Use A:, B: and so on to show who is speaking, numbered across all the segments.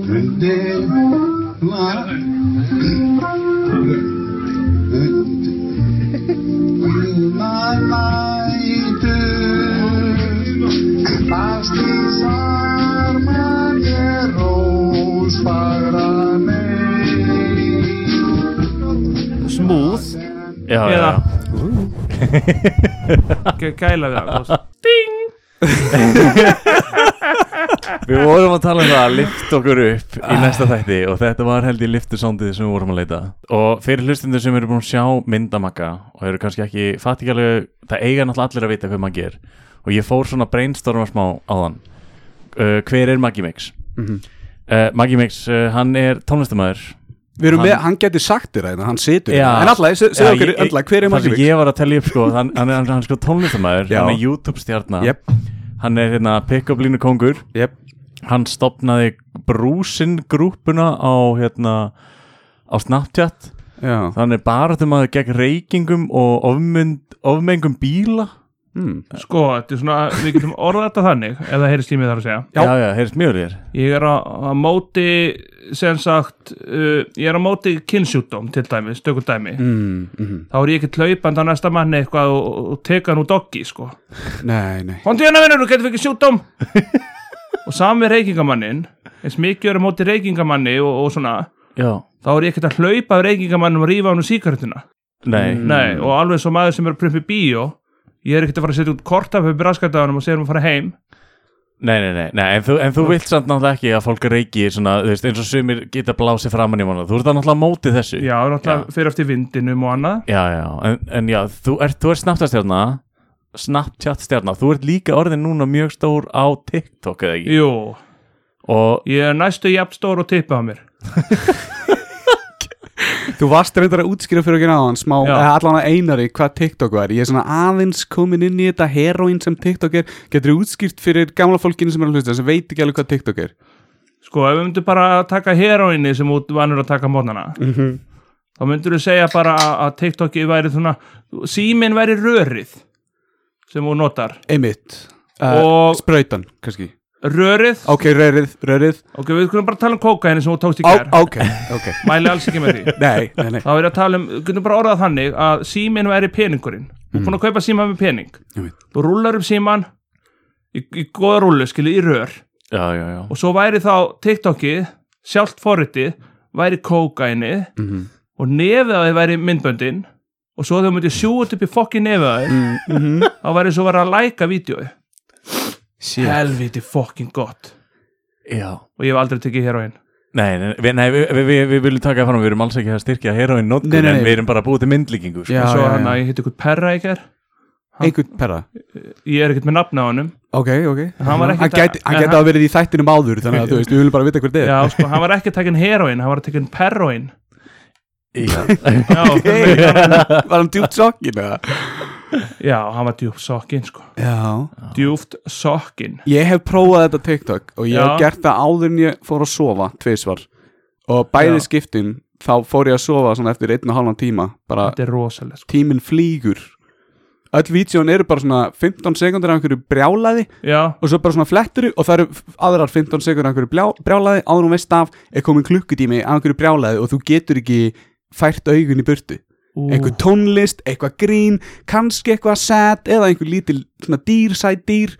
A: Önde var.
B: Smooth
C: Já, já,
D: Eða-
C: já.
D: Gæ- Gæla við það þú veist.
C: Við vorum að tala um það að lift okkur upp í næsta þætti og þetta var held ég liftusándið sem við vorum að leita og fyrir hlustundur sem eru búin að sjá myndamakka og eru kannski ekki fattigalegu það eiga náttúrulega allir að vita hvað Maggi er og ég fór svona að brainstorma smá á þann uh, Hver er Maggi Mix?
A: Mhm.
C: uh, Maggi Mix, uh, hann er tónlistamæður
A: Við erum
C: Hann-
A: með, hann geti sagt þér að hann situr hérna. En alltaf, segðu okkur, alltaf, hver er Maggi
C: Mix?
A: Mix?
C: Ég var að tellja upp sko, hann, hann, er- hann, hann er sko tónlistamæður,
A: Já.
C: hann er YouTube-stjarnar
A: Jep,
C: Hann er hérna pick-up línu kongur
A: jep,
C: hann stopnaði brúsin grúpuna á hérna á Snapchat
A: já
C: þannig baratum að gegn reykingum og ofmynd, ofmengum bíla
A: Hmm.
D: Sko, þetta er svona, við getum orðað þetta þannig ef það heyrist í mig þar að segja
A: Já.
C: já, já heyrst mjög þér
D: Ég er á, á móti sem sagt, uh, ég er á móti kynnsjúkdóm til dæmi, stöku dæmi
A: Mm, mhm.
D: þá er ég ekkert hlaupand á næsta manni eitthvað og, og- og teka hann úr doggi sko.
A: Nei, nei
D: Hóndi hérna vinnur, þú getur fengið sjúkdóm og sami reykingamanninn eins mikið er á móti reykingamanni og, og svona,
C: já,
D: þá er ég ekkert að hlaupa af reykingamannum og rífa hann úr síkartuna
C: nei,
D: Nei, og alveg svo maður sem er að prumpi bíó ég er ekkert að fara að setja út kort af hefur raskataðanum og segja hann að fara heim
C: nei, nei, nei, nei en, þú, en þú vilt samt náttúrulega ekki að fólk reyki svona, þú veist, eins og sumir geta blásið framann í manna þú ert það náttúrulega á móti þessu
D: Já, náttúrulega fyrir eftir vindinum og annað
C: já, já, en, en já, þú ert, þú ert Snapchat-stjarna Snapchat-stjarna, þú ert líka orðin núna mjög stór á TikTok eða ekki
D: Jú,
C: og
D: ég er næstu jafn stór og tippa á mér
A: Þú varst reyndar að útskýra fyrir okkur aðan smá,
D: Já.
A: eða allan að einari hvað TikTok var Ég er svona aðeins komin inn í þetta heroin sem TikTok er Getur þú útskýrt fyrir gamla fólkinu sem er að hlusta sem veit ekki alveg hvað TikTok er
D: Sko, ef við myndum bara að taka heroinni sem út vanur að taka mótnana þá myndur við segja bara að- að TikTokið væri svona síminn væri rörið sem hún notar
A: Einmitt uh,
D: Og-
A: Sprautan, kannski
D: Rörið,
A: Ok, rörið, rörið
D: ok, við kunum bara tala um kókaini sem hún tókst í
A: Ó,
D: kær
A: Ok, ok
D: Mæli alls ekki með því
A: Nei, nei, nei
D: Þá er ég að tala um, við kunum bara orða þannig að síminn væri peningurinn Þú
A: Mm.
D: er búin að kaupa síma með pening
A: Einmitt.
D: Þú rúlar upp síman í, í góða rúlu, skilið, í rör
C: já, já, já
D: og svo væri þá TikTokið, sjálft forritið væri kókaini
A: Mhm.
D: og nefið að þið væri myndböndin og svo þau myndið sjú upp í fokkin nefið að
A: Mm.
D: þið
A: Mhm.
D: þá væri svo verið að læka vídjói
A: Shit.
D: helviti fokkin gott
C: já,
D: og ég hef aldrei tekið hér á hinn
C: Nei, nei, við, nei við, við, við, við viljum taka það fram, við erum alls ekki að styrkja heroin notkun,
A: Nei, nei, nei.
C: en við erum bara að búið til myndlíkingu sko.
A: Já,
D: svo
A: já,
D: hann
A: já.
D: að ég hitt ykkur perra í ger
A: Einhvern perra
D: ég er ekkert með nafna á honum
A: Ok, ok
D: Hann var ekki-
A: gæti, hann
D: en
A: gæti
D: hann-
A: að verið í þættinum áður Þannig að þú veist, við viljum bara vita hvort þið er
D: já, sko, hann var ekki tekinn heroin, hann var tekinn perroin
C: Já.
D: já, okay.
A: Var hann djúpt sokkin eða?
D: já, hann var djúft sokkin sko.
A: Já
D: djúft sokkin
A: Ég hef prófað þetta TikTok og ég
D: Já.
A: hef gert það áður en ég fór að sofa tvisvar og bæði
D: Já.
A: skiptin þá fór ég að sofa svona eftir einn og halvan tíma bara
D: þetta er rosalega sko.
A: tíminn flýgur öll vídjón eru bara svona 15 sekundur af einhverju brjálaði
D: já,
A: og svo bara svona fletturu og það eru f- aðrar 15 sekundur af einhverju brjá- brjálaði áður og veist af er komin klukkutími af einhverju brjálaði og þú getur ekki fært augun í burtu
D: ú,
A: einhver tónlist, eitthvað grín kannski eitthvað sad eða einhver lítil svona dýr, sæt dýr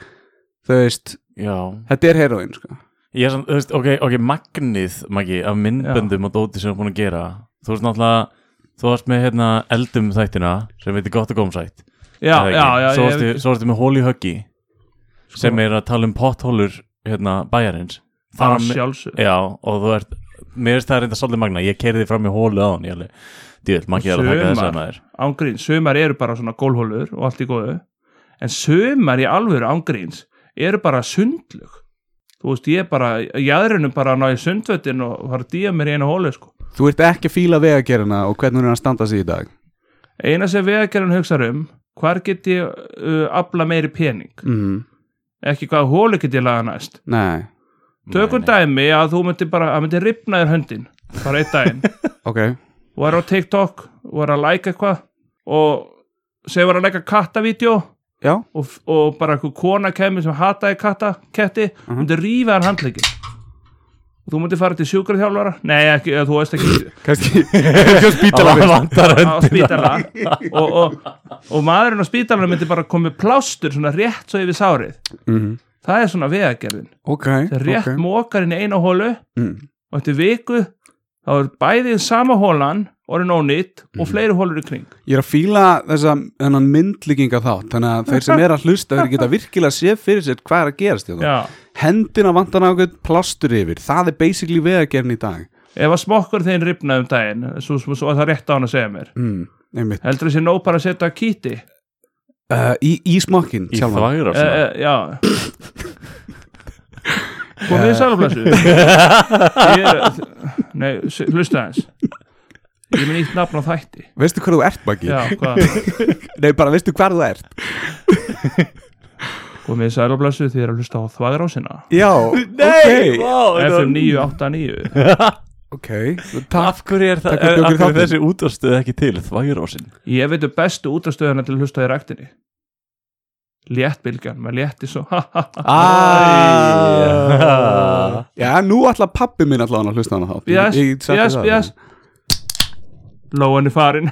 A: þú veist,
C: Já.
A: þetta er heroin sko.
C: Ég er svona, þú veist, ok, ok, magnið, Maggi, af myndböndum og dóti sem við erum búin að gera Þú veist náttúrulega, þú varst með hérna eldum þættina sem heitir gott og gómsætt
D: já,
C: eða ekki?
D: já,
C: Svo
D: já, ég- Sko.
C: varstu, svo varstu með Holy Huggy sem er að tala um potthólur hérna bæjarins Þar
D: bara
C: á me-
D: sjálfsög
C: Já, og þú ert, mér finnst það er reynda svolítið magna, ég keiri þig fram í hólu á hann, ég alveg Djöld, Maggi er að taka þess að
D: Sumar.
C: maður
D: ángríns, sömar eru bara svona gólhólur og allt í góðu en sömar í alvöru ángríns eru bara sundlug þú veist ég er bara, jáðurinnum bara að ná í sundvöttin og fara að dýja mér í einu hólu sko.
A: þú ert ekki að fíla vegagerina og hvernig hún er að standa sig í dag
D: eina sem vegagerðin hugsar um hvar get ég uh, afla meiri pening
A: mm.
D: ekki hvaða hólu get ég laga næst
A: nei,
D: tökum dæmi að þú myndir bara að myndir ripna þér höndin bara einn daginn
A: ok
D: og er á TikTok og er að like eitthvað og segir að like kattavídeó
A: já,
D: og,
A: Mhm.
D: og bara einhver kona kemur sem hataði katta, ketti, myndi rífa hann handlegin og þú mútið fara til sjúkraþjálfara nei, ekki, eða þú veist ekki
A: kannski kannski á spítala
C: Það
A: fyrst.
C: vantar
D: á
C: höndina
D: spítala og, og, og maðurinn á spítala myndi bara komið plástur svona rétt svo yfir sárið
A: Mhm.
D: það er svona vegagerðin
A: ok,
D: það er rétt
A: ok.
D: okay. inn í eina hólu
A: Mm.
D: og eftir viku þá er bæðið sama hólan orðin ónýtt og fleiri hólur í kring
A: Ég er að fíla þessa þennan myndlíkinga þátt þannig að þeir sem er að hlusta þeir geta virkilega séð fyrir sér hvað er að gerast hérna.
D: Já.
A: hendina vantar nákvæmt plástur yfir það er basically vegagerðin í dag
D: ef að smokkur þeim ripnaði um daginn svo, svo, svo að það rétt á hann að segja mér
A: mm, einmitt
D: heldur þessi nóg bara að setja kýti
A: uh, í, í smokkinn
C: Í
A: sjálfan.
C: þvægra
D: e, e, já komið í salablassu ég er nei, s- hlusta aðeins ég er með nýtt nafn á þætti
A: veistu hvað þú ert Maggi?
D: já, hvað
A: nei bara veistu hvað þú ert
D: komið í salablassu því er að hlusta á þvagrásina
A: já
C: Nei,
A: ok,
D: FM 989
A: ok takk
C: Af hverju er það,
A: Takk fyrir
C: er, af
A: okkur
C: hverju er
A: þáttinn.
C: þessi útvarstöð ekki til þvægirósin?
D: ég veitu bestu útrastöðuna til að hlusta í ræktinni léttbylgjan með létti svo ha, ha, ha.
A: Ah. já nú ætla pappi minn allan að hlusta á hana þátt
D: yes,
A: Ég- ég setti
D: yes,
A: það.
D: yes Lóan er farin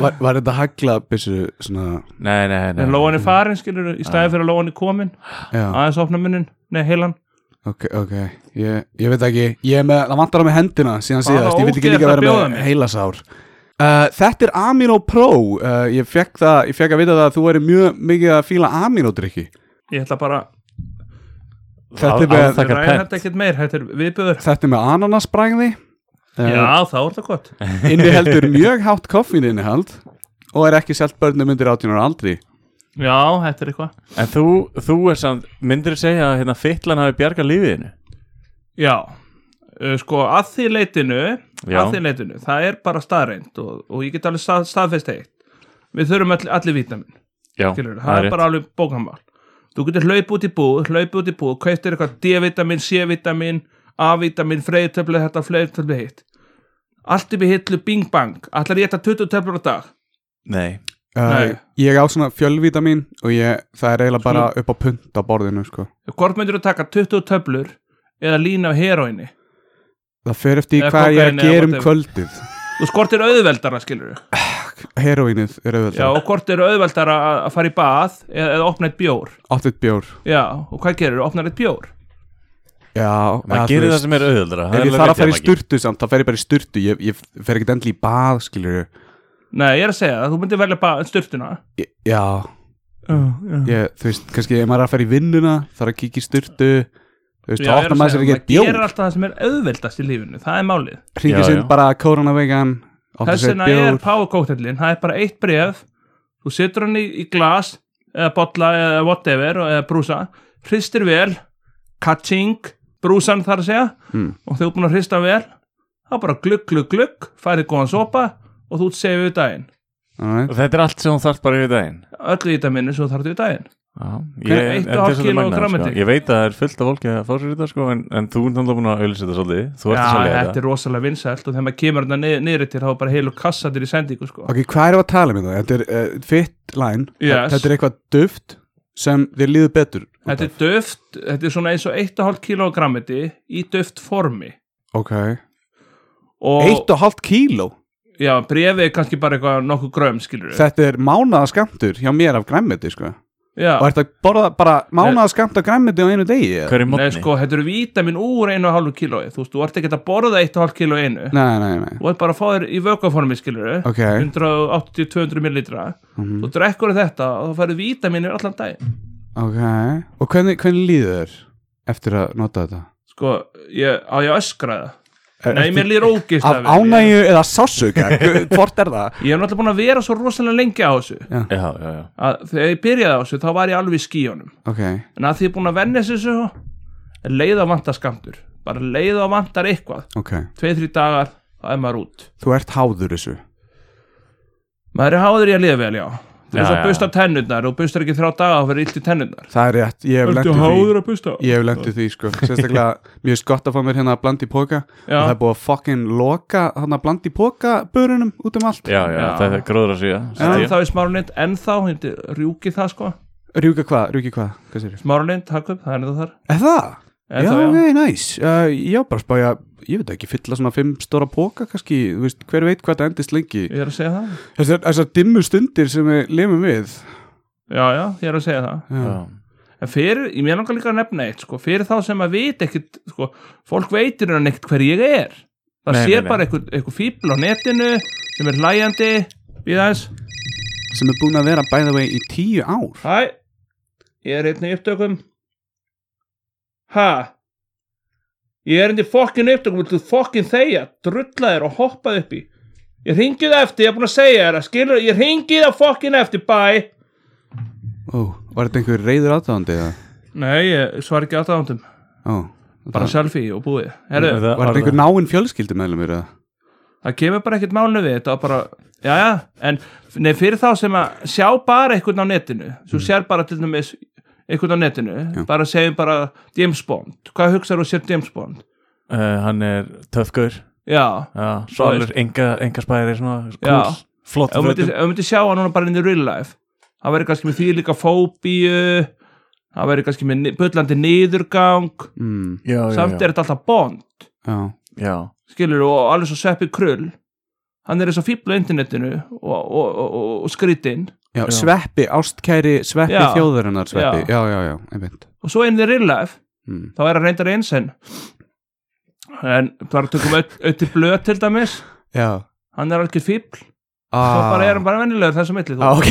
A: var, var þetta hagla byssu svona
C: Nei, nei, nei
D: En Lóan er farin, skilur, í stæði fyrir að Lóan er komin
A: já,
D: Aðeins opna munnin, nei, heilan
A: ok, ok ég, ég veit ekki, ég er með, það vantar á mig hendina síðan
D: Hvaða
A: síðast, ég vil ekki
D: ógeð
A: líka
D: ertu að
A: vera
D: bjóða
A: með
D: mér?
A: heilasár uh, þetta er Amino Pro uh, ég fekk það, ég fekk að vita það að þú eru mjög mikið að fíla aminodrykki
D: Ég ætla bara,
A: þetta, er
C: Á-
A: með-
C: Taka
D: ég ræði
C: pent.
D: þetta ekkert meir, þetta er viðbjöður
A: þetta er með ananasbræði
D: Já, þá er það gott
A: Eh. inniheldur mjög hátt koffín innihald og er ekki selt börnum undir 18 ára aldri
D: Já, þetta er eitthvað
C: En þú, þú er samt, myndir þú segja að hérna, fytlan hafi bjargað lífiðinu?
D: Já, uh, sko, að því leitinu
C: Já.
D: Að því leitinu, það er bara staðreind Og, og ég get alveg stað, staðfest eitt Við þurfum all, allir vítamin
C: Já,
D: skilur, það er
C: rétt.
D: bara alveg bókamál þú getur hlaup út í búð, hlaup út í búð kauptir eitthvað D-vitamin, C-vitamin A-vitamin, freyðtöflu þetta, freyðtöflu hitt allt upp í hillu, bing bang, allar ég þetta 20 töflur á dag,
C: Nei,
A: uh,
D: Nei.
A: ég á svona fjölvítamin og ég, það er eiginlega bara upp á punt á borðinu sko.
D: hvort myndir þú taka 20 töflur eða lína af heroinni
A: það fer eftir
D: Eða
A: í hvað ég er
D: kokaín
A: að
D: eða
A: gera um
D: whatever.
A: kvöldið
D: þú skortir auðveldara skilur
A: heroínið er
D: já,
A: auðvitað
D: og hvort er auðveldara að- að fara í bað eða, eða opna eitt bjór
A: 8 bjór
D: já, og hvað gerir, opnar eitt bjór
A: Já, eða,
C: maður
A: þú
C: gerir það
A: veist,
C: sem er hérna, auðvöldra
A: Ef ég þarf að fara í sturtu samt, þá fer ég bara í sturtu Ég, ég fer ekki endli í bað, skilur
D: nei, ég er að segja það, þú myndir velja bað, styrtuna
A: ég, Já,
D: já,
A: ég, þú veist, kannski ef maður er að fara í vinnuna Þarf að kíkja í sturtu Þú veist, þá
D: ég er
A: ofta
D: að
A: maður sér
D: segja, maður
A: ekki eitt bjór
D: gerir alltaf það sem er auðveldast í lífinu, það er málið
A: Hringir
C: Já,
A: sinn
C: já.
A: bara koronavegan Ofta
D: Þess
A: sér
D: vegna
A: bjór
D: er powercocktailin, það er bara eitt bref þú setur hann í, í glas eða bolla eða whatever eða brúsa, hristir vel catching, brúsan þar að segja
A: Mm.
D: og þegar þú er búin að hrista vel þá bara glugg, glugg, glugg, færið góðan sopa og þú segir við daginn
A: Alright.
C: Og þetta er allt sem hún þarf bara yfir daginn
D: öll í þetta minni svo þartu við daginn
C: Já, ég,
D: Hver-
C: en
D: eitt og
C: þetta er
D: hálft
C: svolítið
D: kíló af
C: magnað,
D: grænmeti.
C: sko. ég veit að það er fullt af fólki að fá sér þetta sko, en, en þú er náttúrulega búin að auðvitað þetta svolítið Þú ert að
D: Já,
C: selja
D: þetta
C: þetta
D: er rosalega vinsælt og þegar maður kemur þarna niður, niður til þá er bara heilu kassatir í sendingu sko.
A: Ok, hvað erum við að tala um þetta? Þetta er uh, fit line
D: Yes.
A: Þetta er eitthvað duft sem þér líður betur út
D: Þetta er
A: af.
D: döft, þetta er svona eins og 1,5 kilogrammi í döft formi
A: Ok
D: og
A: Eitt og hálft kíló
D: Já, brefið er kannski bara eitthvað nokkuð gröm, skilur við.
A: Þetta er mánaðaskamtur hjá mér af græmmiti, sko
D: Já,
A: Og ert að borða bara mánaðaskamt af græmmiti á einu degi? eða?
C: Hverju
D: nei,
C: mótni?
D: sko, þetta eru vítamin úr einu og hálfu kílói, þú veist, þú ert ekki að borða eitt og hálf kílói einu,
A: Nei, nei, nei
D: þú ert bara að fá þér í vökuformi, skilur við,
A: Ok
D: 180-200 millilitra,
A: mhm,
D: þú drekkur þetta og þá færðu vítamin yfir allan daginn.
A: Ok Og hvernig, hvernig líður þér eftir að nota þetta?
D: Sko, ég, á ég að öskra það?
A: Er-
D: Nei,
A: Eh, ertu-
D: mér líður ógist
A: Af ánægju eða sásuga? Hvort er það?
D: Ég ég hef náttúrulega búin að vera svo rosalega lengi á þessu,
C: Já, já, já
D: að þegar ég byrjaði á þessu, þá var ég alveg í skíjónum.
A: Ok
D: En að því ég er búin að venja þessu, er leið að vanta skamtur, bara leið að vantar eitthvað.
A: Ok
D: tveið, þrjú dagar, þá er maður út
A: Þú ert háður þessu
D: maður er háður í að lifa vel, já þú
C: Já,
D: veist
C: já,
D: að
C: já.
D: busta tennurnar og bustar ekki þrjá daga og fyrir illt í tennurnar
A: Það er rétt Ég hef lendið því
D: að busta?
A: Ég hef lendið því, sko Sérstaklega Mér er skott að fá mér hérna að blandi póka
D: Já.
A: Það er búið að fucking loka Hérna blandi póka Börunum út um allt
C: Já, já,
D: Já.
C: þetta er gróður að síða
D: ennþá í smáralind, ennþá hindi, rjúki það sko
A: Rjúka hvað? Rjúki hvað? Hvað sér
D: smáralind, hakup, það er ennþá þar
A: Er það?
D: En
A: já,
D: þá,
A: ok, nice uh, Já, bara spája, ég veit ekki, fylla svona fimm stóra póka kannski, þú veist, hver veit hvað það endist lengi
D: Ég er að segja það
A: Þessar, þessar dimmu stundir sem við lemum við uh,
D: Já, já, ég er að segja það
A: Já,
C: Já.
D: En fyrir, ég mér langar líka að nefna eitt sko, fyrir þá sem að vita ekkit sko, fólk veitir hann ekkit hver ég er
C: Nei,
D: það sér
C: nei, nei.
D: bara einhver, einhver fíbl á netinu sem er hlæjandi við aðeins,
A: sem er búin að vera by the way í tíu ár
D: hæ ég er hérna í upptökum hæ ég er hérna í fokkin upptökum viltu fokkin þegja, drulla þér og hoppa upp í ég hringi það eftir, ég er búin að segja þér að skilur, ég hringi það fokkin eftir, bye
A: Ó, var þetta einhver reyður aðdáðandi eða?
D: nei, ég svar ekki aðdáðandum
A: Ó,
D: bara
A: það,
D: selfie og búið Herru,
C: Það-
A: var þetta einhver náinn fjölskyldu meðlum eða?
D: það kemur bara ekkert málinu við þetta var bara, já já, en nei, fyrir þá sem að sjá bara einhvern á netinu svo
C: Mm.
D: sér bara til dæmis einhvern á netinu, bara segjum bara James Bond, hvað hugsaðu sér James Bond
C: Uh, Hann er töfgur
D: já,
C: Svalur, enga, enga spæri svona,
D: Já.
C: cool, Flott
D: ef þú myndir-
C: fötum
D: ef þú myndir sjá hann núna bara inn í real life hann verður kannski með því líka fóbíu hann verður kannski með ni- bullandi niðurgang
A: Mm,
C: já, já,
D: samt
C: já.
D: er þetta alltaf Bond
A: já,
C: já.
D: skilur og alveg svo sveppi krull hann er þess að fíbla internetinu og, og, og, og, og skrýtin
A: já,
C: Já.
A: sveppi, ástkæri sveppi
D: Já.
A: þjóðurinnar sveppi Já, já, já, einmitt
D: og svo inn í real life
A: mm.
D: þá er hann reyndar eins en en bara tökum auðvitað blöð til dæmis
A: Já
D: hann er algjör fíbl þá
A: Ah.
D: bara er hann bara vennilegur þessu milli
A: Ah, ok.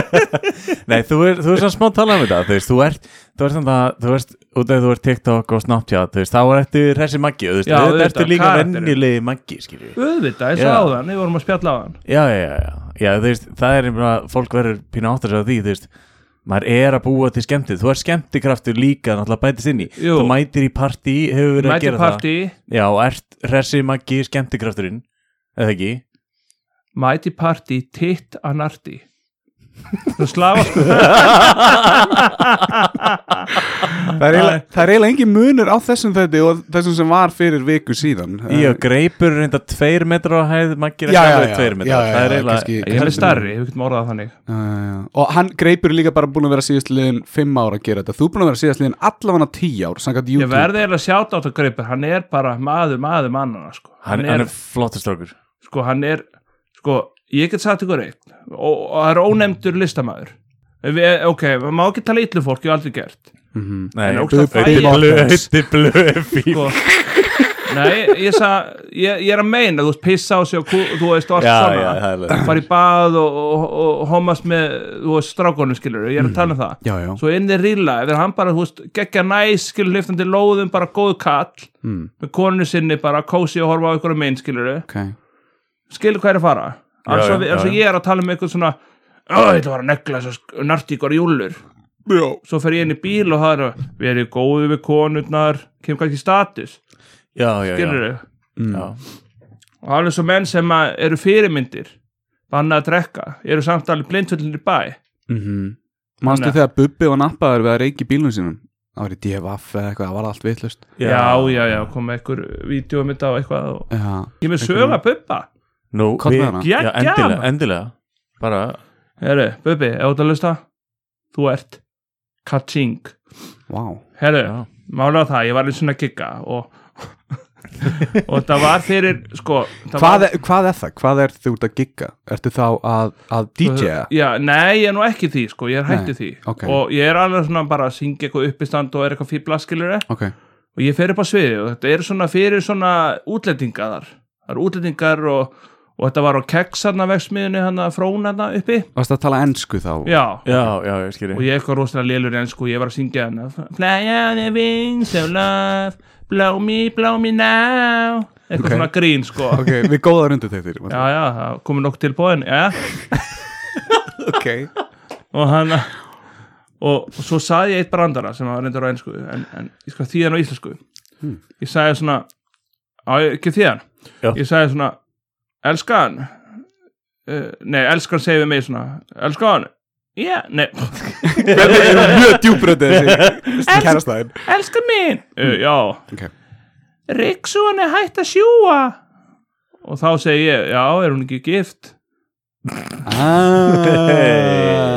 C: Nei, þú er, þú er svona smá talað um þetta þú veist, þú ert, þú ert þannig að þú veist, út af þú ert TikTok og Snapchat þú veist, þá er eftir hressi maggi þú veist,
D: Já,
C: þetta
D: auðvitað,
C: ertu líka
D: karakterinn.
C: vennilegi maggi skilju
D: auðvitað, ég
C: Já.
D: sagði hann, við vorum að spjalla á hann
C: já, já, já, já, já þú veist, það er bara, fólk verður pínu áttur sér á því, þú veist maður er að búa til skemmtið, þú er skemmtikraftur líka náttúrulega bætist inn í,
D: Jú.
C: þú mætir í partí hefur verið að
D: mæti
C: gera
D: partí,
C: það já, og ert hressi maggi skemmtikrafturinn eða ekki,
D: mæti partí titt anarti sko. þú slafa
A: Ah. það, er eiginlega, það er eiginlega engin munur á þessum þetta og þessum sem var fyrir viku síðan
C: í og greipur reynda tveir metra á hæð, maggi er
A: Eh, Já, já,
C: ekki alveg
A: já,
C: tveir metra,
A: já, já,
C: það er
A: já,
C: eiginlega
A: kannski-
D: ég er starri, við getum orðað það þannig
A: Já, já, já. og hann greipur er líka bara búin að vera síðast liðin fimm ára að gera þetta, þú er búin að vera síðast liðin allavega tíu ár, samkvæmt
D: ég
A: YouTube
D: verði eiginlega sjátt átt að greipur hann er bara maður, maður mannana sko.
C: hann, hann er flottur strókur
D: sko hann er sko, ég get sagt ykkur eitt og, og það er ónefndur listamaður En við, ok, maður má ekki tala illu fólk ég hef aldrei gert
C: Nei,
D: er ógeðslega
C: Auddi
D: fæn.
C: Blöð- Auddi blöð fín.
D: sko, nei, ég, sa, ég, ég er að meina þú veist, pissa á sig og kú- þú veist, og allt
C: Já, já,
D: svona
C: það er alveg-
D: fara í bað og, og, og, og homast með þú veist, strákonum skilur, ég er
C: Mm.
D: að tala um það
A: Já, já.
D: svo inn í ríla, ef hann bara, þú veist, geggja næs skilur, liftandi lóðum, bara góð kall
A: Mm.
D: með konu sinni, bara kósi og horfa á ykkur um einn skilur,
A: okay.
D: skilur hvað er að fara alls
C: já,
D: og
C: já, já.
D: ég er að tala um eitthvað svona Ó, ég ætla að fara að negla þessar nartíkar júlur
A: já,
D: svo fer ég inn í bíl og það er að verið góðu við konurnar kemur kannski í status,
C: Já, já, já.
D: skilur þau
A: Hmm.
C: Já.
D: og alveg svo menn sem að eru fyrirmyndir banna að drekka, eru samt alveg blindfullinir í bæ
A: Mhm. Manstu
D: Nei.
A: þegar Bubbi og Nappaður við að reyki bílunum sínum? Það var í DFF eða eitthvað, það var allt vitlust
D: já, já, já, kom með einhver vídeo á eitthvað og
A: Já,
D: ég með sög að bubba
C: Nú,
A: Hvað með
C: við,
A: hana?
C: já,
D: Geggjað,
C: endilega,
D: maður.
C: endilega. Bara,
D: herru, bubbi, ef þú ert að lusta þú ert kaching
A: vá
D: herru,
C: já.
D: mála á það, ég var eins og svona að kikka og, og það var fyrir sko, það
A: hvað,
D: var,
A: er, hvað er það? Hvað er þú ert að gigga? Ertu þá að, að DJ-a?
D: Uh, Já, nei, ég er nú ekki því, sko, ég er hætti
A: Nei,
D: því
A: ok.
D: og ég er alveg svona bara að syngja eitthvað uppistand og er eitthvað eh? fíbla skilur
A: Ok,
D: og ég fer upp á sviði og þetta er svona fyrir svona útlendingaðar það eru útlendingar og, og þetta var á keks hann að vegsmiðinu hann að fróna hann uppi
A: varstu að tala ensku þá?
D: já,
C: já, já, ég skilji.
D: og ég er eitthvað rosalega lélur en sko ég var að syngja hann fly on the wings of love blow me, blow me now eitthvað
A: Ok.
D: svona grín sko
A: Ok, við góðar undir þeir
D: já, já, það komið nokkuð til bóðin já,
A: ok
D: og hann og, og svo saði ég eitt brandara sem var reyndar á einsku en, en ég skal þýðan á íslensku ég sagði svona á, ég- ekki þýðan,
C: Já.
D: ég sagði svona elskan uh, nei, elskan segir við mig svona elskan, já, yeah, nei
A: Þetta er mjög djúbröndið þessi kærastæðin
D: elskan mín, uh, já
A: Ok,
D: Riksuan er hægt að sjúa og þá segi ég, já, er hún ekki gift
A: ah.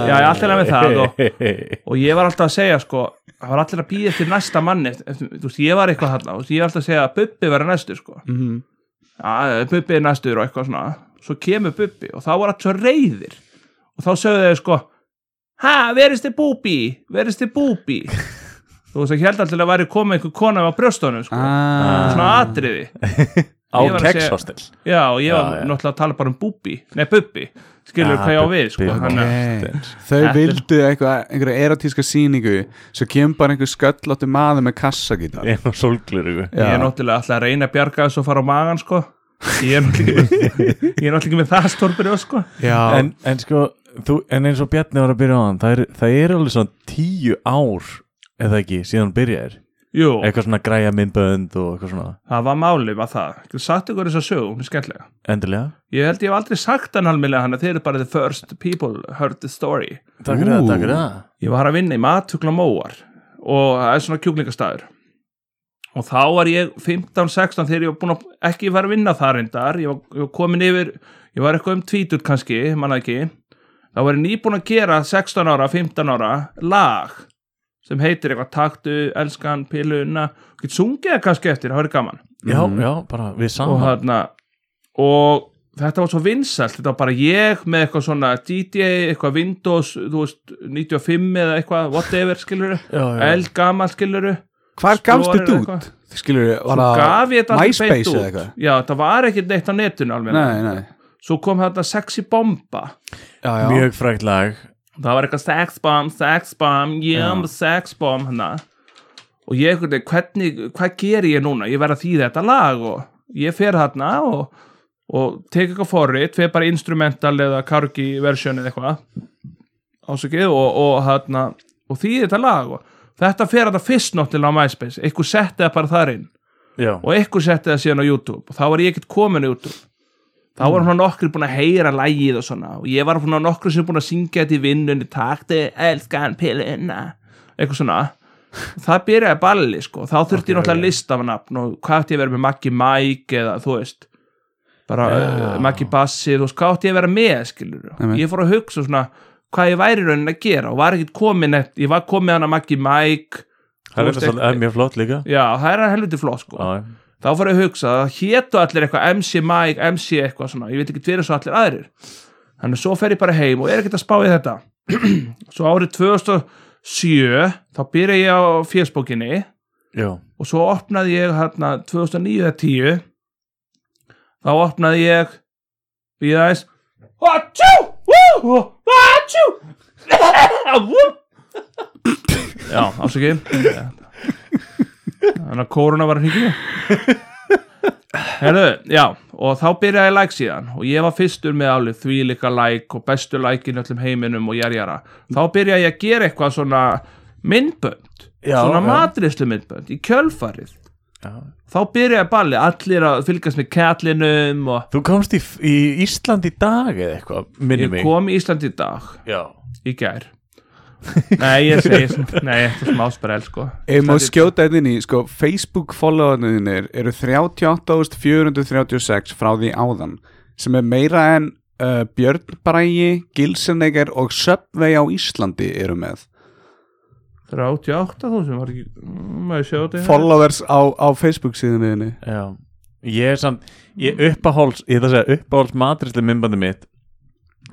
D: já, ég alltaf með það og, og ég var alltaf að segja sko, það var allir að býja eftir næsta manni eftir, eftir, þú veist, ég var eitthvað þarna þú veist, ég var alltaf að segja að Bubbi var næstur sko.
A: Mhm.
D: ja, Bubbi er næstur og eitthvað svona svo kemur Bubbi og þá var allir svo reyðir og þá sögðu þau sko ha, verist þið búbi verist þið búbi þú veist, ég held alltaf að væri komið einhver kona á brjóstónum sko.
A: Ah.
D: svona atriði
C: á
D: Ég var að segja-
C: kegshostel
D: já, og ég var
C: Já, já.
D: náttúrulega að tala bara um búbi nei, Bubbi, skilur
C: Ah,
D: hvað ég á við sko.
C: Bubbi.
D: Þannig að-
A: Okay.
C: Hostel.
A: Þau
D: Þetta er-
A: vildu eitthvað, einhverja erotíska sýningu svo kemur bara einhver sköllóttu maður með kassagítar
C: Ég var sólglur ykkur
D: Ég er náttúrulega alltaf að reyna að bjarga þessu og fara á magan sko Ég er náttúrulega ekki með, ég er náttúrulega ekki með það stórbrjóð sko
A: Já,
C: en, en sko, þú, en eins og Bjarni var að byrja á hann það er, það er alveg svona tíu ár eða ekki, síðan hann byrjaðir
D: Jú,
C: eitthvað svona græja myndbönd og eitthvað svona
D: það var máli var það Ég get Sagt ykkur þess að sögum, hún er skemmtilega
C: endilega
D: Ég held ég hef aldrei sagt hann alveg hann að þeir eru bara the first people heard the story
C: Takk fyrir það,
A: Ú.
C: takk fyrir það
D: Ég var að vinna í matugla móar og það er svona kjúklingastæður og þá var ég 15-16 þegar ég var búin að ekki var að vinna þar reyndar, ég var, ég var komin yfir ég var eitthvað um tvítur kannski, manna ekki þá var ég nýbúin að gera 16 ára, 15 ára lag sem heitir eitthvað taktu, elskan, piluna og get sungið það kannski eftir, það var gaman
C: Já,
A: Mhm.
C: já, bara við
D: og
C: saman
D: þarna og þetta var svo vinsælt þetta var bara ég með eitthvað svona DJ, eitthvað Windows þú veist, 95 eða eitthvað whatever skiluru,
C: Já, já.
D: eldgamal skiluru
A: hvar gafstu
D: Explorer
A: þetta
D: eitthvað.
A: út? Skilur, var
D: svo gaf ég þetta aldrei
A: það
D: beint
A: MySpace
D: út.
A: eða eitthvað?
D: já, það var ekkert neitt á netinu alveg
A: Nei, nei
D: svo kom þetta sexy bomba
A: já, já.
C: Mjög frækt lag
D: það var eitthvað sex bomb, sex bomb yeah, I'm a sex bomb hana. og ég einhvern veginn, hvernig, hvað ger ég núna ég verð að þýða þetta lag og ég fer þarna og, og tek eitthvað forrið, fer bara instrumental eða kargi versjón eða eitthvað ásakið og, og þarna og þýði þetta lag og þetta fer þetta fyrst náttúrulega á MySpace, eitthvað setti það bara þar inn
C: Já,
D: og eitthvað setti það síðan á YouTube og þá var ég ekkert komin á YouTube þá var hann nokkur búin að heyra lægið og svona og ég var hann nokkur sem búin að syngja þetta í vinnunni takti elskan pilina eitthvað svona það byrjaði balli sko, þá þurfti ég náttúrulega að lista af nafn og hvað átti ég að vera með Maggi Mike eða þú veist bara uh, Maggi Bassi, þú veist hvað átti ég að vera með skilur,
A: Nei, nei.
D: ég fór að hugsa svona hvað ég væri í rauninni að gera og var ekkert komin, eftir, ég var komin með hana Maggi Mike þú
C: það er
D: veist,
C: svolítið- það er mjög flott líka
D: já, það er helviti flott sko
C: Já, já.
D: þá fór ég að hugsa að það hétu allir eitthvað MC Mike, MC eitthvað svona ég veit ekki tverja svo allir aðrir þannig að svo fer ég bara heim og er ekkert að spá í þetta svo árið 2007 þá byrja ég á félsbókinni
C: já,
D: og svo opnaði ég hérna 2009 eða 10 þá opnaði ég við aðeins Hatsjú! Wú! Hatsjú! Wú! Já, ásakið Þannig að korona var að hringja Herðu, já og þá byrjaði ég like síðan og ég var fyrstur með alveg þvílika like og bestu like í öllum heiminum og jarjara þá byrjaði ég að gera eitthvað svona myndbönd,
C: Já,
D: svona
C: já.
D: matrislu myndbönd í kjölfarið
C: já
D: þá byrjaði balli, allir að fylgast með kjallinum og
C: Þú komst í, í Ísland í dag eða eitthvað, minni
D: ég
C: mig
D: kom í Ísland í dag
C: Já,
D: í gær nei, ég segi, nei, þetta er smá sprell sko
A: Ef
D: Ísland
A: maður
D: í-
A: skjóta þetta inn í, sko, Facebook followarnir eru 38.436 frá því áðan sem er meira en uh, Björn Brægi, Gilsenegger og Subway á Íslandi eru með
D: 38.000 var ekki, Mm, maður sjá þetta hérna.
A: followers á, á Facebook síðunniðinni
C: já Ég er samt, ég uppahóls Ég ætla að segja uppahóls matrisli myndbandi mitt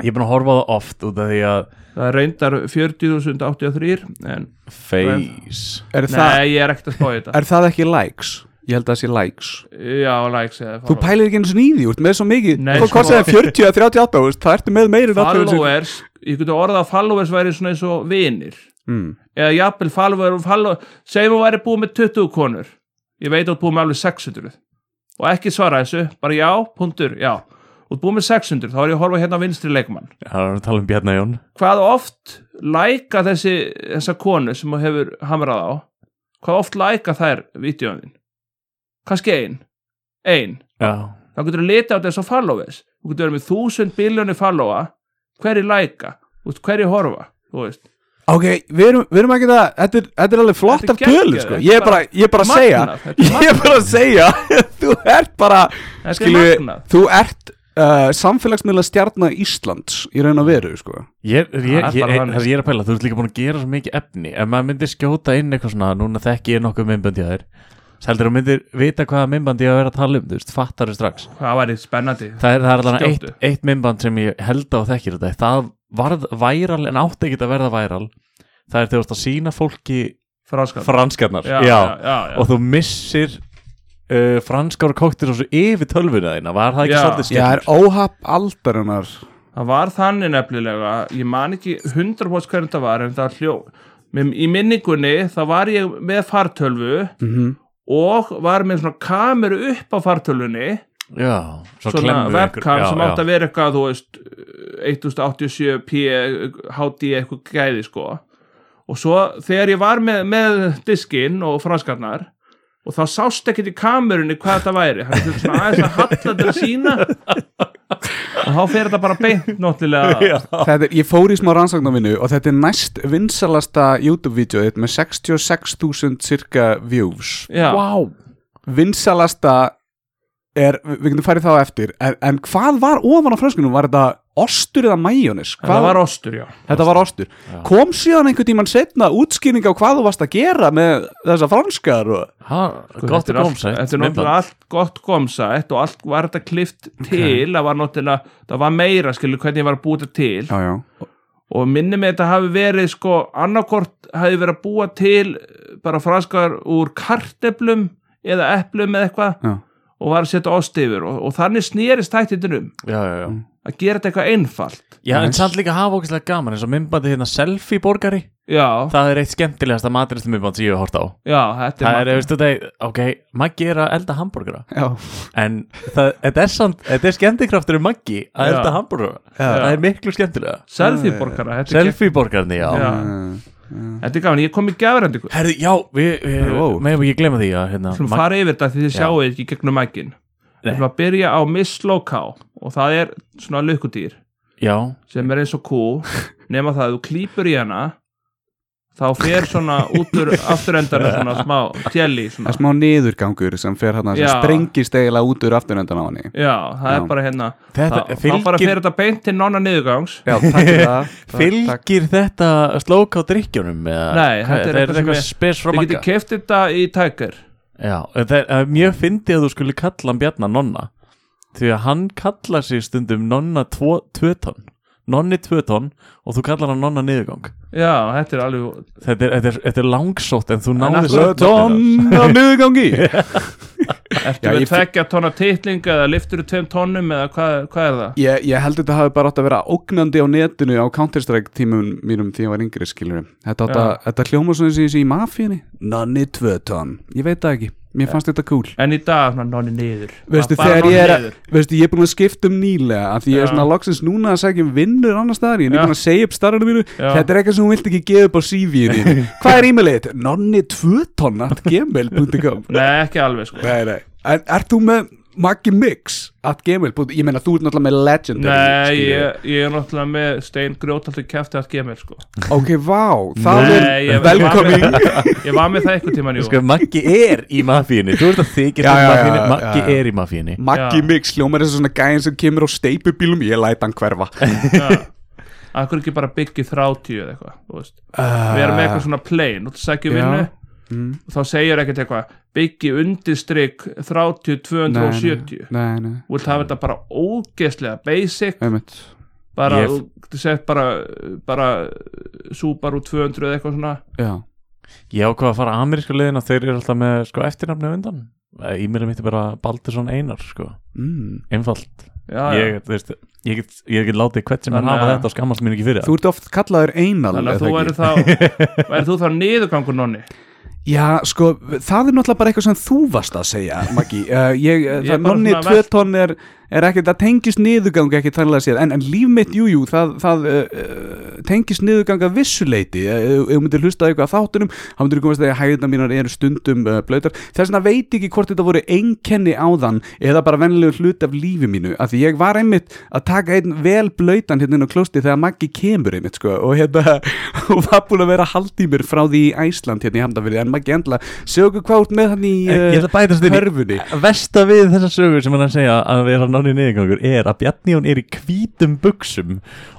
C: Ég er búin að horfa á það oft út af því að
D: það er reyndar 40.083 en
C: Face
A: er, það,
D: nei, ég er ekkert að spá í þetta
A: er það ekki likes? Ég held að það sé likes
D: já, likes eða
A: Þú pælir ekki eins og nýði út með svo mikið
D: Nei,
A: Hvað
D: sko. eh.
A: kostið það 40 að 38 veist, Það ertu með meiri
D: followers, ég geti orðað að followers væri svona eins og vinir
A: mm.
D: eða jafnvel falvar og falvar segjum að væri búið með 20 konur ég veit að þú ert búið með alveg 600 og ekki svara þessu, bara já, punktur, já og búið með 600, þá er ég að horfa hérna á vinstri leikmann
C: Það er að tala um Bjarni Jón
D: hvað oft læka þessi þessa konu sem þú hefur hamrað á hvað oft læka þær vídeoðin kannski ein ein,
C: Já,
D: þá getur þú litið á þessu followers þú getur verið með 1000 biljóni followa hverju læka, Þú veist, hverju horfa þú veist
A: Ok, við erum, við erum ekki það Þetta er, þetta er alveg flott
D: Þetta er
A: af tölum
D: geggjað,
A: sko.
D: þetta
A: Ég
D: er
A: er bara,
D: bara
A: ég er bara að
D: magnað,
A: segja
D: þetta er
A: Ég er bara að segja Þú ert bara
D: Þetta er
A: skilju,
D: magnað.
A: Þú ert uh, samfélagsmiðla stjarnar Íslands í raun og veru sko.
C: Ég, ég, ég,
D: Það er
C: ég,
D: bara þannig.
C: það sem ég er að pæla, þú ert líka búin að gera svo mikið efni Ef maður myndir skjóta inn eitthvað svona Núna þekki ég nokkuð myndbandi að þér Sældur að myndir vita hvaða myndbandi ég á að vera að tala um Þú veist, fattar strax
D: það væri spennandi
C: Það er, það er allan eitt,
D: Skjóttu.
C: eitt myndband sem ég held á og þekkir þetta Það varð væral en átti ekki að verða væral Það er þegar þú ert að sína fólki
D: franskar
C: franskarnar
D: já, já, já, já.
C: Og þú missir uh, franskar kóktir og svo yfir tölvuna þína Var það ekki
D: Já.
C: svolítið
A: Já, er
C: skemmt?
A: óhaf aldarinnar
D: það var þannig nefnilega ég man ekki 100% hvernig það var en það hljó Mér- í minningunni þá var ég með fartölvu og var með svona kameru upp á fartölvunni
C: Já, svo
D: svona
C: klemmu
D: webcam sem átt að vera eitthvað þú veist 1087p HD eitthvað gæði sko og svo þegar ég var með, með diskinn og franskarnar og þá sást ekkert í kamerunni hvað þetta væri hann er svona aðeins að halla til að sína og þá fer þetta bara beint náttúrulega
A: Þetta er, ég fór í smá rannsagnavinnu og þetta er næst vinsalasta YouTube-vídeóið með 66.000 cirka views
D: Já.
A: wow. Vinsalasta er, við getum farið þá eftir en, en hvað var ofan á fröskunum? Var þetta ostur eða majónis?
D: það var ostur já
A: Þetta var ostur Kom síðan einhvern tímann setna útskýring á hvað þú varst að gera með þessa franskar og...
C: Ha, gott og
D: þetta er allt-
C: gómsætt
D: þetta er
C: myndband.
D: náttúrulega allt gott gómsætt og allt var þetta klift til það var náttúrulega, það var meira skilur hvernig ég var að búta til
A: Já, já
D: og minni mig þetta hafi verið sko annarkort hafi verið að búa til eh, bara franskar úr karteplum eða eplum eða eitthvað
A: Já.
D: og var að setja ost yfir og, og þannig snerist þættitunum
C: já, já, já.
D: að gera þetta eitthvað einfalt
C: já en
A: Nice.
C: samt líka hafa ógæslega gaman eins og myndbandi hérna selfie borgari
D: já,
C: það er eitt skemmtilegasta maturistu myndband sem ég hef hort á
D: já, þetta
C: það
D: er,
C: er, veistu þetta, ok, Maggi er að elda hambúrgara
A: Já,
C: en það, þetta er samt, þetta er skemmtikraftur um Maggi að
D: Já.
C: elda hambúrgara það er miklu skemmtilega
D: selfie borgara þetta, er
C: selfie borgarni, já,
D: Já. gegn- þetta er gaman, ég kom í sko. gafrandi ykkur
C: Herðu, já, við, við
A: Wow.
C: meðum ekki glema því að hérna,
D: sem
C: Maggi,
D: fara yfir þetta því þið sjáu ekki í gegnum mækin við
C: Nei.
D: ætlum að byrja á Miss Loká og það er svona lukkudýr
C: já,
D: sem er eins og kú nema það að þú klýpur í hana þá fer svona út úr afturendana svona smá tjelli
A: það
D: svona.
A: er smá niðurgangur sem fer hérna sem
D: Já.
A: sprengist eiginlega út úr afturöndan á henni
D: já, það
A: Já.
D: er bara hérna
C: þetta
D: þá, þá bara fer
C: fylgir,
D: þetta beint til nonna niðurgangs
A: Já, takk fyrir það Takk.
C: fylgir þetta slók á drikkjónum eða,
D: Nei,
C: hvað-
D: þetta er
C: það
D: eitthvað sem
C: eitthvað
D: ég-
C: spes frá
D: þið
C: Magga
D: getur keft þetta í tækir
C: Já, en það er- það er mjög fyndið að þú skulle kalla hann Bjarnar Nonna því að hann kallar sig stundum Nonna 2-tón Nonni 2-tón og þú kallar hann Nonna niðurgang
D: já, þetta er alveg
C: Þetta er, þetta er, þetta er langsótt en þú náði
D: af
C: þessu
D: hverju-
C: öllu þar.
A: á niðurgangi Já,
D: ertu
A: ég
D: með
A: fi-
D: tvekja tonna titling eða liftur tveim tonnum eða hvað, hvað er það
A: Ég, ég held þetta hafi bara átt að vera ógnandi á netinu á Counter-Strike tímum mínum því ég var yngri skilur Þetta, átt að, þetta hljóma svona sem ég sé í mafíunni Nanni tvötan, ég veit það ekki Mér fannst þetta cool
D: en í dag, svona nonni niður
A: Veistu,
D: Bara
A: þegar
D: nonni
A: ég er, að-
D: niður.
A: veistu, ég er búin að skipta um nýlega af því ég er
D: Já.
A: svona loksins núna að segja um vinnur annars staðar, ég er
D: Já.
A: nýbúin að segja upp starfinu mínu
D: Já.
A: Þetta er eitthvað sem hún vilt ekki gefa upp á CV-inu Hvað er e-mailið þitt? nonni2ton.gmail.com
D: nei, ekki alveg sko
A: Nei, nei En ert þú með Maggi Mix at gmail? punktur- Ég meina, þú ert náttúrulega með Legendary
D: nei,
A: skilurðu.
D: ég, ég er náttúrulega með stein grjótaldur kefti að gemil sko
A: Ok, vá, það
D: Nei,
A: er
D: ég-
A: velkomin
D: ég var með- Ég var með það einhvern tímann, jú
C: Sko, Maggi er í mafíunni Þú ert að þykja
A: Já, já, já,
C: mafíunni
A: já,
C: Maggi
A: já.
C: er í mafíunni
A: Maggi
D: Já.
A: Mix, hljómar þessu svona gæðin sem kemur á steipubílum Ég læt hann hverfa
D: Akkur ekki bara byggja 30 eða eitthvað þú veist. Við erum með eitthvað svona plain og þú sækir
A: já.
D: um
A: Mm.
D: vinnu og þá segir ekkert eitthvað byggja undirstrykk 30 270
A: Ah, Nei, nei,
D: Þú vilt hafa þetta bara ógeðslega basic
A: einmitt
D: bara,
C: Ég-
D: þú- þú sett bara, bara súpar úr 200 eða eitthvað svona
A: Já,
C: Ég ákvað að fara amerísku leiðin og þeir eru alltaf með sko, eftirnafni á undan Ímjölu mitt er bara Baldursson Einar sko.
A: mm.
C: Einfalt
D: já, já.
C: ég, þú veist, ég, get, ég get látið hvert sem er
D: Þannig
C: hafa
D: að-
C: þetta og skammast mér ekki fyrir það.
A: Þú ert oft kallaður einal
D: Þannig að
A: er það
D: þú
A: ekki?
D: verður þá verður þú þá niðurgangur nonni
A: Já, sko, það er náttúrulega bara eitthvað sem þú varst að segja, Maggi uh, ég,
D: Ég
A: það,
D: er bara
A: Nonni
D: svona vel-
A: tvötonn er, er ekkert, það tengist niðurgang ekkert þannig að séð, en, en líf mitt, jú, jú, það, það uh, uh, tengist niðurgang að vissuleiti, Eh, ef ef þú myndir hlusta á eitthvað á þáttunum, þá myndir þú komast að því að hægðina mínar eru stundum uh, blöytar, þess vegna veit ég ekki hvort þetta voru einkenni áðan eða bara venlegu hlut af lífi mínu, af því ég var einmitt að taka einn vel blöytan hérna inn á klósti þegar Maggi kemur einmitt, sko, og hérna, og var búin að vera haldið mér frá því í Æsland hérna í Hamdafyrði, en Maggi endla, segja okkur hvað þú ert með hann í eh,
C: Ég ætla að bæta þessu
A: körfunni
C: Versta við þessa sögu sem hann er að segja að vera Sjáni niðurgangur er að Bjarni hún er í hvítum buksum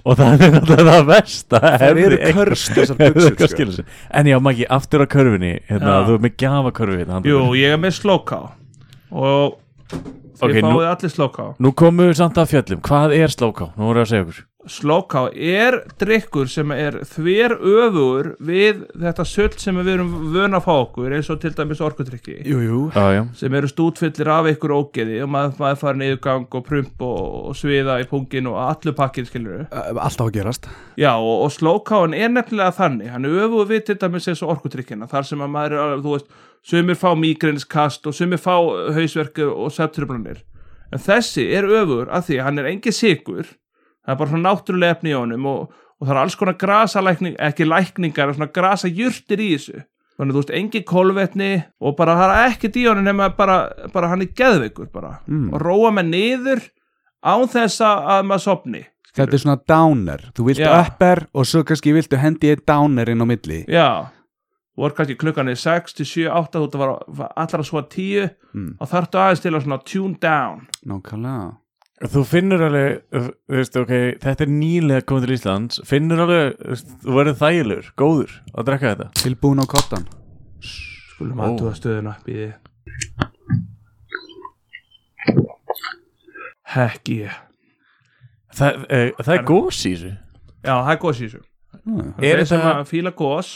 C: og það er alltaf það versta
A: Það eru körst þessar buxur, sko.
C: buksur sko. En já, Maggi, aftur á körfunni hérna,
D: Já.
C: þú er með gjafakörfu hérna, handa
D: Jú,
C: mér.
D: ég er með slóká og þið
C: Ok,
D: okay,
C: nú-
D: fáið allir slóká
C: Nú komum við samt að fjöllum, hvað er slóká? Nú voru að segja okkur
D: Slóká er drikkur sem er þver öfugur við þetta söll sem við erum vön að fá okkur eins og til dæmis orkudrykki
A: Jú, jú
C: Já, já,
D: sem eru stútfyllir af ykkur ógeði og maður, maður fara niðurgang og prump og, og sviða í pungin og allur pakkin skilur
A: Alltaf að gerast
D: Já og, og slókáin er nefnilega þannig hann er öfugur við til dæmis eins og orkudrykkina þar sem að maður er alveg, þú veist sumir fá mígrinskast og sumir fá hausverku og septrublanir en þessi er öfugur af því að hann er engin sigur það er bara svona náttúrulega efni í honum og, og það er alls konar grasalækning ekki lækningar, svona grasa í þessu þannig að þú veist, engin kolvetni og bara það er ekkert í honum nema bara, bara hann er geðveikur bara
A: Mm.
D: og róa með niður án þess að að maður sopni
A: Þetta er svona downer Þú viltu
D: Já.
A: upper og svo kannski viltu hendi eitt downer inn á milli
D: Já, voru kannski klukkan er 6 til 7, 8, þú ert að var allra svo að 10
A: Mm.
D: og þarftu aðeins til að svona tune down
A: Nákvæmlega
C: Þú finnur alveg, þú veist, ok, þetta er nýlega komið til Íslands, finnur alveg, þú veist, þú verður þægilegur, góður að drekka þetta.
A: Tilbúin á kottan
D: Skulum
C: Ó.
D: oh. aðtúða stöðuna býði Hekki ég
C: Það, e, það er gós í þessu.
D: Já, það er gos í þessu
A: Já.
D: Það
C: Er
D: er sem
C: þetta-
D: að fíla gos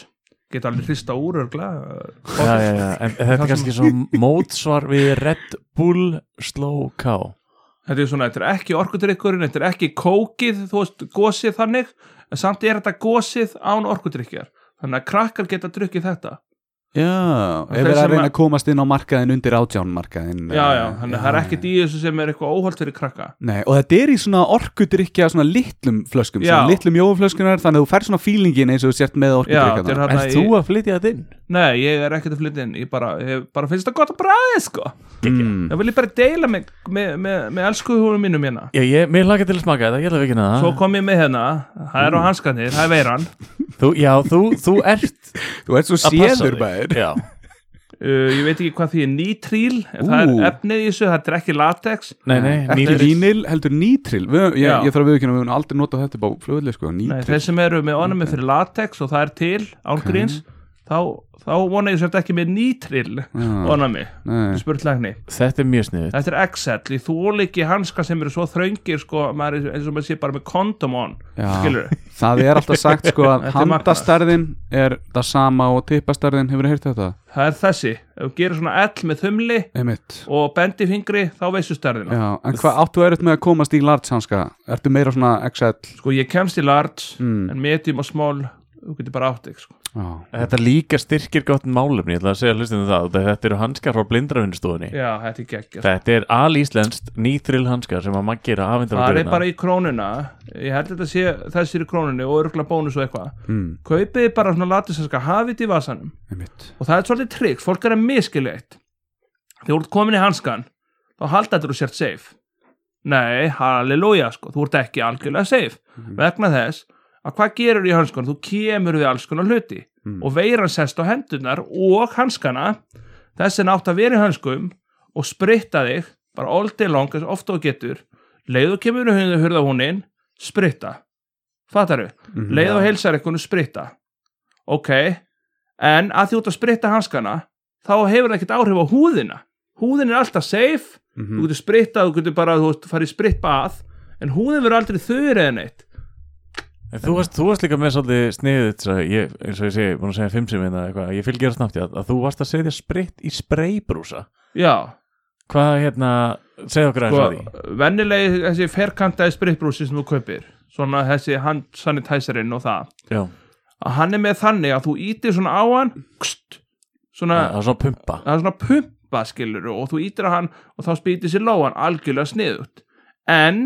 D: geta alveg hrista úr örgla
C: Já, já, já, en þetta er kannski svona mótsvar við Red Bull Slow Cow.
D: Þetta er svona, þetta er ekki orkudrykkurinn, þetta er ekki kókið, þú veist, gosið þannig en samt er þetta gosið án orkudrykkjar þannig að krakkar geta drukkið þetta
A: Já,
D: Og þeir
A: ef við erum
D: sem
A: að reyna
D: að-
A: að komast inn á markaðin undir átján markaðin
D: Já, já, þannig að það er ekkert í þessu sem er eitthvað óholt fyrir krakka
A: Nei, og þetta er í svona orkudrykja svona litlum flöskum,
D: Já.
A: svona litlum jóflöskunar þannig að þú fær svona feelingin eins og þú sért með
D: Já, þetta er
A: orkudrykjana
D: hann
C: Er þú að flytja þetta inn?
D: Nei, ég er ekkert að flytja inn Ég bara, ég bara finnst það gott að bræði, sko
A: mm.
D: Ég vil ég bara deila með, með, með, með elskuðurum mínum hérna
C: Já, ég, mér lakar til að smaka þetta, ég ætla að vikina það.
D: Svo kom ég með hérna, það er á hanskanir, það er veiran
C: Þú, já, þú, þú ert
A: Þú ert svo
C: að passa
A: séður bæður
C: Já,
D: uh, Ég veit ekki hvað því er nýtríl En það
A: Ú.
D: er efnið í þessu, þetta er ekki latex
C: nei, nei,
A: Ekki
C: nýri-
A: vínil, heldur nítril við, ég,
D: Já.
A: ég þarf að viðkynna, við höfum aldrei notað þetta bá flugulli sko,
D: Nei,
A: nítril
D: þeir sem eru með onami fyrir latex og það er til, álgríns þá, þá vona ég sért ekki með nýtríl
A: Já,
D: onami,
A: nei.
D: spurtlækni
C: Þetta er mjög sniðut.
D: Þetta er XL, ég þól ekki hanska sem eru svo þröngir sko, maður er eins og maður sé bara með kondom on
A: Já.
D: skilur við,
A: Það er alltaf sagt sko að
D: Þetta er magnað.
A: handastarðin er það sama og tippastarðin, hefur þið heyrt þetta?
D: það er þessi ef þú gerir svona L með þumli
A: Einmitt
D: og bendi fingri þá veistu stærðina
A: Já, en hvað áttu erut með að komast í lartsanska? Ertu meira svona XL?
D: sko ég kemst í large
A: Mm.
D: en medium og small þú getur bara átt ekki sko.
A: Já,
C: Þetta líka styrkir gott málefni, ég ætla að segja hlustinu það, út af þetta eru hanskar frá blindrafinnustofunni.
D: já, þetta er geggjast
C: Þetta er alíslenskt nýþrill hanska sem að maður gerir aðvindar
D: það er bara í krónuna ég held þetta sé þessir í krónunni og örgulega bónus og eitthvað
A: mm,
D: kaupið bara svona latisanska hafið í vasanum
A: einmitt
D: og það er svolítið trygg, fólk er að miskilja eitt þegar þú ert komin í hanskan þá halda þetta þú sért safe nei, halleluja sko þú ert ekki algjörlega safe vegna þess að hvað gerur í hanskan þú kemur við alls konar hluti
A: Mm.
D: og veiran sest á hendunar og hanskana þessi nátt að vera í hanskum og spritta þig bara all day long eins ofta og getur leiðu kemur við hurða húnin spritta, fattaru
A: Mhm.
D: leið og heilsar eitthvað spritta ok, en að því út að spritta hanskana þá hefur það ekkert áhrif á húðina húðin er alltaf safe þú getur sprittað, þú getur bara þú veist, farið spritt bað en húðin verður aldrei þurr eða neitt
C: En þú varst, þú varst líka með svolítið sniðið svo ég, eins og ég segi, búin að segja fimm sem hérna eitthvað, ég fylgir það snabbt í að, að þú varst að segja spritt í spreybrúsa
D: já,
C: Hvað hérna, segðu okkur aðeins
D: sko,
C: að því
D: vennileg þessi ferkantaði sprittbrúsi sem þú kaupir svona þessi hand sanitizerinn og það
C: Já,
D: að hann er með þannig að þú ítir svona á hann kst, svona,
C: það var svona pumpa
D: það er svona pumpa skilur og þú ítir að hann og þá spýtir sér lóan algjörlega sniðut en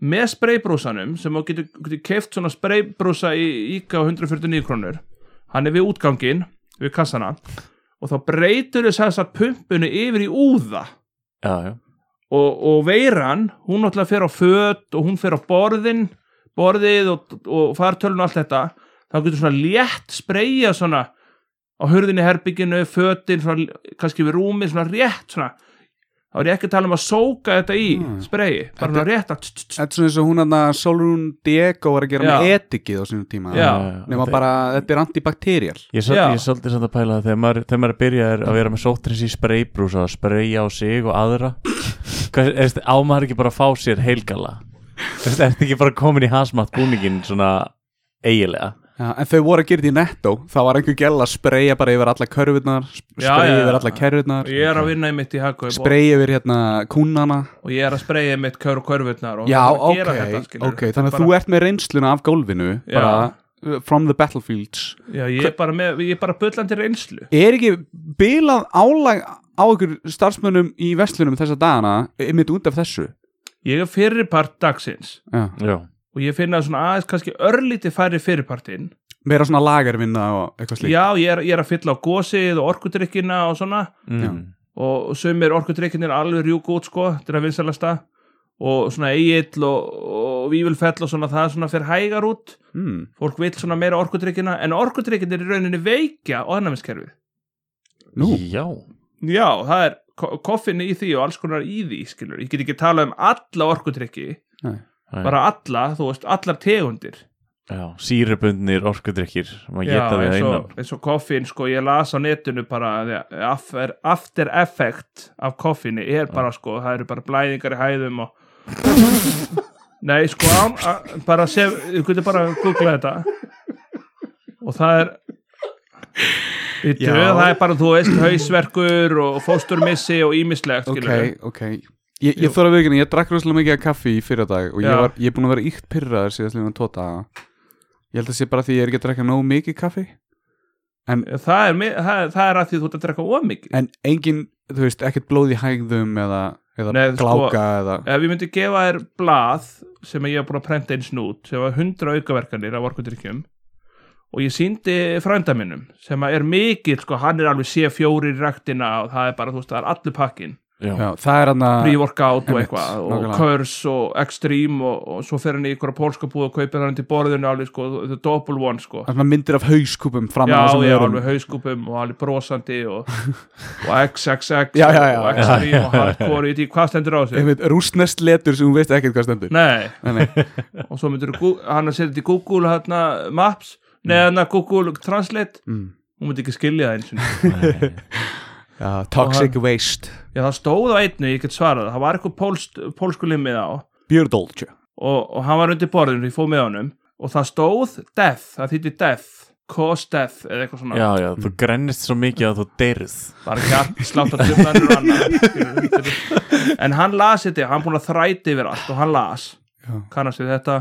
D: með spreybrúsanum sem þú getur, getur keift svona spreybrúsa í íka á 149 krónur hann er við útgangin, við kassana og þá breytur þess að þessa pumpunu yfir í úða
C: Já, já,
D: og, og veiran, hún náttúrulega fer á föt og hún fer á borðin borðið og, og fartölun og allt þetta þá getur svona létt spreyja svona á hurðinni herbygginu, fötin svona, kannski við rúmið, svona rétt svona þá er ég ekki að tala um að sóka þetta í
A: Hmm.
D: mm. spreyi, bara svona rétt að tss, tss,
A: Þetta er svona eins og hún að Solrún Diego var að gera
D: Já.
A: með etikið á sínum tíma
D: Já.
A: nema
C: Eh, Þetta-
A: bara, þetta er antibakteríal
C: Ég svolítið,
D: Já.
C: ég svolítið samt að pæla það þegar maður, þegar maður byrja er að vera með sótrins í spreybrúsa að spreyja á sig og aðra Hvað, er, á maður ekki bara að fá sér heilgala Er þetta ekki bara komin í hasmatt búningin svona eigilega
A: Já, en þau voru að gera þetta í netto þá var einhver gæla að spreja bara yfir alla körfurnar
D: Já,
A: spreja
D: já,
A: yfir
D: já.
A: alla kerfurnar
D: ég er að vinna í mitt í hagkaup og,
A: spreja yfir hérna kúnana
D: og ég er að spreyi í mitt kör og körfurnar og
A: Já,
D: það er að
A: ok,
D: gera þetta, skilurðu.
A: ok Þannig að
D: Bara-
A: þú ert með reynsluna af gólfinu
D: Já.
A: bara uh, from the battlefields
D: Já, ég er bara, með, ég er bara bullandi reynslu
A: Er ekki bilað álag á ykkur starfsmönnum í vestlunum þessa dagana einmitt út af þessu
D: Ég er fyrirpart dagsins
A: Já.
C: Já,
D: og ég finna svona aðeins kannski örlítið færri fyrirpartinn
A: meira svona lagarvinna og eitthvað slíkt
D: Já, ég er, ég er að fylla á gósið og orkudrykkina og svona
C: mm.
D: og sumir orkudrykkinir alveg rjúk út sko, þetta er að vinsalasta og svona eigill og, og vívilfell og svona það svona fer hægar út
A: mm.
D: fólk vil svona meira orkudrykkina en orkudrykkinir í rauninni veikja ornæmiskerfið
A: Nú,
C: Já,
D: já, það er ko koffinu í því og alls konar í því skilur, ég get ekki talað um alla orkudrykki
C: Nei.
D: bara alla, þú veist, allar tegundir
C: Já. sýrubundnir orkudrykkir maður
D: já,
C: geta því að
D: eins
C: innan
D: og, eins og koffin sko, ég las á netinu bara að after, after effect af koffinu er bara sko, það eru bara blæðingar í hæðum og nei sko án, a, bara sef, þú getur bara að googla þetta og það er í
A: Já.
D: döð, það er bara þú veist hausverkur og fósturmissi og ímislegt
A: ok,
D: skilurðu.
A: ok Ég, ég þarf að viðkynna, ég drakk rosalega mikið af kaffi í fyrra dag og ég,
D: Já.
A: var, ég er búin að vera íkt pyrraður síðast lífum tóta tota. Ég held að sé bara því ég er ekki að drakka nógu mikið kaffi
D: það, er, mi- það, er, það er að því þú ert að drekka of mikið
A: en engin, þú veist, ekkert blóð í hægðum eða, eða
D: Nei, sko-
A: gláka eða,
D: ef ég myndi gefa þér blað sem ég hef búin að prenta eins nút sem var 100 aukaverkanir af orkudrykkjum og ég síndi frænda minnum sem að er mikill, sko, hann er alveg C4 í ræktina og það er bara, þú veist, það er allur pakkin
C: Já.
A: já, það er hann að
D: pre-workout og
A: einmitt,
D: eitthvað
A: nákvæmlega.
D: og Kurs og Extreme og, og svo fer hann í ykkur pólska búð og kaupir hann til borðinu alveg, sko, the double one, sko
A: Þannig að myndir af hauskúpum fram
D: Já,
A: á þessum
D: já,
A: vörum.
D: alveg hauskúpum og alveg brosandi og, og XXX
A: Já, já, já.
D: og Extreme og Hardcore, ég veit ekki hvað stendur á þessu
A: einmitt rúsnest letur sem hún veist ekkert hvað stendur
D: Nei,
A: Nei, nei.
D: og svo myndir hann að setja þetta í Google hérna, Maps, neða hann að Google Translate,
A: Mm.
D: hún myndi ekki skilja það eins og
A: Já, toxic waste
D: já það stóð á einnu, ég get svarað það, það var eitthvað pólst, pólsku limmið á og,
A: Björdolce
D: og hann var undir borðinu, ég fóð með honum og það stóð death, það þýtti death cause death eða eitthvað svona
C: Já, já,
D: Mm.
C: þú grennist svo mikið að þú deyrð
D: bara hjart, slátt að djöflanir og annað en hann las þetta hann búin að þræti yfir allt og hann las
A: Já.
D: kannast við þetta,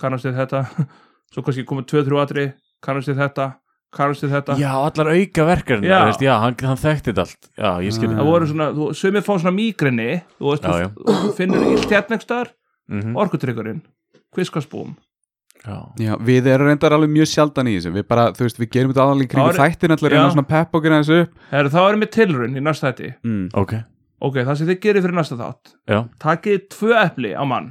D: kannast við þetta svo kannski komið 2-3 atri kannast við þetta, kannast við þetta
C: Já, allar auka verkarinn
D: Já. Mm.
C: já hann, hann þekkti þetta allt Já, ég skil
A: Já.
D: það voru svona, þú, sumir fá svona mígrinni þú veist,
C: Já, já.
D: þú, þú finnur illt hérnegstar
C: Mhm.
D: orkutryggarinn, kviskasbúm
C: Já.
A: Já, við erum reyndar alveg mjög sjaldan í þessu Við bara, þú veist, við gerum þetta aðalega kringu
D: Ári-
A: þættin allir
D: Já.
A: reyna svona pepp okkur aðeins upp
D: Heru, þá erum við tilrun í næsta þætti
A: mm.
C: Ok,
D: ok, það sem þið gerir fyrir næsta þátt
C: já,
D: takið tvö epli á mann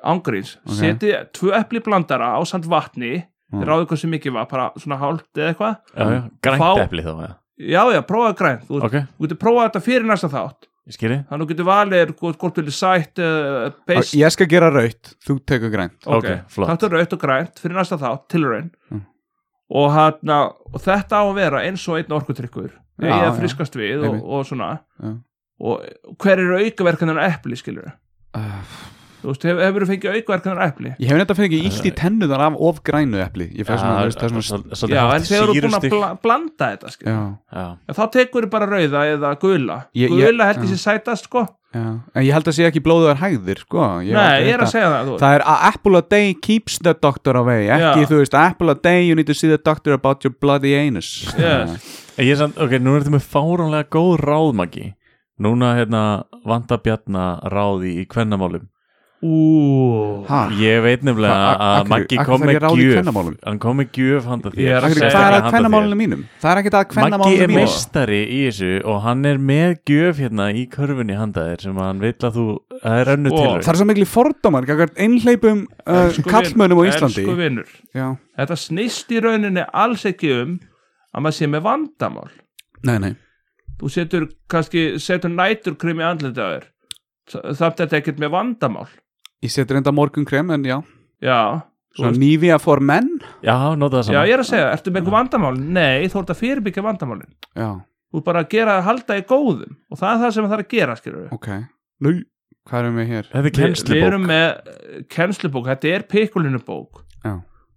D: ángríns,
A: Ok.
D: okay. setið tvö epli í blandara á samt vatni
A: Mm.
D: þið ráðu hvað sem mikið var, bara svona hálft eða eitthvað
C: já, já. grænt
D: Mm. Fá-
C: epli þá eða?
D: já, já, prófaðu grænt, þú
C: Ok,
D: þú getur prófað þetta fyrir næsta þátt
C: ég skil
D: þannig að þú getur valið hvort- hvort vilja sætt uh, beist,
A: Ég skal gera raut, þú tekur grænt
C: ok, flott.
D: taktu rautt og grænt fyrir næsta þátt, tilraun
A: Mm.
D: og, hana, og þetta á að vera eins og einn orkutrykkur
A: Já,
D: eða
A: já.
D: friskast við og,
A: Einmitt.
D: og svona
A: Já.
D: og hver eru aukaverkanar epli skilur
A: uh,
D: þú veist, hefur, hefur fengið aukaverkanar epli
A: Ég hef neitt að fengið illt í tennuðar af of grænu epli Ég fæ svona, þú veist, það er svona
D: já, en þegar þú
C: þú
D: eru búin að bla, blanda þetta skilur
A: Já,
C: Já,
D: þá tekur þú bara rauða eða gula
A: Ég- ég-
D: gula held ég
A: já.
D: sér sætast sko
A: já En ég held að sé ekki blóðuðar hægðir, sko ég hef aldrei
D: nei, ég er
A: heyrt
D: að
A: það.
D: segja það, þú veist.
A: Það er a apple a day keeps the doctor away Ekki,
D: Já.
A: þú veist, apple a day you need to see the doctor about your bloody anus
D: Yes.
C: En ég er samt, ok, nú ertu með fáránlega góð ráðmagi Núna, hérna, vanta bjarna ráði í kvennamálum
D: Ú,
A: Ha?
C: Ég veit nefnilega
A: Hva- a-
C: að
A: af hverju-
C: Maggi
A: af hverju
C: kom
A: þarf ég
C: með
A: ráð í
C: gjöf
A: kvennamálum?
C: Hann kom með gjöf handa
D: Ég
C: þér
D: er að segja
A: Akkur, hvað er
C: Sérstaklega
A: að
C: handa
A: kvennamálunum
C: þér.
A: mínum? Það er ekkert að
C: Maggi
A: kvennamálunum
C: er
A: mínum
C: meistari í þessu og hann er með gjöf hérna í körfunni handa þér sem hann vill að þú, það er önnu
D: Ó,
C: til
A: Það er svo miklu fordómar Gagart einhleipum uh,
D: Elsku
A: kallmönnum á
D: vinur,
A: Íslandi
D: elsku vinur
A: Já,
D: þetta snýst í rauninni alls ekki um að maður sé með vandamál
A: nei, nei
D: þú setur kannski setur næturkrim í andlitið á þér samt þetta ekkert með vandamál
A: Ég setur enda morgun krem en já
D: já, Þú
A: Svona nýfja for menn
C: Já, nota það
D: já
C: saman
D: ég er að segja, ertu með einhver vandamál? Nei, þú ert að fyrirbyggja vandamálin
A: Já,
D: þú ert bara að gera að halda í góðum og það er það sem það er að gera, skilur við
A: ok Nú, hvað erum við hér?
C: Þetta er
D: Við
C: kennslubók
D: erum með eh, kennslubók, þetta er pikkulinu bók
A: Já.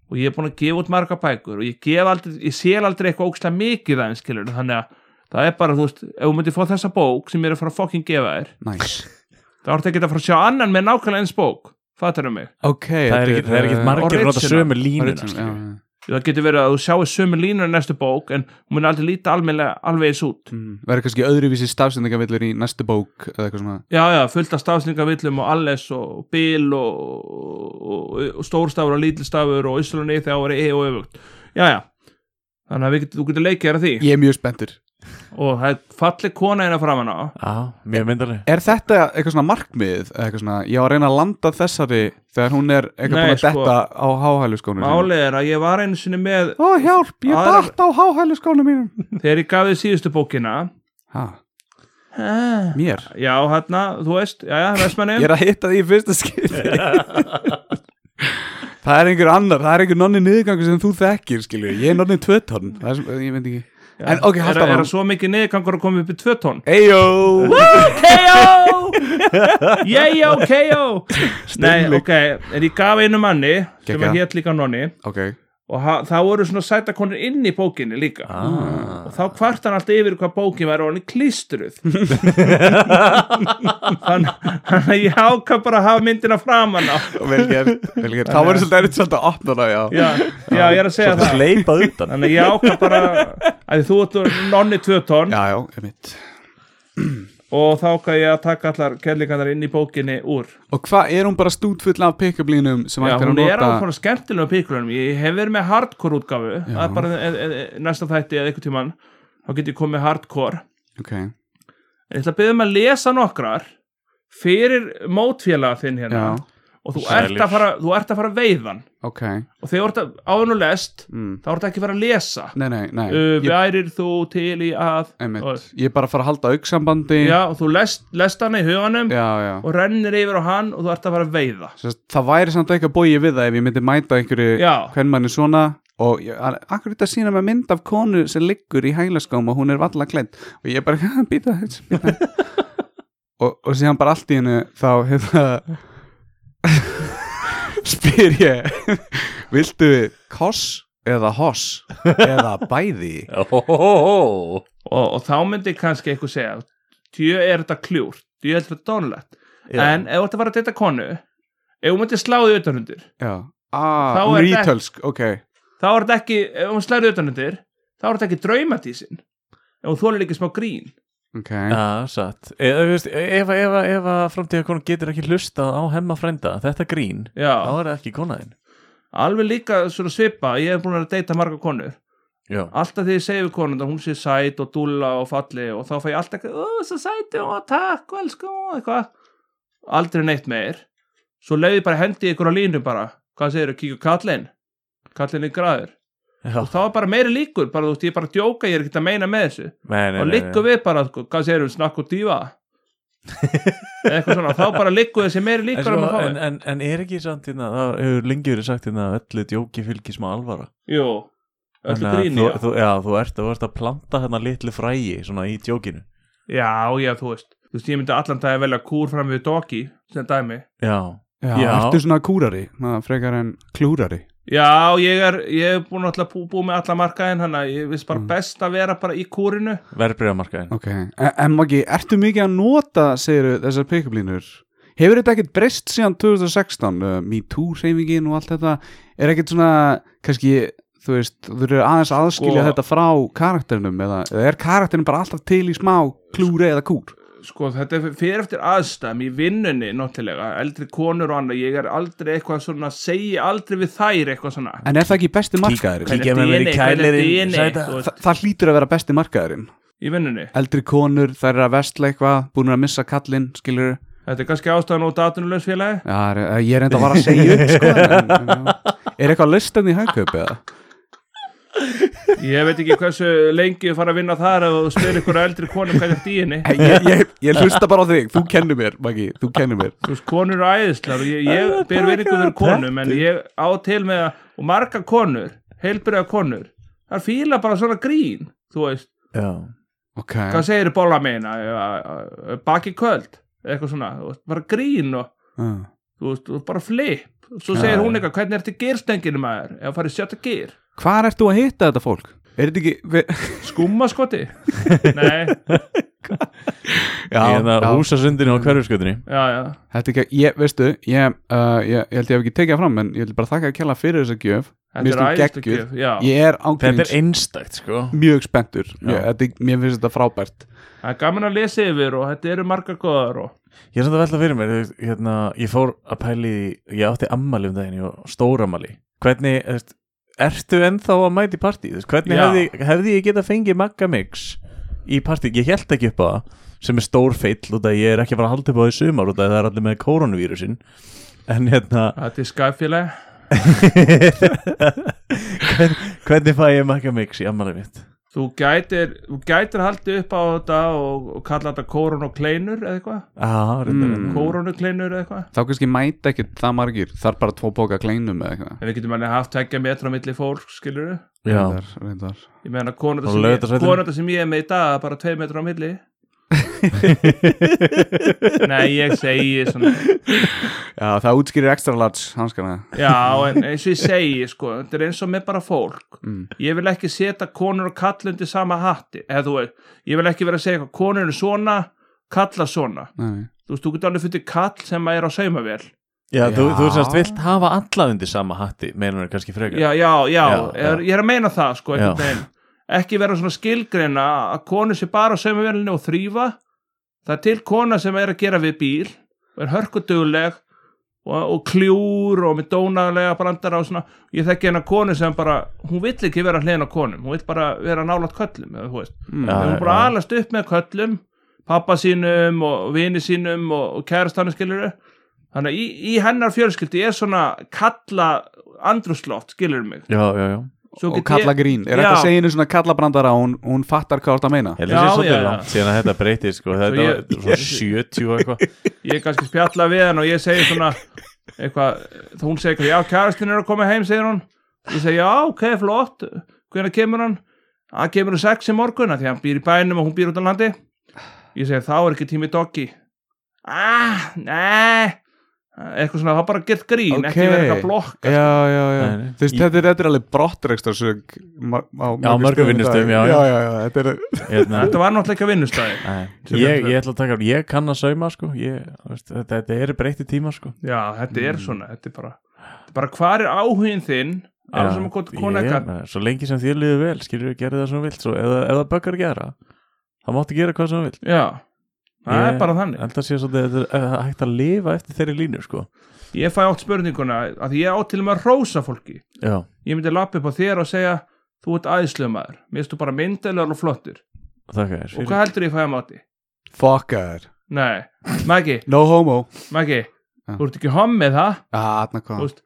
D: og ég er búin að gefa út marga bækur og ég, gef aldrei, ég sél aldrei eitthvað ógstlega mikið aðeins skilur þannig að það er bara, þú veist, ef þú myndir fá þessa bók sem ég er að fara að fokkin gefa þér
A: Næs nice.
D: þá ertu ekki að fara að sjá annan með nákvæmlega eins bók fattar mig,
A: Ok uh,
C: Það er ekkit- það er ekkit margir að nota
D: original.
C: sömu línuna
A: Já,
C: skilur.
A: já.
D: það getur verið að þú sjáir sömu línur í næstu bók en hún mun aldrei líta almenlega alveg eins út
A: Mm, Verður kannski öðruvísi stafsendingavillur í næstu bók eða eitthvað svona
D: já, já, fullt af stafsningavillum og alles og bil og, og, og stórstafur og lítilstafur og yslun í þegar e og öfugt já, já, þannig að við getum, þú getur leikið þér að því
A: Ég er mjög spenntur
D: og það er falleg kona eina framan á
C: Já, mjög myndarleg
A: Er þetta eitthvað svona markmið eða eitthvað svona, ég á að reyna að landa þessari þegar hún er eitthvað
D: Nei,
A: búin að
D: sko.
A: detta á háhælu skónum
D: málið er að ég var einu sinni með
A: Ó hjálp, ég
D: Aðra-
A: datt á háhælu skónum mínum
D: þegar ég gaf þið síðustu bókina
A: Ha,
D: já,
A: mér?
D: hérna, þú veist já, já, vestmanni
A: Ég er að hitta því í fyrsta skipti Það er einhver annar, það er einhver nonni niðurgangur sem þú þekkir, skilju Ég er nonni tvötón, það er sem, ég veit ekki En ok,
D: er,
A: halda
D: er, er
A: áfram
D: svo mikið niðurgangur að koma upp í tvö tón
A: Eyjó
D: KO Jæjó, KO Nei, ok, en ég gaf einu manni sem
A: Geggjað.
D: að hétt líka nonni
A: Ok,
D: og ha- þá voru svona sætakonur inn í bókinni líka og þá kvart hann alltaf yfir hvað bókin væri og hann klístruð þannig þannig að ég ákvað bara að hafa myndina framan á
A: vel gert, vel gert Þá verður svolítið erfitt svolítið að opna það, já
D: já, já, ég er að segja það
C: Leipað utan
D: þannig að ég ákvað bara að þú ert nonni tvö tonn
A: Já, já, er mitt
D: og þá ákvað ég að taka allar kellingarnar inn í bókinni úr
A: Og hvað, er hún bara stútfull af pick-up-línum sem
D: Já,
A: hægt er að
D: hún er
A: nota
D: alveg svona skemmtilega píklunum Ég hef verið með hardcore útgáfu Það er bara e, e, e, næsta þætti eða einhvern tímann Þá get ég komið með hardcore
A: Ok,
D: En ég ætla að byrja um að lesa nokkrar Fyrir mótfélaga þinn hérna
A: Já.
D: Og þú
C: Sælir.
D: ert, að fara, þú ert að fara að veiðan
A: ok
D: Og þegar þú ert að áðan og lest
A: mm.
D: Þá ert ekki að fara að lesa
A: Nei, nei, nei
D: uh,
A: ég,
D: Værir þú til í að
A: einmitt,
D: og,
A: ég er bara að fara að halda auksambandi
D: Já, og þú lest, lest hana í huganum
A: já, já.
D: Og rennir yfir á hann Og þú ert að fara að veiða
A: Sest, það væri samt eitthvað bóið við það ef ég myndi mæta einhverju
D: Já,
A: hvernmanni svona og ég- hann- akkur þetta sína með mynd af konu sem liggur í hælaskóm og hún er valla klædd og ég bara, "Ha, býta þess og, og síðan bara allt í hennu þá hefða spyr ég viltu koss eða hoss eða bæði
C: Óhóhóhó
D: og, og þá myndi kannski eitthvað segja djö er þetta kljúr, djö er þetta dónlegt en ef þú ert að fara að deyta konu ef hún myndi slá því utanundir
A: já,
D: Þá
A: ah, hún er
D: er þetta-
A: ítölsk ok,
D: þá er þetta ekki, ef hún slæri utanundir þá er þetta ekki draumatísin ef hún þólir ekki smá grín
A: ok
C: Já, satt Eða, þú veist, ef, ef, ef að framtíðarkonu getur ekki hlustað á hemma frænda þetta grín,
D: já,
C: þá er það ekki konaðin
D: alveg líka svona svipa, ég hef búin að deyta marga konur
C: Já,
D: alltaf þegar ég segi við konund að hún sé sæt og dúlla og falli og þá fæ ég alltaf eitthvað, ó, svo sæti og takk og elsku og eitthvað aldrei neitt meir svo leiði bara hendi ykkur á línu bara hvað segir þau, kíkja á kallinn kallinn er graður,
C: já,
D: þá er bara meiri líkur bara þú veist, ég er bara að djóka, ég er ekkert að meina með þessu
C: nei, nei,
D: og
C: nei,
D: liggum
C: nei.
D: við bara, sko, hvað segir þau, snakk og dýfa Eða eitthvað svona, þá bara liggum þessi meiri
C: En,
D: líkur
C: svo,
D: að maður fái.
C: en, en, en er ekki samt hérna, það hefur lengi verið sagt hérna að öllu djóki fylgis með alvara
D: jú, öllu
C: Þannig að
D: gríni
C: þú, þú, já, þú ert, þú ert að planta hérna litlu fræi svona í djókinu
D: já, já, þú veist þú veist, ég myndi allan dag að velja kúr fram við doki sem dæmi
C: Já,
A: já,
C: Já.
A: ertu svona kúrari maður frekar en klúrari
D: Já, ég er, ég er búin alltaf bú, búið með alla markaðin, hann að ég veist bara
A: Mm.
D: best að vera bara í kúrinu.
C: verðbreiðamarkaðin
A: Ok, en, en Maggi, ertu mikið að nota, segir þessar pick-up-línur? Hefur þetta ekkert breyst síðan 2016? Uh, MeToo-reymingin og allt þetta er ekkert svona, kannski, þú veist, þú eru aðeins aðskilja
D: Sko-
A: þetta frá karakterinum eða, eða er karakterinum bara alltaf til í smá klúri eða kúr?
D: Sko, þetta er fyrir eftir aðstæðum í vinnunni, náttúrulega, eldri konur og annað, ég er aldrei eitthvað svona, segi aldrei við þær eitthvað svona.
A: En er það ekki besti markaðurinn?
C: Kík- kíkja með mér í kælirinn, sæta.
D: sæta.
A: Þa, það hlýtur að vera besti markaðurinn.
D: Í vinnunni.
A: Eldri konur, þær eru að vestla eitthvað, búin að missa kallinn, skilur.
D: Þetta er kannski ástæðan út atvinnulegsfélagi.
A: Já, er- ég er enda að vara að segja upp, sko. En, en, já. er eitthvað listan í hagkaup eða?
D: Ég veit ekki hversu lengi þú fara að vinna þar ef þú spyrir ykkur eldri konum hvað þetta í henni
A: Ég, ég, ég hlusta bara á þig, þú kennir mér Maggi, þú kennir mér
D: Þú veist, konur eru æðislar og ég, ég ber verið fyrir konum en ég á til með að, og marga konur, heilbyrða konur það fíla bara svona grín þú veist,
C: Já.
A: Ok,
D: hvað segir bóla meina baki köld, eitthvað svona þú veist, bara grín og
A: uh,
D: þú veist, og bara flip svo segir hún eitthvað, hvernig ertu geirstenginu maður ef farið sjötta geir,
A: hvar ert þú að hitta þetta fólk? Er þetta ekki við,
D: skumma skoti nei,
A: já,
C: Eða húsasundinu hérna á hverfuskötunni
D: já, já
A: Þetta er ekki, ég, veistu, ég, uh, ég, ég held ég hef ekki tekið það fram en ég vil bara þakka að kella fyrir þessa gjöf Mér
D: þetta er æðislu
A: finnst hún um geggjuð.
D: gjöf já,
A: Ég
C: Þetta er
A: er ángríns
C: einstakt sko
A: mjög spenntur Mjög-
C: Já.
A: þetta er- Mér finnst þetta frábært
D: það er gaman að lesa yfir og þetta eru marga góðar og
C: Ég er samt að velta fyrir mér, þú veist, hérna, ég fór að pæli, ég átti ammali um daginn og stóramali. Hvernig, þú veist, ertu ennþá að mæti partí? Þú veist, Hvernig
D: Já.
C: hefði, hefði ég getað fengið Magga Mix í partí? Ég held ekki upp á það, sem er stór feill út af að ég er ekki að fara að halda upp á það í sumar út af að það er allir með koronavírusin. En hérna,
D: þetta er skæfélagi
C: hvern, hvernig fæ ég Magga Mix í ammali mitt?
D: þú gætir, þú gætir haldið upp á þetta og, og kalla þetta korun og kleinur eða eitthvað,
C: Ah,
A: Mm.
C: mm.
D: korun og kleinur eða eitthvað
A: Þá kannski mæta ekki það margir Þar bara tvo bóka kleinum eða eitthvað
D: en við getum alveg haft tekja metra á milli fólk, skilur
C: Já,
A: Reyndar, reyndar.
D: ég meina konur
C: Og
D: sem, ég-
C: Laugardalsvellinum.
D: konur sem ég er með í dag er bara tvei metra á milli nei, ég segi svona,
A: Já, það útskýrir extra large hanskana
D: já, en eins og ég segi sko, þetta er eins og með bara fólk
A: Mm.
D: ég vil ekki setja konur og kall undir sama hatti, eða þú veit ég vil ekki vera að segja eitthvað, konur er svona kalla svona,
A: Nei.
D: þú veist, þú getur alveg fyrir kall sem að er á saumavél
C: já, þú, þú
A: Já.
C: semst vilt hafa alla undir sama hatti, meðan það kannski frekar.
D: já, já, já,
C: Já,
D: er, ég er að meina það sko, einhvern
C: Já.
D: veginn. ekki vera svona skilgreina að konu sé bara á saumavélinni og þrýfa það er til kona sem er að gera við bíl og er hörkuduguleg og, og kljúr og með dónalega brandar á svona, ég þekki hennar konu sem bara, hún vill ekki vera hliðin á konum hún vill bara vera nálat köllum eða, þú veist.
A: Mm.
C: Já.
D: hún er bara alast upp með köllum pappa sínum og vini sínum og, og kærastanum skilur þannig að í, í hennar fjölskyldi er svona kalla andrúsloft skilur mig
C: já, já. já.
D: Svo
A: Og
D: get
A: kalla
D: ég,
A: grín Er þetta
D: Já.
A: að segja einu svona kalla brandara og hún, hún fattar hvað þetta meina?
C: Ég held
D: Já,
C: að sé
D: já,
C: svolítið
D: já.
C: langt síðan að þetta breytist sko. Þetta var
D: ég-
C: þetta var svona 70 og eitthvað
D: ég kannski spjalla við hann og ég segi svona eitthvað, þá hún segir eitthvað, já kærastinn er að koma heim segir hún, ég segi já ok flott hvenær kemur hann hann kemur um sex í morgun af því að hann býr í bænum og hún býr út á landi ég segi þá er ekki tími doggi ah, nei eitthvað svona, það bara gert grín
A: Ok.
D: ekki verið eitthvað að blokka
A: Já, já, já
C: Nei, nei.
A: Þú veist,
C: Í-
A: þetta er, þetta er alveg brottrekstarsög Á
C: mörgum
A: stöðum í
C: vinnustöðum,
A: dag.
C: já, já.
A: já, já, já Þetta er
C: hérna,
D: þetta var náttúrulega ekki að vinnustæði
C: Nei. ég, ég ætla að taka Ég kann að sauma sko. ég, þú veist, þetta, þetta eru breytti tíma sko.
D: já, þetta er svona, þetta er bara þetta er bara hvar er áhugin þinn alveg sem að hvort kona
C: Ég-
D: eitthvað
C: Svo lengi sem þér liður vel Skilur við gerði það sem þú vilt svo, ef, það- ef það böggar gera Það máttu gera hvað sem þú vilt
D: Já, það
C: Ég-
D: er bara þannig
C: Alltaf sé svolítið að þetta er- að hægt að lifa eftir þeirri línu sko.
D: Ég fæ átt spurninguna að því ég átt til og með að rósa fólki
C: Já,
D: Ég myndi lappa upp á þér og segja Þú ert æðislega maður, mér finnst þú bara myndalegur og flottur
C: þakka þér
D: Og
C: fyrir
D: hvað heldur ég fæ að máti?
A: Fucker
D: Nei, Maggi,
A: No homo
D: Maggi
A: Já.
D: Þú ert ekki hommið það
A: Já, atna
D: Þú
A: hvað
D: veist,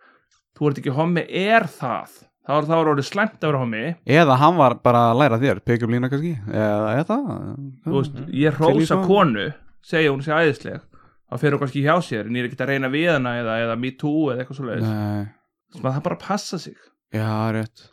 D: Þú ert ekki hommið er það Þá er það orðið slæmt að vera hommi
A: Eða hann var bara að læra þér, pick up lína kannski Eða eða það
D: Þú veist, ég
A: Mm-hmm. Til í
D: rósa
A: svona.
D: konu Segja hún sé æðisleg Það fer hún kannski hjá sér En ég er ekki að reyna við hana eða, eða me too eða eitthvað svo leiðis
A: Nei,
D: Það bara passa sig
A: já, rétt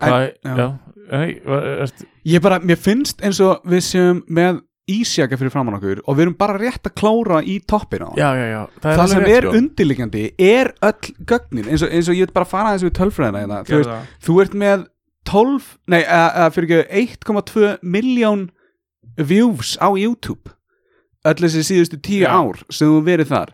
C: Hvað-
A: En-
C: já. Nei, hvað- ert-
A: Ég bara, mér finnst eins og við séum með ísjaka fyrir framann okkur og við erum bara rétt að klára í toppin á
C: Já, já, já Það,
A: Það sem
C: alveg rétt, sko.
A: er undirliggjandi er öll gögnin eins og, eins og ég vil bara fara aðeins við tölfræðina hérna. þú,
D: Gerðu
A: veist,
D: það.
A: þú ert með 12, nei, að, að fyrir ekki 1,2 miljón views á YouTube öll þessi síðustu tíu
D: Já.
A: ár sem þú verið þar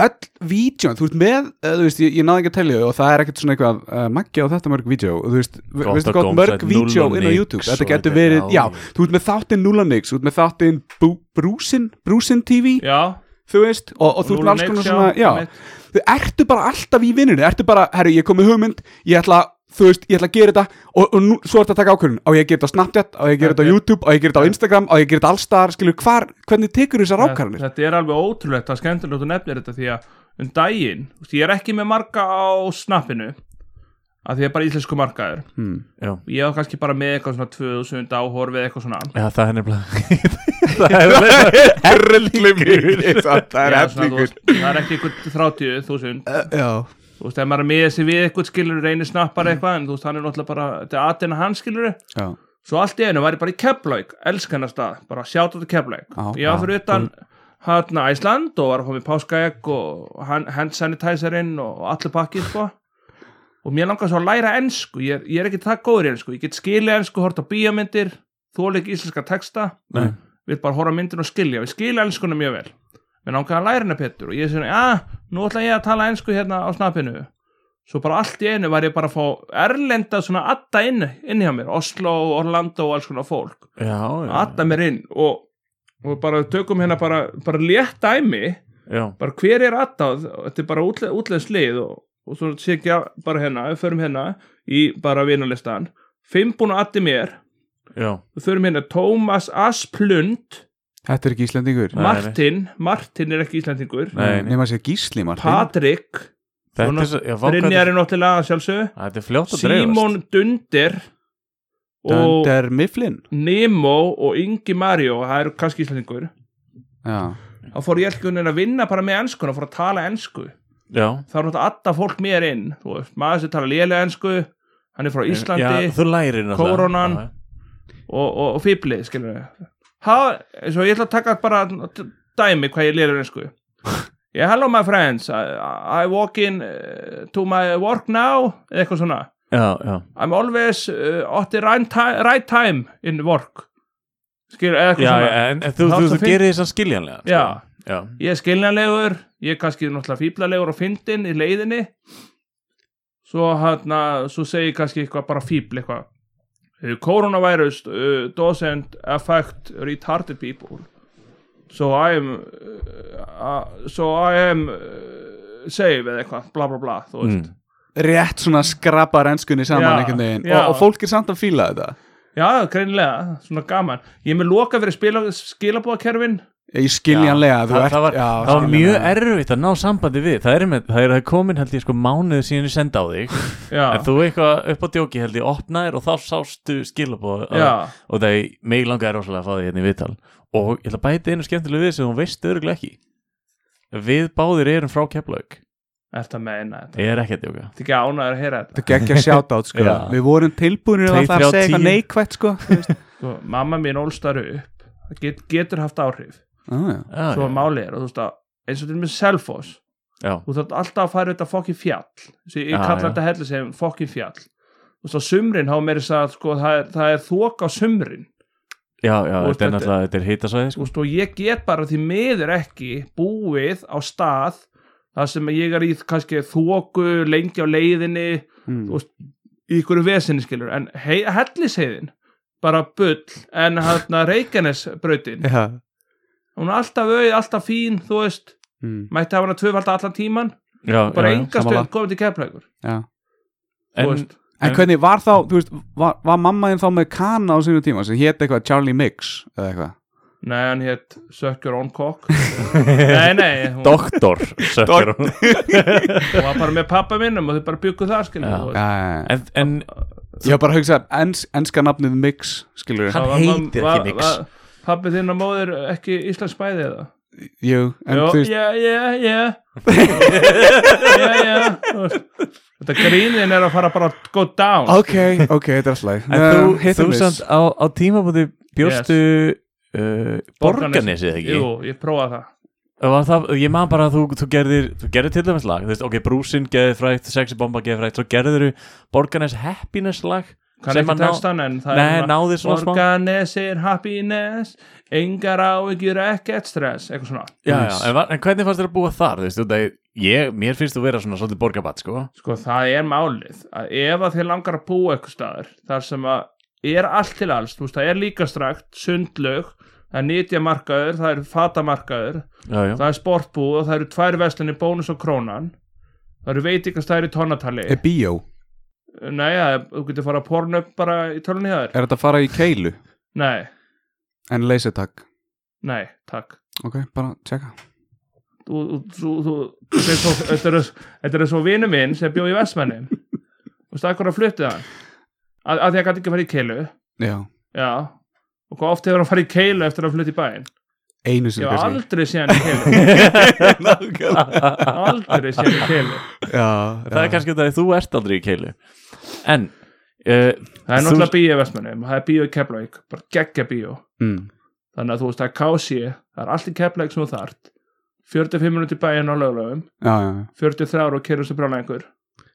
A: öll vídjón, þú veist með eh, þú veist, ég, ég náði ekki að telja þau og það er ekkert svona eitthvað uh, maggi á þetta mörg vídjó og þú veist, ve-
C: Gott
A: veistu
C: að
A: gott
C: dómsætt
A: mörg
C: núll
A: vídjó
C: og
A: inn á
C: nix
A: YouTube þetta
C: og
A: getur
C: þetta-
A: verið,
C: já.
A: já, þú ert með þáttinn Núlanix, þú ert með þáttinn Bú- Brúsin, Brúsin TV
D: Já,
A: þú veist, og, og þú ert með alls konar svona já,
D: einmitt.
A: þú ertu bara alltaf í vinnunni ertu bara, herru, ég kom með hugmynd ég ætla, þú veist, ég ætla að gera þetta og, og nú, svo ertu að taka ákvörðun, á ég að gera þetta á Snapchat á ég að gera þetta á
D: Þetta-
A: YouTube, á ég að gera þetta á Instagram á ég að gera þetta allstar, skilur, hvar, hvernig tekur þessar
D: Þetta-
A: ákvarðanir?
D: Þetta er alveg ótrúlegt að skemmtilegt að nefnir þetta því að um daginn, þú veist, ég er ekki með marga á snappinu að því að bara íslensku markaður
A: hmm.
C: já
D: ég var kannski bara með eitthvað svona 2000 áhorfið eitthvað svona
C: Já, það er nefnilega Það er nefnilega
A: Herrlingur Það er
D: Já, svona, þú
A: herrlingur
D: veist, það er ekki eitthvað 30.000
A: Já
D: þú veist, ef maður er með þessi við eitthvað skilur reynir snappar eitthvað, en þú veist, hann er náttúrulega bara þetta er aðeina hann skilur
A: Já
D: svo allt í einu var ég bara í Keflavík, elskan að stað bara sjátt á þetta Keflavík
A: Já,
D: ég var
A: já,
D: fyrir utan hérna Æsland og var að fá mér páskaegg og hand hand sanitizerinn og allir pakkið sko og mér langar svo að læra ennsku ég, er- ég er ekki það góður í ennsku, ég get skilja ennsku hort á bíómyndir, þóla ekki íslenska texta
C: Nei.
D: vil bara horfa á myndin og skilja við skilja enskuna mjög vel mér langar að læra hennar Petur og ég er svona, já, nú ætla ég að tala ennsku hérna á snappinu svo bara allt í einu var ég bara að fá erlenda svona adda inn, inn hjá mér Oslo og Orlando og alls konar fólk
C: Já, já,
D: adda mér inn og, og bara tökum hérna bara, bara létt dæmi
C: já
D: bara hver er adda og þetta er bara útle, útlegslið og, og svo sé ekki að- bara hérna við förum hérna í bara vinalistan fimm búin að addi mér
C: Já,
D: við förum hérna Tómas Asplund
A: Þetta er ekki Íslandingur
C: Nei,
D: Martin, Martin er ekki Íslandingur
C: nei, nei.
A: Nei maður sé Gísli Martin
D: Patrick
C: Þetta er svo já, vá, hvað
D: Brynjar
C: þetta-
D: er náttúrulega að sjálfsögðu
C: Æ, Þetta er fljótt að dreifast
D: Simon Dundir og
A: Dunder Mifflin
D: Nemo og Ingi Mario það eru kannski íslendingur
A: Já
D: þá fór ég ekki að vinna bara með enskun og fór að tala ensku
C: Já
D: þá er náttúrulega alltaf fólk mér inn þú veist, maður sem tala lélega ensku hann er frá Íslandi
C: Eh, Já, þú lærir náttúrulega
D: Kórónan.
C: Já,
D: og, og, og fýblið skilur við ha, svo ég ætla að taka bara d- dæmi hvað ég lélega ensku yeah, hello my friends I, I walk in uh, to my work now eða eitthvað svona
C: Já, já,
D: I'm always uh, at the right time, right time in work skilur eða eitthvað
C: já
D: svona
C: en, en þú,
D: Það
C: þú, þú
D: átti að fin-
C: gerir þessan skiljanlega sko.
D: Já.
C: já,
D: ég er skiljanlegur ég er kannski náttúrulega fíblalegur og fyndin í leiðinni svo hérna, svo segi ég kannski eitthvað bara fíbl eitthvað Uh, coronavirus uh, doesn't affect retarded people so I am uh, uh, so I am uh, safe eða eitthvað, bla bla bla þú veist
C: Mm.
A: Rétt svona skrapar enskunni saman
D: Já,
A: einhvern veginn
D: já.
A: og, og fólk er samt að fíla þetta
D: já, greinilega, svona gaman ég er með loka fyrir spila, skilabóðakerfin
A: Ég skiljanlega
C: Það,
A: þú ert-
C: það var,
A: já,
C: það var mjög
A: skiljanlega.
C: erfitt að ná sambandi við Það er, með, það er komin held ég sko mánuð síðan ég senda á þig
D: já,
C: En þú eitthvað upp á djóki held ég opnaðir og þá sástu skilabóð
D: já,
C: og það er mig langaði rosalega að fá því hérna í viðtal og ég ætla að bæta einu skemmtilegu við sem hún veist örugglega ekki við báðir erum frá Keflavík
D: ertu að meina þetta
C: ég er ekki að djóka
D: þetta er ekki ánæður að heyra þetta
A: Þetta geggja sjátátt sko
C: Já.
A: Við vorum tilbúinir að
C: Tveir,
A: það að
C: þrjá,
A: segja eitthvað
C: tíu.
A: neikvætt sko Þú veist.
D: sko, mamma mín ólstar upp það get, getur haft áhrif
A: Á, já.
C: ah,
D: svo máli er, og þú veist að eins og til með selfos,
C: já,
D: þú þarf alltaf að fara þetta fokkin fjall, Þessi, ég
C: Já,
D: kalla
C: já.
D: þetta hellu sem fokkin fjall þú veist að sumrin hafa meiri að sko, það er, það er þoka á sumrin
C: já, já
D: Þú veist,
C: þetta er
D: þetta-
C: náttúrulega þetta er hitasvæði
D: þú
C: sko.
D: veist, og ég get bara því miður ekki búið á stað það sem ég er í kannski þoku lengi á leiðinni
A: Mm.
D: Þú- í ykkur vesinni skilur, en hei, helliseiðin bara bull, en hérna Reykjanesbrautin
A: Já.
D: hún er alltaf auð, alltaf fín, þú veist
A: Mm.
D: mætti hafa hana tvöfalda allan tíman
C: já,
D: bara
C: já, já.
D: enga
A: sammála.
D: stund komið til keflækur
A: Já.
C: en,
A: En hvernig var þá, þú veist, var, var mamma þín þá með kana á sínu tíma sem hétt eitthvað Charlie Mix eða eitthvað?
D: nei, hann hétt Suck Your Own Cock nei, nei, hún, hún
C: doktor sökkur hún
D: var bara með pappa minnum og þau bara byggu það skilur
C: Já.
D: þú veist.
A: Já, já, já.
C: en, en
A: Ég var bara að hugsa, ens, enska nafnið Mix, skilur
C: Hann
D: Það var-
C: heitir
D: var-
C: ekki nix.
D: var- Pabbi þinn og móðir ekki Íslands bæði eða?
A: Jú, en
D: Jó,
A: þú veist,
D: já, já, já Já, já þú veist. Þetta grínin er að fara bara að go down
A: ok, ok, þetta er alltaf
C: en þú, þú samt á, á tímabúti bjóstu uh, borganesið ekki
D: Jú, ég prófaði það
C: Var Það, ég man bara að þú, þú gerðir þú gerðir til dæmis lag, þú veist, ok, brúsin geði frægt, sexy bomba geði frægt, svo gerðir þú Borganes happiness lag
D: kann
C: sem
D: ekki
C: að ná-
D: textan en það
C: Nei,
D: er
C: náði svona smá.
D: Organis er happiness engar áhyggjur ekkert stress eitthvað svona
C: já, já, en, var, en hvernig fannst þér að búa þar, þú veist, þú veist, að ég, mér finnst þú vera svona svolítið borgabatt, sko
D: sko það er málið að ef að þið langar að búa eitthvað staðar þar sem að er allt til alls þú veist það er líka strakt, sundlög það er nýtjamarkaður, það er fatamarkaður
C: Já, já,
D: það er sportbúð og það eru tvær veslinni bónus og krónan það eru veitingastæðir í tonatali
A: Er bíó,
D: nei, það er- þú getur fara að porna upp bara í tölunni hjá þér
A: er þetta að fara í keilu
D: nei,
A: en leysetak?
D: nei, takk
A: Ok, bara tjekka
D: þú, þú, þú, þú þetta er svo- þetta er svo- þetta er svo vinnu minn sem bjóð í Vestmanni Þú veist, akkur að flutti það að, að því að gæti ekki að fara í keilu
A: já,
D: Já Og hvað oft hefur hann farið í keilu eftir að flutti í bæinn
A: einu sem
D: Ég hef aldrei séð hann í keilu Aldrei séð hann í keilu
C: það er kannski það að þú ert aldrei í keilu en uh,
D: Það er
C: Þú-
D: náttúrulega bíó í Vestmannum Það er bíó í Keflavík Bara geggja bíó
A: mm.
D: Þannig að þú veist, það er kási Það er allt í Keflavík sem þú þart 45 minúti í bæinn á lögulegum
A: já, já, já.
D: 43 og kerur sem brjálæðingur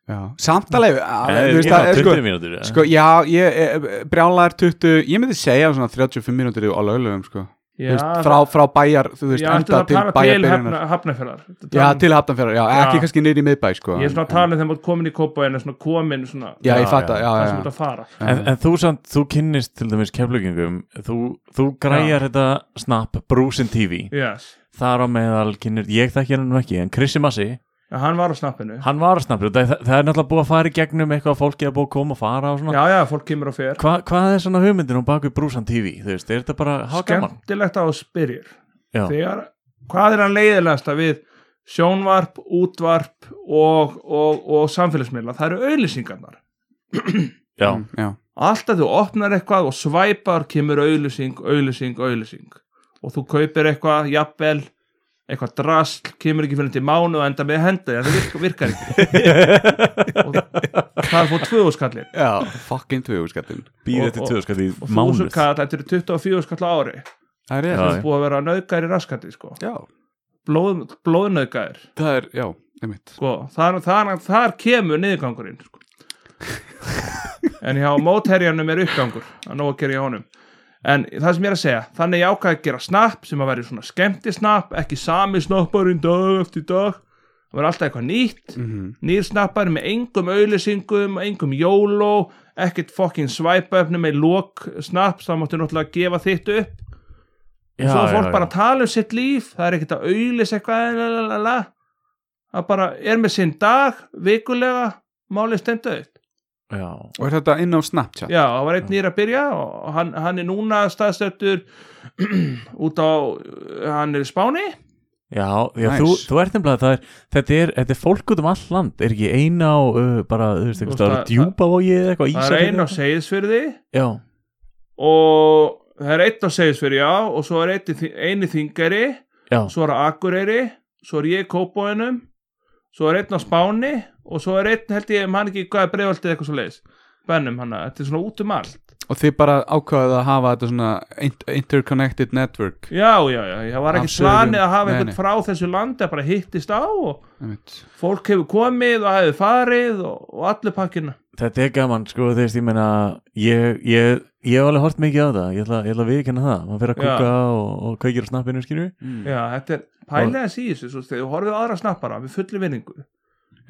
A: já. samtalegi
C: eh, ég
A: það
C: var
A: er sko
C: 20 mínútur
A: Sko, já, ég, eh, brjálaðar 20, ég myndi segja svona 35 mínútur á lögulegum, sko. Þú
D: Já,
A: veist, frá, frá bæjar, þú veist,
D: já,
A: enda
D: til
A: til
D: að tala til
A: bæjarbyrjunar.
D: hafna, hafnafjörðar
A: Já, til hafnafjörðar, já, ekki
D: Já.
A: kannski niður í miðbæ, sko.
D: um- Ég er svona að tala um þegar maður komin í kópaðina svona komin svona
A: Já,
C: Já,
A: ég fatt að, já,
D: það
A: já,
D: sem þú ert
A: já.
D: að fara
C: En, en þú samt, þú kynnist til dæmis keflugingum, þú, þú græjar þetta snapp Brúsin TV
D: yes.
C: þar á meðal kynnir, ég þekki hann nú ekki en Krissi Massi,
D: Já, hann var á snappinu
C: hann var að snappinu það, það er náttúrulega búið að fara í gegnum eitthvað að fólki að búið að koma og fara og svona
D: Já, já, fólk kemur og fer
C: Hva, hvað er svona hugmyndin á baku Brúsan TV þú veist, er þetta bara að hafa gaman
D: Skemmtilegt á að spyrjir
C: Já.
D: Þegar, Hvað er hann leiðilegasta við sjónvarp, útvarp og, og, og samfélagsmiðla það eru auðlýsingarnar
C: já,
A: Mm, Já,
D: Alltaf þú opnar eitthvað og svæpar kemur auðlýsing, auðlýsing, auðlýsing og þú kaupir eitthvað, jafnvel eitthvað drasl, kemur ekki fyrir til mánu og enda með að henda því, það virkar, virkar ekki og það er fór tvöðuskallir
A: já, fucking tvögu, skattin.
C: býð
D: Og-
C: eftir
D: og-
C: tvö skall í
D: og
C: mánuð
D: þúsundkall, þetta eru 24 skall á ári
A: Það er ég.
C: Já,
D: það er búið að vera nöðgæri raskandi sko.
A: Já,
D: Blóð, blóðnöðgæri
A: það er, já, einmitt.
D: sko. þar, þar, þar kemur niðurgangurinn sko. en hjá mótherjanum er uppgangur að nóg að gera hjá honum en það sem ég er að segja, þannig ég ákvað að gera snapp sem að vera svona skemmti snapp ekki sami snapparinn dag eftir dag það var alltaf eitthvað nýtt
A: Mhm.
D: nýr snappar með engum auðlýsingum, engum jóló ekkert fokkin svæpaöfnum með lók snapp, það máttu náttúrulega gefa þitt upp
C: já,
D: svo er
C: já,
D: fólk bara
C: já.
D: að tala um sitt líf það er ekkert að auðlis eitthvað la, la, la, la. það bara er með sinn dag vikulega málið stendu upp
C: já,
A: Og er þetta inn á Snapchat?
D: já, það var einn nýr að byrja og hann, hann er núna staðstöttur út á hann er í Spáni
C: já, já
A: Nice.
C: þú, þú ert nefnilega það er, þetta, er, þetta er fólk út um all land er ekki eina á uh, bara, þú veist,
D: veist,
C: eitthvað, það
D: það-
C: er djúpa og ég eitthvað
D: það er
C: Ísafirði
D: einn á
C: eitthvað?
D: Seyðisfyrði
C: já,
D: og það er einn á Seyðisfyrði já og svo er einn í Þi- einn í Þingeri
C: já,
D: svo er að Akureyri svo er ég í Kópóinum svo er einn á Spáni og svo er einn held ég, mann ekki hvað er breyfaldið eitthvað svo leiðis bennum hana, þetta er svona út um allt
A: Og þið bara ákvaðið að hafa þetta svona int- interconnected network,
D: já, já, já, það var ekki
A: Absolutt.
D: planið að hafa
A: Nei,
D: einhvern
A: nei.
D: frá þessu landi að bara hittist á og
A: einmitt.
D: fólk hefur komið og hefur farið og, og allir pakkina
C: þetta er gaman sko þú veist, ég meina ég, ég, ég hef alveg hort mikið á það ég ætla, ég ætla að viðkenna það, maður fyrir að
D: Já.
C: kúka og, og kveikir á snappinu skilju
D: já, þetta er pælið að síðis þegar við horfum á aðra snappara við fulli vinningu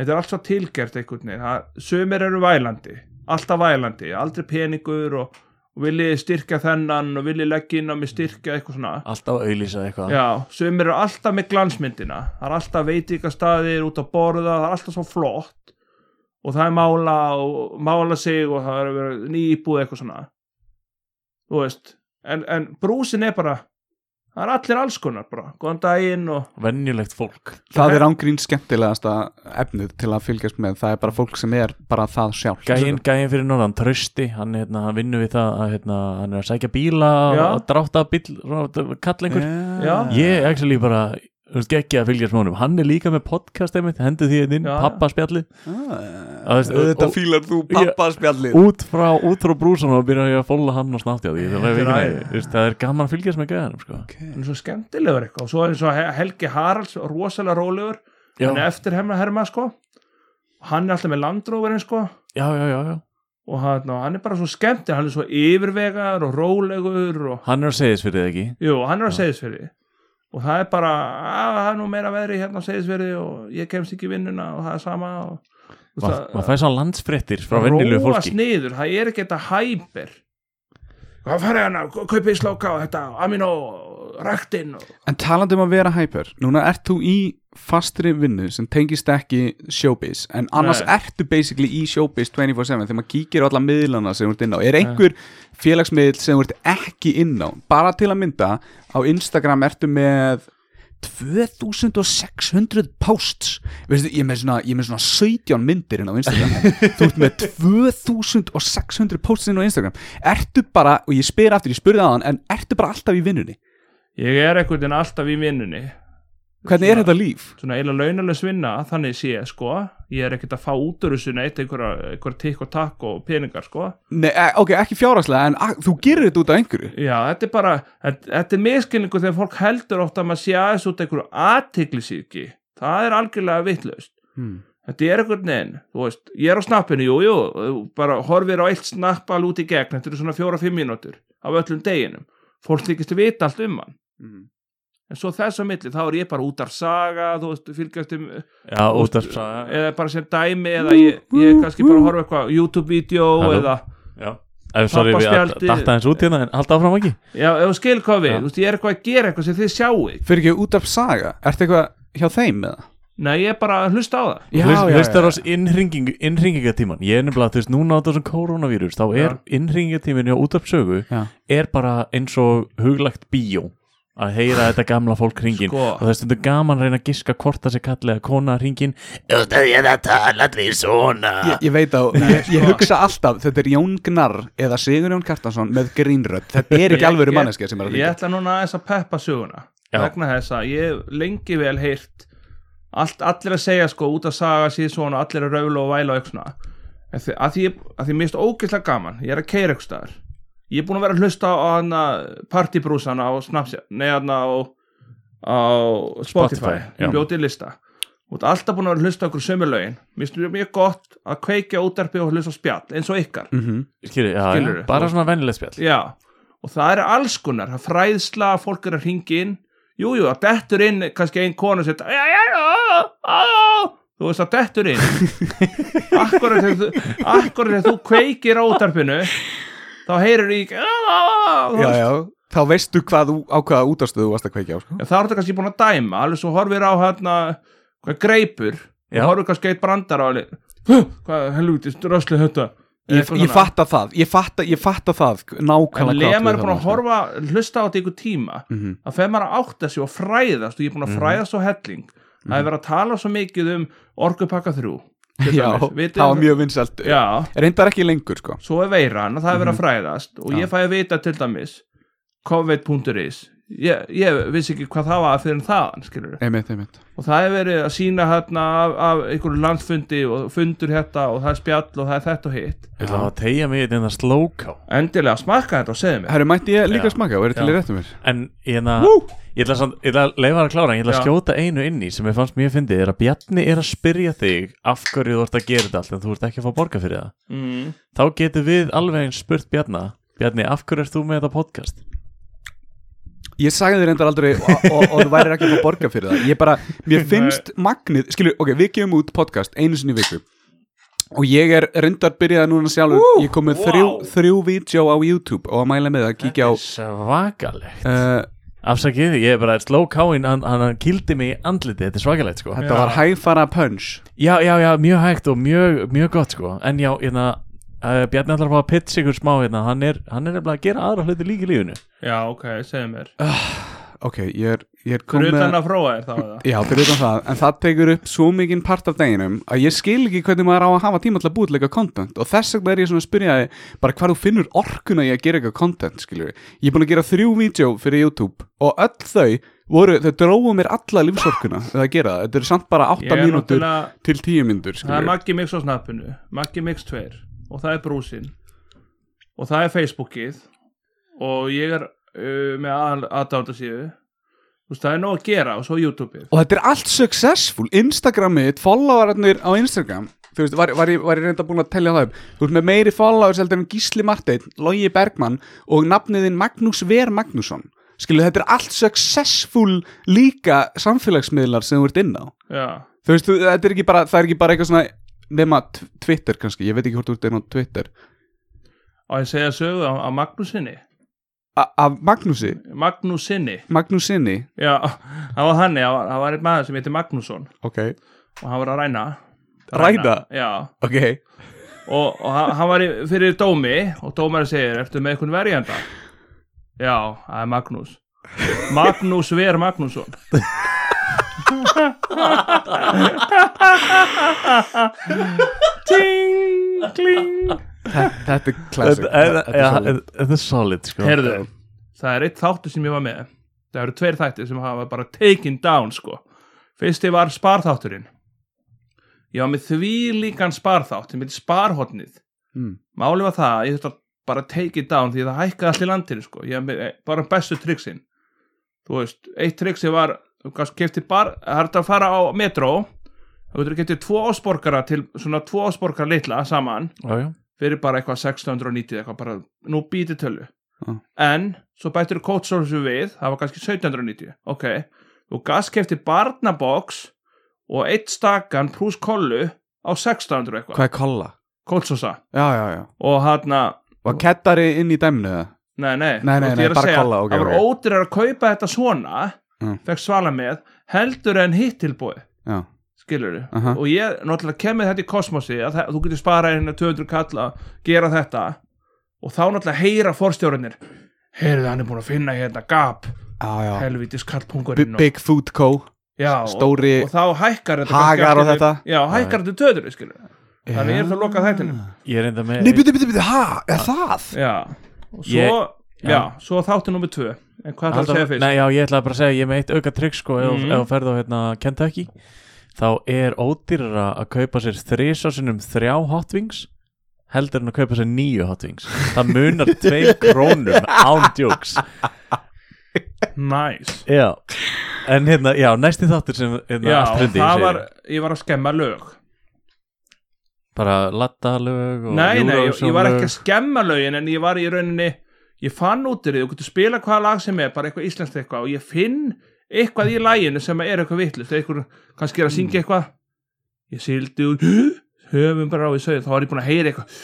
D: þetta er allt svo tilgert einhvern veginn Það- sumir eru vælandi, alltaf vælandi aldrei peningur og, og viljið styrkja þennan og viljið leggja inn á mig styrkja eitthvað svona
C: alltaf að auðlýsa eitthvað
D: Já, sem eru alltaf með glansmyndina það er alltaf veitingastæðir út að borða það er alltaf svo flott og það er mála og mála sig og það er að vera nýbúð eitthvað svona þú veist en, en brúsin er bara það er allir alls konar bara, góðan daginn og
C: venjulegt fólk
A: Það er ángrín skemmtilegasta efnið til að fylgjast með, það er bara fólk sem er bara það sjálf.
C: Gæin, gæin fyrir norðan, trösti hann, hérna, hann vinnur við það að hérna, hann er að sækja bíla
D: Já.
C: og drátt af bíl kallengur
D: Já.
A: Já.
C: ég actually bara þú veist, geggja að fylgjast með honum, hann er líka með podcast einmitt, hendur því einn,
D: Já, já.
C: pappaspjalli
A: Ah,
C: Að þú veist,
A: Þetta
C: og-
A: fílar þú pappaspjallið
C: út frá, út frá brúsan og byrja ég að fólla hann og snátti á því það er,
D: Þetta
C: ekki,
D: er æði.
C: þú veist, það er gaman að fylgjast með gæðanum sko.
D: hann er svo skemmtilegur eitthvað og svo er eins og Helgi Haralds rosalega rólegur,
C: já,
D: hann er eftir hefna herma sko hann er alltaf með landróverinn sko
C: já, já, já, já
D: og hann, og hann er bara svo skemmtilegur hann er svo yfirvegar og rólegur og
C: hann er að segja þess fyrir þið ekki
D: Jú, hann er á Seyðisfyrði og það er bara, að það er nú meira veðri hérna á Seyðisfyrði og ég kemst ekki í vinnuna og það er sama og, og
C: Ma- maður fær svo landsfrettir frá vennilegu
D: róast
C: fólki
D: niður, það er ekki þetta hæper hvað hérna, farið hann að kaupa í slóka og þetta, amino, ræktinn og...
A: En talandi um að vera hæpur Núna ert þú í fastri vinnu sem tengist ekki showbiz en annars
D: Nei.
A: ertu basically í showbiz 24-7 þegar maður kíkir á alla miðlana sem þú ert inn á Er einhver félagsmiðl sem þú ert ekki inn á? Bara til að mynda á Instagram ertu með 2600 posts Veistu, ég er með svona, ég er með svona 17 myndir inn á Instagram þú ert með 2600 posts inn á Instagram ertu bara, og ég spyr aftur, ég spurði aðan en ertu bara alltaf í vinnunni
D: ég er einhvern veginn alltaf í vinnunni
A: hvernig er
D: Svona-
A: þetta líf?
D: svona eiginlega launalös vinna þannig sé sko ég er ekkert að fá út úr þessu neitt einhverja einhver tikk og takk og peningar sko
A: Nei, eh, ok, ekki fjárhagslega en a- þú gerir þetta út af einhverju
D: já þetta er bara þetta, þetta er miskinningu þegar fólk heldur oft að maður sé aðeins út af einhverju aðtiklisíki það er algjörlega vitlaust
A: hmm.
D: þetta er einhvern veginn þú veist ég er á snappinu jú jú þú bara horfir á eitt snapp alveg út í gegn þetta eru svona fjóra fimm mínútur af öllum deginum fólk þykist að vita allt um hann en svo þess að milli þá er ég bara út af saga þú veist fylgjast um
C: Já, út af
D: eða bara sem dæmi eða ég, ég er kannski bara að horfa eitthvað YouTube-vídeó
C: Halló.
D: eða
C: Já, Ef, sorry, við að
D: Pappaspjaldið-
C: datta eins út hérna en halda áfram ekki
D: já, ef þú skil hvað við,
C: Já.
D: þú veist, ég er eitthvað að gera eitthvað sem þið sjáu
A: fyrir ekki út af saga, ertu eitthvað hjá þeim með það?
D: nei, ég er bara að hlusta á það
C: Hlust- Hlustar á innhringing, innhringingatíman Ég er nefnilega, þú veist, núna á þessum koronavírus þá er innhringingatímin hjá útvarpsögu
A: Já.
C: er bara eins og huglagt bíó að heyra þetta gamla fólk hringin
D: Sko.
C: og það er stundu gaman að reyna að giska hvort það sé kallega kona hringin
A: ég, ég veit að ég,
D: sko.
A: ég hugsa alltaf þetta er Jón Gnarr eða Sigur Jón Kjartansson með grínrödd þetta er ekki alvöru
D: Ég-
A: manneska sem er að
D: ég
A: hluta
D: ætla núna aðeins að peppa söguna
C: Já.
D: vegna þess að ég hef lengi vel heyrt allt, allir að segja sko út að saga síð svona, allir að raula og væla og eitthvað svona. En þi- að því, að því mist ógeðslega gaman, ég er að keira eitthvað staðar ég er búin að vera að hlusta á hana partybrúsana á Snapchat nei hana á, á Spotify,
C: Spotify, já.
D: ég bjóti lista og alltaf búin að vera að hlusta á okkur sömurlaugin mér finnst mjög gott að kveikja útarpi og hlusta á spjall eins og ykkar
A: Mhm.
C: Skilur, já,
D: Skilurðu?
C: já, bara svona vennileg spjall
D: Já, og það er alls konar það er fræðsla, fólk er að ringi inn Jú, jú, það dettur inn kannski ein konu sem þetta, já, já, já, já, já Þú veist, það dettur inn Akkurat þegar þú, akkurat þegar þú kveikir á útarpinu þá heyrir í já, já,
A: já,
D: já.
A: já, þá veistu hvað þú, á hvaða útastöðu þú varst að kveikja á sko.
D: Það er þetta kannski búin að dæma alveg svo horfir á hérna hvað greipur,
C: Já.
D: og horfir kannski eitt brandar á alveg, "Huh, hvað helviti, drösli þetta
A: ég, ég fatta það, ég fatta, ég fatta það
D: En
A: nákvæmlega
D: lega maður
A: átt
D: er búin
A: við
D: að
A: þarna, sko.
D: horfa, hlusta á þetta í ykkur tíma
A: Mhm.
D: að þegar maður átta sig og fræðast og ég er búin að fræðast á helling það er verið að tala svo mikið um orkupakka 3 til dæmis.
A: já,
D: Vitið
A: það var
D: þið-
A: mjög vinsalt
D: já,
A: reyndar ekki lengur sko
D: svo er veiran og það er verið að fræðast og ég fæ að vita til dæmis covid.is ég, ég vissi ekki hvað það var fyrir en þaðan skilur
A: einmitt, einmitt.
D: og það er verið að sína hérna af, af einhverju landsfundi og fundur hérna og það er spjall og það er þetta og hitt
C: Ég ætla að tegja mig þetta slóká
D: endilega smakka þetta og segðu mér
A: herru, mætti ég líka
C: Já.
A: smaka og verið til í
C: Já.
A: réttum mér
C: En ég ætla
A: Wú!
C: Ég ætla, samt, ég ætla að leifa þér að klára en Ég ætla að
D: Já.
C: skjóta einu inn í sem ég fannst mjög fyndið er að Bjarni er að spyrja þig af hverju þú ert að gera þetta allt en þú ert ekki að fá borga fyrir það
D: mm.
C: Þá getur við alveg eins spurt Bjarna Bjarni, af hverju ert þú með þetta podcast?
A: Ég sagði þér endar aldrei og, og, og þú værir ekki að fá borga fyrir það Ég bara, mér finnst magnið Skilju, ok, við gefum út podcast einu sinni í viku Og ég er reyndar byrjaði núna sjálfur Ég kom með þrjú,
D: wow.
A: þrjú vídeo á YouTube Og að mæla með að kíkja á
C: Svakalegt
A: uh,
C: Afsakið, ég er bara að sló káinn hann, hann hann kýldi mig í andliti, þetta er svakalegt sko
A: Þetta var hægfara punch
C: Já, já, já, mjög hægt og mjög, mjög gott sko En já, hérna, uh, Bjarni ætlar að fá að pitch ykkur smá hérna Hann er, hann er nefnilega að gera aðra hluti líka í lífinu
D: já ok, segðu mér
A: Ok, ég er, ég er
D: Fyrir
A: komið
D: utan að fróa þér þá eða?
A: Já, fyrir utan það, en það tekur upp svo mikinn part af deginum að ég skil ekki hvernig maður á að hafa tíma til að búið leika content og þess vegna er ég svona að spyrja þig bara hvar þú finnur orkuna í að gera eitthvað content, skiljur Ég er búin að gera þrjú vídeo fyrir YouTube og öll þau voru, þau dróðu mér alla lífsorkuna við að gera það, þetta er samt bara
D: Ég
A: 8
D: er
A: mínútur
D: náttúrulega-
A: til 10 mínútur,
D: Það er
A: skiljur
D: Maggi Mix á snappinu Maggi Mix 2 og það er brúsin og það er Facebookið og ég er uh, með aðal- aðdánda síðu þú veist það er nóg að gera og svo YouTubeið
A: Og þetta er allt successful, Instagramið, followararnir á Instagram Þú veist, var, var, ég- var ég reynda búin að tellja það upp Þú veist, með meiri followers heldur en Gísli Marteinn, Logi Bergmann og nafniðin Magnús Ver Magnússon Skilu, þetta er allt successful líka samfélagsmiðlar sem þú ert inn á
D: Já,
A: Þú veist, þú- þetta er ekki bara, það er ekki bara eitthvað svona nema tw- Twitter kannski, ég veit ekki hvort þú ert inn á Twitter
D: og ég segja sögu á, á Magnúsinni
A: A Af Magnúsi,
D: Magnúsinni,
A: Magnúsinni
D: já, það var hann það var- það var einn maður sem heitir Magnússon
A: Ok,
D: og hann var að ræna
A: Ræna?
D: Já,
A: ok
D: og, og hann, hann var í, fyrir dómi og dómari segir, ertu með einhvern verjanda já, það er Magnús Magnús Ver Magnússon Ting, kling
A: Þetta er classic
C: Þetta er-
A: Þetta er
C: já,
A: solid.
C: þetta er solid sko
D: Herðu, það er eitt þáttu sem ég var með Það eru tveir þættir sem hafa bara taken down sko Fyrsti var sparþátturinn Ég var með því líkan sparþátt sem heitir sparhotnið
A: Mm.
D: Máli var það að ég þurfti að bara take it down því það hækkaði allir landinu sko ég, hef með- eh, bara bestu triksin þú veist, eitt triksi var þú kannski kefti bara, það er þetta að fara á metro þú getur kefti tvo ásborgara til svona tvo ásborgara litla saman
C: Já, já.
D: fyrir bara eitthvað 690 eitthvað bara, nú býti tölu
A: Já.
D: en svo bættir kótsólusu við það var kannski 1790 ok, þú gaskefti barnabox og eitt stakan pluss kollu á 600
A: Hvað
D: eitthvað
A: er kolla?
D: kótsósa
A: Já, já, já
D: og hann
A: Var kettari inn í dæmnu það?
D: Nei, nei,
A: Nei, nei,
D: þú veist, ég
A: nei,
D: er að
A: bara
D: segja,
A: kolla, ok,
D: Það var
A: ok.
D: ódýrar að kaupa þetta svona
A: Mm.
D: fekk svala með, heldur en hitt tilbúið,
A: Já,
D: skilur du
A: Aha.
D: og ég, náttúrulega, kemur þetta í kosmosi að það, þú getur sparað hérna 200 kalla gera þetta og þá náttúrulega heyra forstjórinir heyrðu, hann er búin að finna hérna gap
A: já, já
D: helvitis
A: B
D: kallpungurinn
A: Big Food Co
D: já,
A: Stóri
D: og, og þá hækkar þetta kannski
A: Hagar
D: aftur
A: og
D: við-
A: þetta.
D: Já, hækkar þetta töður, skilur du Þannig ég er það að loka þættinum
A: Ah.
C: Ég er enda með
A: Nei, byrju, byrju, byrju, ha, er það?
D: Já, og svo,
C: Ég-
D: já. svo þáttu nummer tvö En hvað er það að segja fyrst?
C: Nei, já, ég ætlaði bara að segja, ég er með eitt auka trygg sko, ef
D: Mhm.
C: ef þú ferð á hérna Kentucky þá er ódýrara að kaupa sér þrísásunum þrjá hot wings heldur en að kaupa sér nýju hot wings það munar tveim krónum án djóks
D: Nice.
C: já. en hérna, já, næsti þáttur sem hérna,
D: Já,
C: Astrid
D: það
C: segir,
D: var, ég var að skemma lög
C: bara lattalög og
D: Nei, nei, ég, ég var ekki
C: Eurovision-lög.
D: að skemma lögin En ég var í rauninni Ég fann út í því, þú getur spila hvaða lag sem er Bara eitthvað íslenskt eitthvað Og ég finn eitthvað í laginu sem er eitthvað vitlust Eitthvað, kannski er að
A: Mm.
D: syngja eitthvað Ég sildi úr Höfum bara á í sögðu, þá var ég búin að heyra eitthvað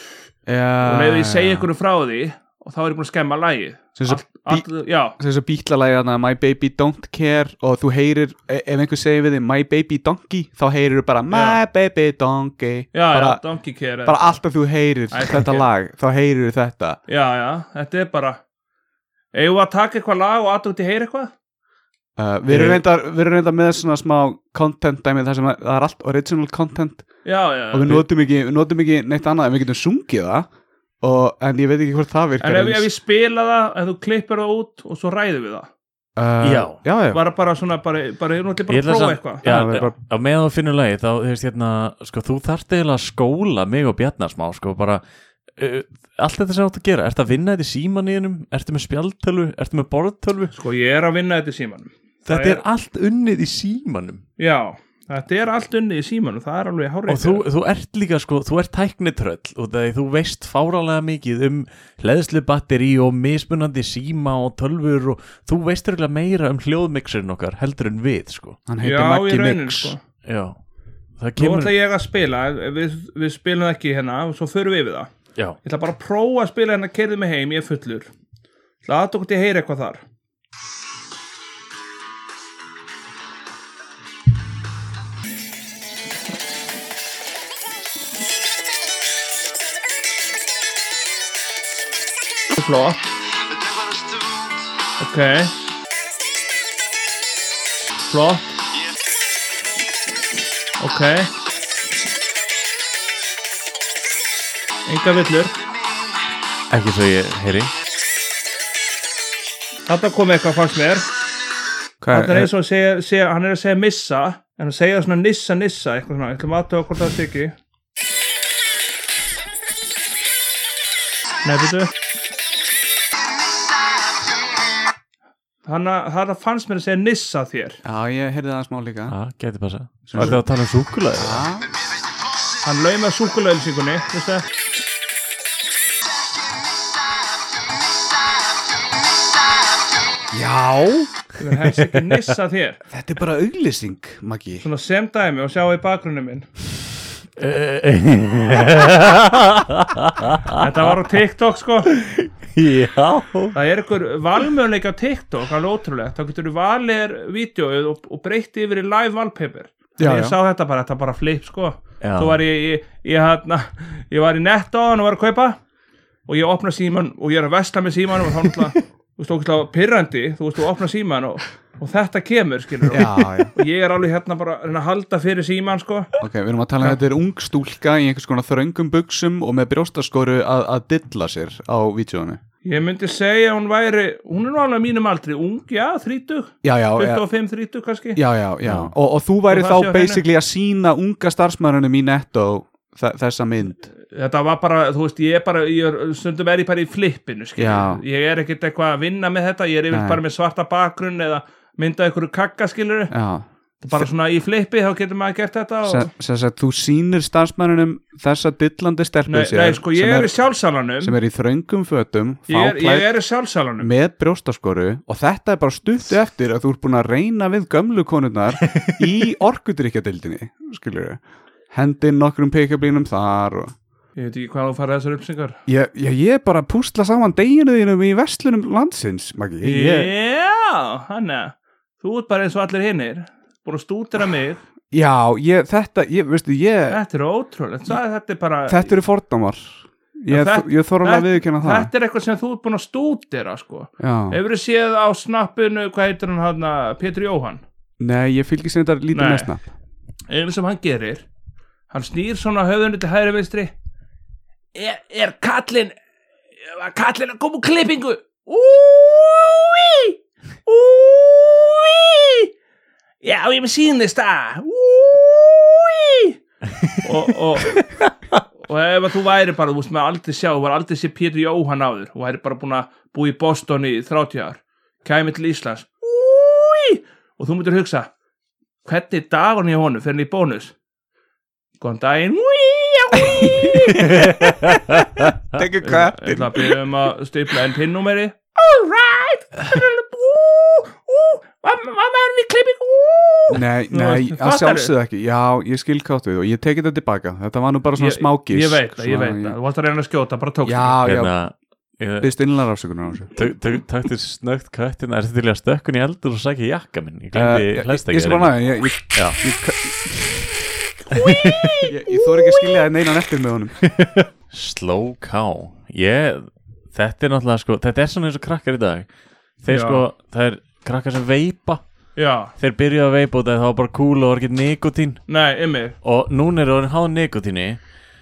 D: Og
A: Já
D: með ég segja eitthvað frá því Og þá var ég búin að skemma lagið
A: Sem svo
D: all, all, Já,
A: sem þessu bítlalægi að My Baby Don't Care og þú heyrir, e- ef einhver segir við þig My Baby Donkey, þá heyrir þú bara My Baby Donkey
D: já,
A: bara,
D: já, Donkey Care
A: bara alltaf þú heyrir
D: Æ,
A: þetta
D: ok.
A: lag, þá heyrir þú þetta
D: Já, já, þetta er bara Eigum við að taka eitthvað lag og aðdótti heyra eitthvað?
A: uh, Við erum reyndar, við erum reyndar með svona smá content dæmið þar sem að- það er allt original content
D: Já, já,
A: og við notum ekki, við notum ekki neitt annað en við getum sungið það og, en ég veit ekki hvort það
D: En
A: virkar
D: ef, ef ég spila það, ef þú klippir það út og svo ræðum við það
A: uh,
C: Já.
A: já, já.
D: Bara bara svona, bara, bara, ég náttúrulega bara
C: Ég
D: að
C: ætla
D: prófa
C: samt-
D: eitthvað
A: Já, við
C: Já,
A: bara-
C: á meðan þú finnur lagi þá, þú veist, hérna, sko, þú þarft eiginlega að skóla mig og Bjarnar smá, sko, bara uh, allt þetta sem þú átt að gera, ertu að vinna þetta í símaníðinum, ertu með spjaldtölvu ertu með borðtölvu,
D: Sko, ég er að vinna þetta í símanum
C: þetta
D: er-
C: er allt unnið í símanum
D: Já, þetta er allt unni í símanum, það er alveg hárið
C: og þú, þú ert líka, sko, þú ert tæknitröll og það, þú veist fáralega mikið um hleðslubatteri og mismunandi síma og tölvur og þú veist örgulega meira um hljóðmixin okkar heldur en við, sko,
A: Hann
D: Já,
A: heitir
D: í
A: Maggi
D: rauninni,
A: Mix
D: sko
C: já það
D: Nú
C: kemur,
D: ætla ég að spila, ef- ef við, við spilum það ekki hérna og svo förum við yfir það
C: já,
D: Ég ætla bara að prófa að spila hérna, keirðu mig heim, ég er fullur Ég ætla aðdótti heyra eitthvað þar Flott, ok Flott Ok Enga villur
C: ekki svo ég heyri
D: Þetta komið eitthvað fannst mér Þetta
A: Hvað
D: er eins og að segja, segja, hann er að segja missa En hann segja svona nissa nissa Eitthvað svona, ég ætlum aðtöða hvort það sé ekki Nei, betur Þannig að það fannst mér að segja nissa þér
A: Já, ég heyrði það smá líka
C: Já, gæti passa Var það að tala um súkulega?
A: Já.
D: Hann lauði með súkulauðlýsingunni, veistu það?
A: Já,
D: Það hefst ekki nissa þér
A: þetta er bara auglýsing, Maggi
D: Svona sem dæmi og sjá í bakgrunni minn Þetta var á TikTok sko
C: Já
D: Það er einhver valmöðleik á TikTok alveg ótrúlegt, þá getur þú valir vídeoið og, og breytti yfir í live valpepir
A: Já,
D: ég
A: já.
D: sá þetta bara, þetta bara flip sko
C: Já.
D: svo var ég, ég, ég, hérna, hana, ég var í netto og hann var að kaupa og ég opna síman og ég er að vestla með símanum og þá náttúrulega þú veist, ókvæmlega pyrrandi, þú veist, þú opna síman og, og þetta kemur, skilur
A: já, já,
D: og ég er alveg hérna bara að reyna að halda fyrir síman, sko,
A: ok, við erum að tala um að þetta er ung stúlka í einhvers konar þröngum buksum og með brjóstaskoru að, að dilla sér á vítjónu
D: ég myndi segja að hún væri, hún er nú alveg á mínum aldri ung, já, 30,
A: já, já, já,
D: 25, 30 kannski,
A: já, já, já.
C: Já.
A: Og, og þú væri
D: Og það sé á
A: þá
D: hreinu.
A: basically að sína unga starfsmæðunum í netto þe- þessa mynd
D: þetta var bara, þú veist, ég er bara, ég er, stundum er ég bara í flippinu, skilur,
A: Já.
D: ég er ekkert eitthvað að vinna með þetta, ég er yfir
A: Nei.
D: bara með svarta bakgrunn eða mynda ykkur kakka, skilur,
A: já,
D: bara svona í flippi, þá getur maður gert þetta og...
A: sem sem sagt þú sýnir starfsmæðunum þessa dillandi stelpu
D: Nei,
A: sér
D: nei, sko, ég
A: sem,
D: er
A: er,
D: í sjálfsalanum
A: sem er í þröngum fötum
D: Ég er,
A: fáklædd,
D: ég er í sjálfsalanum
A: með brjóstaskoru og þetta er bara stuttu eftir að þú ert búin að reyna við gömlu konurnar í orkudrykkjadildinni skilur við hendinn nokkrum pekablínum þar og...
D: Ég veit ekki hvað þú farið þessar uppsingar
A: ég, ég, ég er bara að púsla saman deginu þínum í vestlunum landsins Maggi. ég,
D: Já, hanna Þú ert bara eins og allir hinnir Búin að stútera mig
A: já, ég, þetta ég, veistu, ég,
D: Þetta er ótrúlegt Það, þetta, er bara,
A: þetta eru fordómar
D: Já,
A: ég,
D: þetta-
A: ég þorra að viðkjöna það
D: þetta er eitthvað sem þú ert búin að stútera sko.
A: já.
D: Hefur þið séð á snappinu Hvað heitir hann hann, Pétur Jóhann
A: nei, ég fylgist þetta lítið
D: Nei.
A: með snapp
D: Eða sem hann gerir Hann snýr svona höfðunni til hægri vinstri Er, er kallin Var kallin að koma úr klippingu Úi Úi Já, ég er með sínist að Úi og, og, og ef að þú væri bara, þú veist, maður aldrei sjá var aldrei sé Pétur Jóhann áður og væri bara búin að búa í Boston í 30 ár kæmi til Íslands Úi! og þú myndir hugsa hvernig er dagurinn í honum fyrir hann í bónus góðan daginn Úi! já, úi.
A: tekur
D: Ég ætla að byrja um að stifla en pinnúmeri
E: Alright! Ú, ú, var var maðurinn í klippingu? Ú!
A: Nei,
D: Nú,
A: nei,
D: veistu,
A: að
D: fattarðu?
A: sjálfsögðu ekki Já, ég skil kátt við og ég tekið þetta tilbaka Þetta var nú bara svona
D: Ég-
A: smákís
D: ég veit það, ég veit
A: svona-
D: það, þú varst að reyna að skjóta bara tókst
A: Já, já,
C: hérna ég-
A: byrst innlar afsökunar á þessu
C: tök- tök- Taktu snögt kvættina Er þetta til í að stökkun í eldur og sækja jakka minn Ég
A: Eh,
C: glemdi
A: ég-
C: hlæst
A: Ég
C: ekki
A: skal bara næða, ég, ég,
C: hérna. Já.
A: ég, ég, ég, ég þor ekki að skilja það neinan eftir með honum
C: Slow cow ég, Þetta er náttúrulega sko Þetta er svona eins og krakkar í dag Þeir
D: Já.
C: sko, það er krakkar sem veipa
D: já,
C: Þeir byrjuðu að veipa og það var bara cool og var ekki nikotín
D: nei, ymmir
C: Og núna eru orðin háð nikotíni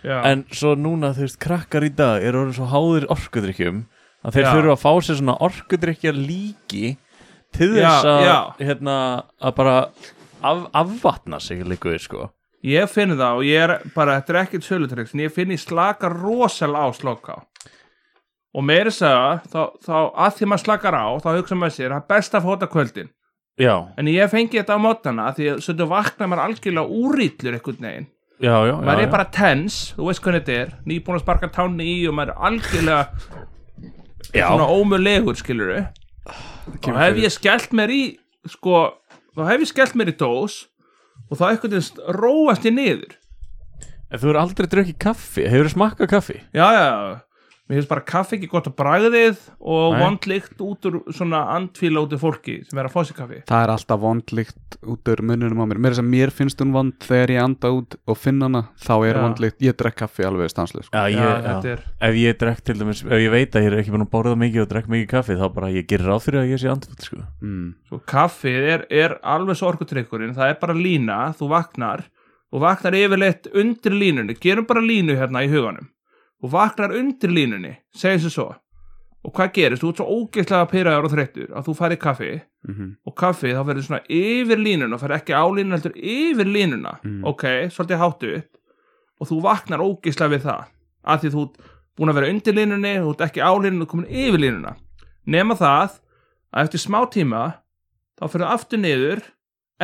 D: já,
C: En svo núna þú veist krakkar í dag eru orðin svo háðir orkudrykkjum Að þeir
D: Já.
C: þurfa að fá sér svona orkudrykkja líki Til
D: Já,
C: þess að
D: já.
C: Hérna, að bara af, Afvatna sig líkuð sko
D: ég finn það og ég er bara, þetta er ekkert sölutryggs en ég finn ég slaka rosal á slokká og meiri segja þá, þá að því maður slakar á þá hugsa maður sér, það er best að fóta kvöldin
C: Já,
D: en ég fengi þetta á mótana því að stundu vakna maður algjörlega úrýtlur einhvern veginn
C: já, já
D: maður
C: já,
D: er bara tens, þú veist hvernig þetta er nýbúin að sparka tánni í og maður er algjörlega
C: já.
D: svona ómulegur skilur og hef ég skellt mér í sko, þá hef ég skellt mér í dós og þá einhvern veginn róast ég niður
C: En Þú eru aldrei drukkið kaffi, hefur þú smakkað kaffi?
D: já, já, já, mér finnst bara kaffi ekki gott að bragðið og
C: Nei.
D: vondlikt út úr svona andfíla út úr fólki sem er að fá sér kaffi
A: Það er alltaf vondlikt út ur mununum á mér Mér er þess að mér finnst hún vond þegar ég anda út og finn hana Þá er
D: Já.
A: vondlikt, ég drekk kaffi alveg stanslega sko.
C: Já, ég,
D: þetta
C: já.
D: er,
C: Ef ég drekk til dæmis, ef ég veit að ég er ekki búin að borða mikið og drekk mikið kaffi þá bara ég gerir ráð fyrir að ég sé andfull sko.
A: mm.
D: svo kaffið er, er alveg svo orkutrykkurinn, það er bara lína þú vaknar og vaknar yfirleitt undir línunni, gerum bara línu hérna í huganum og vaknar undir línunni segjum sem svo og hvað gerist, þú ert svo ógeðslega pyrraður og þreyttur að þú farið kaffi
A: mhm,
D: og kaffi þá verður svona yfir línuna og fer ekki á línuna heldur yfir línuna
A: Mm.
D: ok, svolítið háttu upp og þú vaknar ógeðslega við það að því þú ert búin að vera undir línunni þú ert ekki á línunni og komin yfir línuna nema það að eftir smá tíma þá fyrir það aftur niður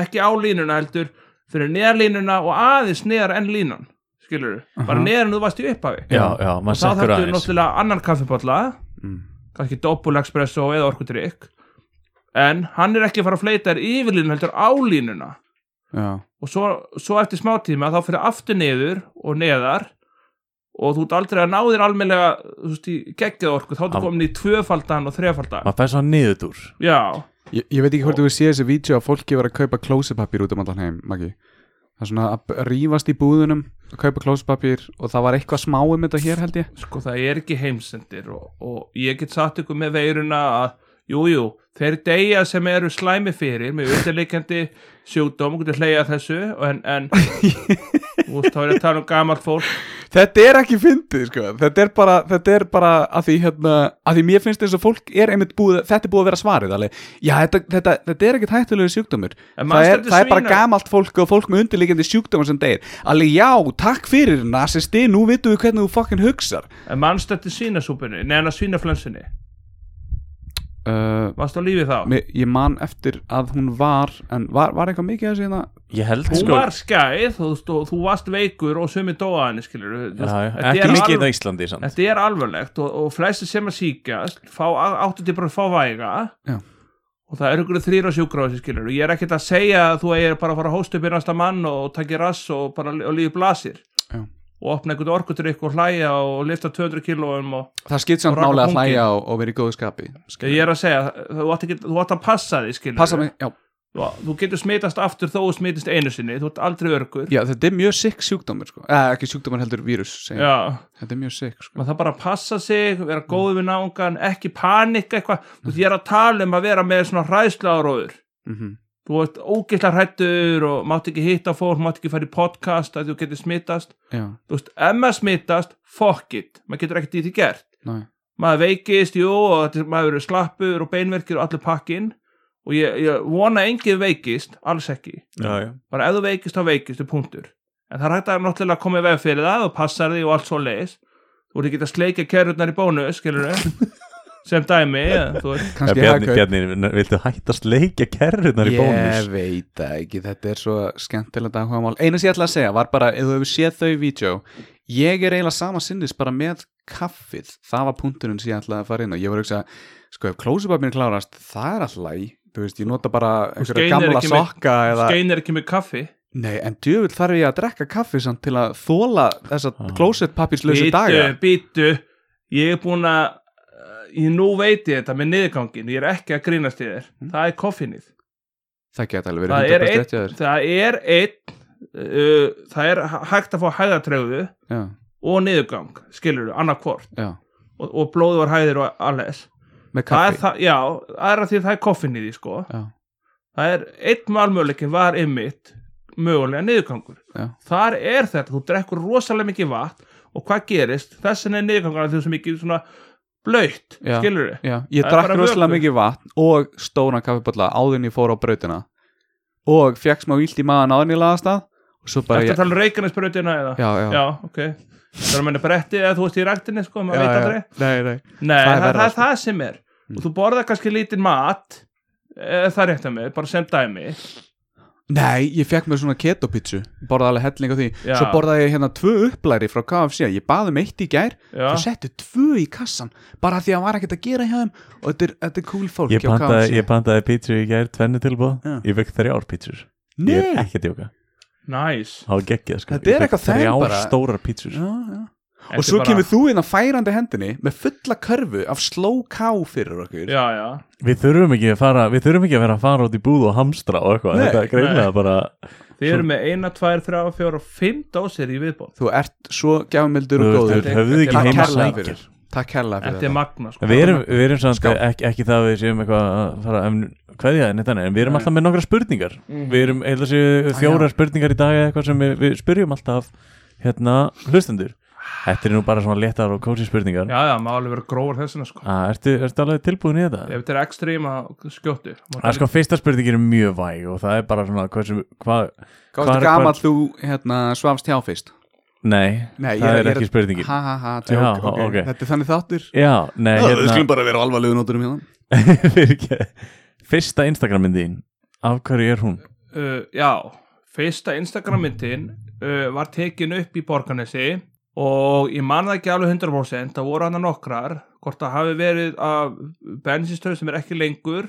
D: ekki á línuna heldur fyrir neðar línuna og aðeins neðar enn línan skilur þú, bara
A: Aha.
D: neðar en þú varst í upphafi
C: Já, já, maður
D: þá
C: sekkur
D: þarftu
C: aðeins
D: náttúrulega annan kaffipotla
A: mm.
D: kannski doppul espresso eða orkudrykk en hann er ekki að fara að fleita þér yfir línuna heldur á línuna
A: Já,
D: og svo, svo eftir smá tíma þá fyrir aftur niður og neðar og þú ert aldrei að ná þér almennilega þú veist, í geggjað orku, þá ertu
C: Am-
D: komin í tvöfaldan og þrefaldan,
C: Maður fær svo niðurdúr
D: já,
A: Ég, ég veit ekki hvort þú sé þessi vídeo að fólki var að kaupa klósipapír út um allan heim, Maggi. Það er svona að rýfast í búðunum að kaupa klósipapír og það var eitthvað smá um þetta hér held ég.
D: sko það er ekki heimsendir og, og ég get satt ykkur með veiruna að jú, jú, þeir deyja sem eru slæmi fyrir með undirleikandi sjúkdóm og getur hleyja þessu en, en þú veist, þá er ég að tala um gamalt fólk
A: Þetta er ekki fyndið sko. þetta, er bara, þetta er bara að því, hérna, að því mér finnst þess að fólk er einmitt búið þetta er búið að vera svarið alveg. Já, þetta, þetta, þetta er ekkit hættulegu sjúkdómur
D: En
A: það
D: manstu
A: er,
D: þetta
A: það er bara
D: svínar?
A: gamalt fólk og fólk með undirleikandi sjúkdómur sem deyr alveg já, takk fyrir nasisti nú vitum við hvernig þú fucking hugsar
D: en mannst þetta svínasúpunni, neðan að svínaflensunni
A: uh,
D: varst á lífi þá?
A: mér, ég man eftir að hún var en var, var eitthvað mikið hérna? að segja
C: Ég held
D: Hún
C: sko
D: var skæð, þú, veist, og þú varst veikur og sumi dóa henni, skilur
C: já, já, Ekki mikið inn á Íslandi samt
D: Þetta er alvarlegt og, og flesti sem að síkjast fá, áttu til bara að fá væga
A: Já.
D: og það eru ykkur þrýra sjúkrási skilur ég er ekkert að segja að þú eigir bara að fara að hósta upp í næsta mann og taki rass og bara og lífi blasir
A: Já.
D: og opna einhvern orkutrykk og hlæja og lifta 200 kílóum og
A: það skipt
D: Og
A: samt
D: raka
A: nálega að
D: punktinn.
A: hlæja og, og vera í góðu skapi
D: ég er að segja þú átt, ekki, þú átt að passa því skilur
A: passa mig, já,
D: þú, þú getur smitast aftur þó þú smitist einu sinni þú ert aldrei örgur
A: já, þetta er mjög sick sjúkdómur sko. eh, ekki sjúkdómur heldur vírus segjum.
D: Já.
A: þetta er mjög sick sko.
D: maður þarf bara að passa sig, vera góð við náungan ekki panika eitthvað þú veist, ég er að tala um að vera með svona hræðslu
A: mm
D: þú veist ógeðslega hrættur og mátt ekki hitta fólk, mátt ekki fara í podcast að þú getur smittast,
A: já,
D: þú veist, ef maður smittast fuck it, maður getur ekkert í því gert
A: næ
D: maður veikist, jú, og þetta- maður verður slappur og beinverkir og allir pakkin og ég, ég vona að enginn veikist alls ekki,
C: já, já.
D: bara ef þú veikist þá veikist, þú punktur, en það er hægt að náttúrulega koma í veg fyrir það og passar því og allt svo leis þú voru ekki að sleika kerurnar í bónus skilur sem dæmi, eða, þú veist
A: kannski
C: Bjarni,
A: hagkaup.
C: Bjarni, viltu hættast leikja kerrunar í bónus?
A: Ég veit það ekki, þetta er svo skemmtilegt að mál. Eina sem ég ætla að segja var bara, ef þú hefur séð þau vídeo, ég er eiginlega sama sinnis bara með kaffið, það var punkturinn sem ég ætlaði að fara inn og ég var að hugsa, sko ef klósupapirinn klárast, það er alltaf í, þú veist, ég nota bara einhverja
D: skeinir
A: gamla
D: ekki með-
A: sokka eða,
D: skein er ekki með kaffi
A: nei, en djöfull þarf ég að drekka kaffið samt til að þóla þessa
C: Ah.
A: klósupapirslösu daga.
D: Býtu, ég er búin að ég nú veit ég þetta með niðurgangin ég er ekki að grínast í þér,
A: Mm.
D: það er koffinið
A: Það geta alveg
D: það
A: verið
D: er
A: 100%
D: einn,
A: rétt hjá þér.
D: það er einn uh, það er hæ- hægt að fá hæðatröfu
A: Já,
D: og niðurgang, skilur þú, annarkvort
A: já,
D: og, og blóðvar hæðir og alles það
A: með
D: er
A: kaffi.
D: það, já, það er að því að það er koffinið í því, sko,
A: Já,
D: það er einn málmöguleikin var ymmit mögulega niðurgangur
A: Já.
D: þar er þetta, þú drekkur rosalega mikið vatn og hvað gerist, þessin er niðurgangur því sem ekki svona blöytt
A: Já.
D: skilur
A: Já, ég
D: Það er
A: drakk
D: bara
A: rosalega
D: vökvi.
A: mikið vatn og stóna kaffibotla áður en ég fór á brautina og fekk smá vilt í maðan áður en ég laðast að og svo bara
D: Ertu
A: ég
D: að tala um reikinarsbrautina eða?
A: Já, já,
D: já ok. Það er að menna bretti eða þú veist í ræktinni sko, maður veit aldrei.
A: Nei, nei
D: Nei,
A: Það er
D: það, það,
A: verra,
D: er
A: sko.
D: það sem er. Og þú borðar kannski lítinn mat, eða það er rétt að mig, bara sem dæmi.
A: Nei, ég fekk mér svona keto pizzu Borðaði alveg helling á því
D: Já.
A: Svo borðaði ég hérna tvö upplæri frá KFC Ég baði um eitt í gær
D: Já.
A: Svo settu tvö í kassan Bara því að hann var ekkert að gera hjá þeim Og þetta er, þetta er cool fólk
C: Ég
A: hjá
C: pantaði,
A: KFC
C: ég pantaði pítsu í gær, tvenni tilbúð
A: Já.
C: Ég fekk þrjár pítsur Ég er
A: Nei,
C: ekki að djóka
D: Næs.
C: Á geggjað sko
A: Þetta
C: Ég
A: er
C: fékk
A: eitthvað þeim
C: Þrjár
A: bara.
C: stórar pítsur
A: já, já Og svo kemur þú inn á færandi hendinni með fulla körfu af slow cow fyrir okkur
D: Já, já.
C: Við þurfum ekki að fara Við þurfum ekki að vera að fara út í búð og hamstra og eitthvað
A: Nei.
C: Þetta er greinlega bara
D: Þið eru með eina, tvær, þrjá, fjóra, fimm dósir í viðbótt.
A: Þú ert svo gjafmildur
C: Þú
A: og
C: veist,
A: góður
C: þeir höfðu ekki
D: Takk
C: heima
A: kærlega
C: sækir
A: fyrir. Takk hella fyrir
D: Þetta er magna sko.
C: En Við erum, við erum samt
A: Skál.
C: ekki, ekki það að við séum eitthvað að fara að hverja en þetta en við erum alltaf með nokkra spurningar
A: Mhm.
C: Við erum eða
A: Ah,
C: séu fjórar spurningar í dag eða eitthvað sem við, við spurjum alltaf hérna hlustendur Þetta er nú bara svona léttar og kósi spurningar
D: Já, já, maður alveg verið gróður þessina sko.
C: að, ertu, ertu alveg tilbúin í
D: Ef
C: þetta?
D: þetta er ekstríma skjóttu.
C: Það er sko fyrsta spurningin er mjög væg og það er bara svona hversu, hvað,
A: Hvað er gaman þú hérna, svafst hjá fyrst?
C: Nei,
A: Nei, ég
C: það er
A: er- ég er-
C: ekki spurningin
A: Ha ha ha, tjók,
C: Já,
A: ok.
C: ok.
A: Þetta er þannig þáttur
C: Já, nei, hérna
A: bara vera alvarlegu nóturum hérna
C: fyrirgefðu. Fyrsta Instagram myndin Af hverju er hún?
D: uh, já, fyrsta Instagram myndin uh, var tekin upp í Borganesi og ég man það ekki alveg 100% það voru hann nokkrar hvort það hafi verið af bensinstöð sem er ekki lengur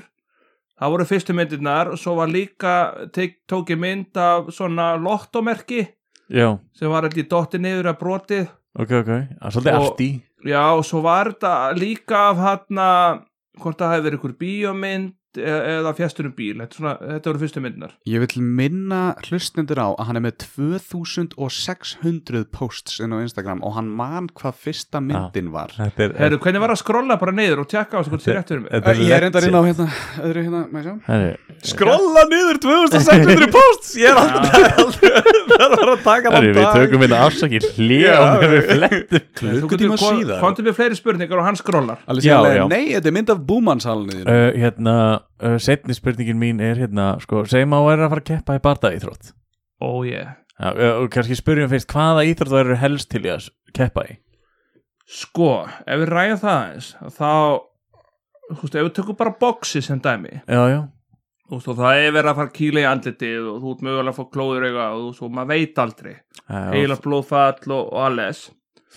D: það voru fyrstu myndirnar og svo var líka tek, tók ég mynd af svona lottomerki
C: Já,
D: sem var allir dotti niður að brotið
C: ok, ok, Það er svolítið
D: Og-
C: allt í
D: já og svo var þetta líka af hann hvort það hafi verið ykkur bíómynd e- eða fjastur um bíl þetta, er svona, þetta voru fyrstu myndnar
A: Ég vil minna hlustendur á að hann er með 2600 posts inn á Instagram og hann man hvað
C: Ah.
A: fyrsta myndin var
C: Þetta er,
D: Heru, hvernig var að skrolla bara neyður og tjekka á þessu hvort þið réttur um
C: þetta
A: Ég er enda inn á hérna, öðru hérna, maður sjá
C: Herri,
A: Skrolla niður 2600 posts Ég er aldrei, aldrei að taka
C: herri, við tökum hérna afsakir hlið og við flettum
A: Klukkutíma síðar
D: komdu með fleiri spurningar og hann skrollar
A: Alveg
C: Já,
A: sérlega,
C: já.
A: Nei, þetta er mynd af búmannshalniður
C: uh, Hérna, uh, setni spurningin mín er hérna sko, segjum að vera að fara að keppa í barda íþrótt
D: oh yeah
C: Já, uh, og kannski spyrjum fyrst hvaða íþrótt það eru helst til í að s- keppa í
D: sko, ef við ræðum það eins þá, þú veist, ef við tökum bara boxi sem dæmi
C: Já, já,
D: þú veist, og það er verið að fara kíla í andlitið og þú ert mögulega að fá klóður eiga og þú veist, og maður veit aldrei
C: já
D: eiginlega blóðfall og, og alles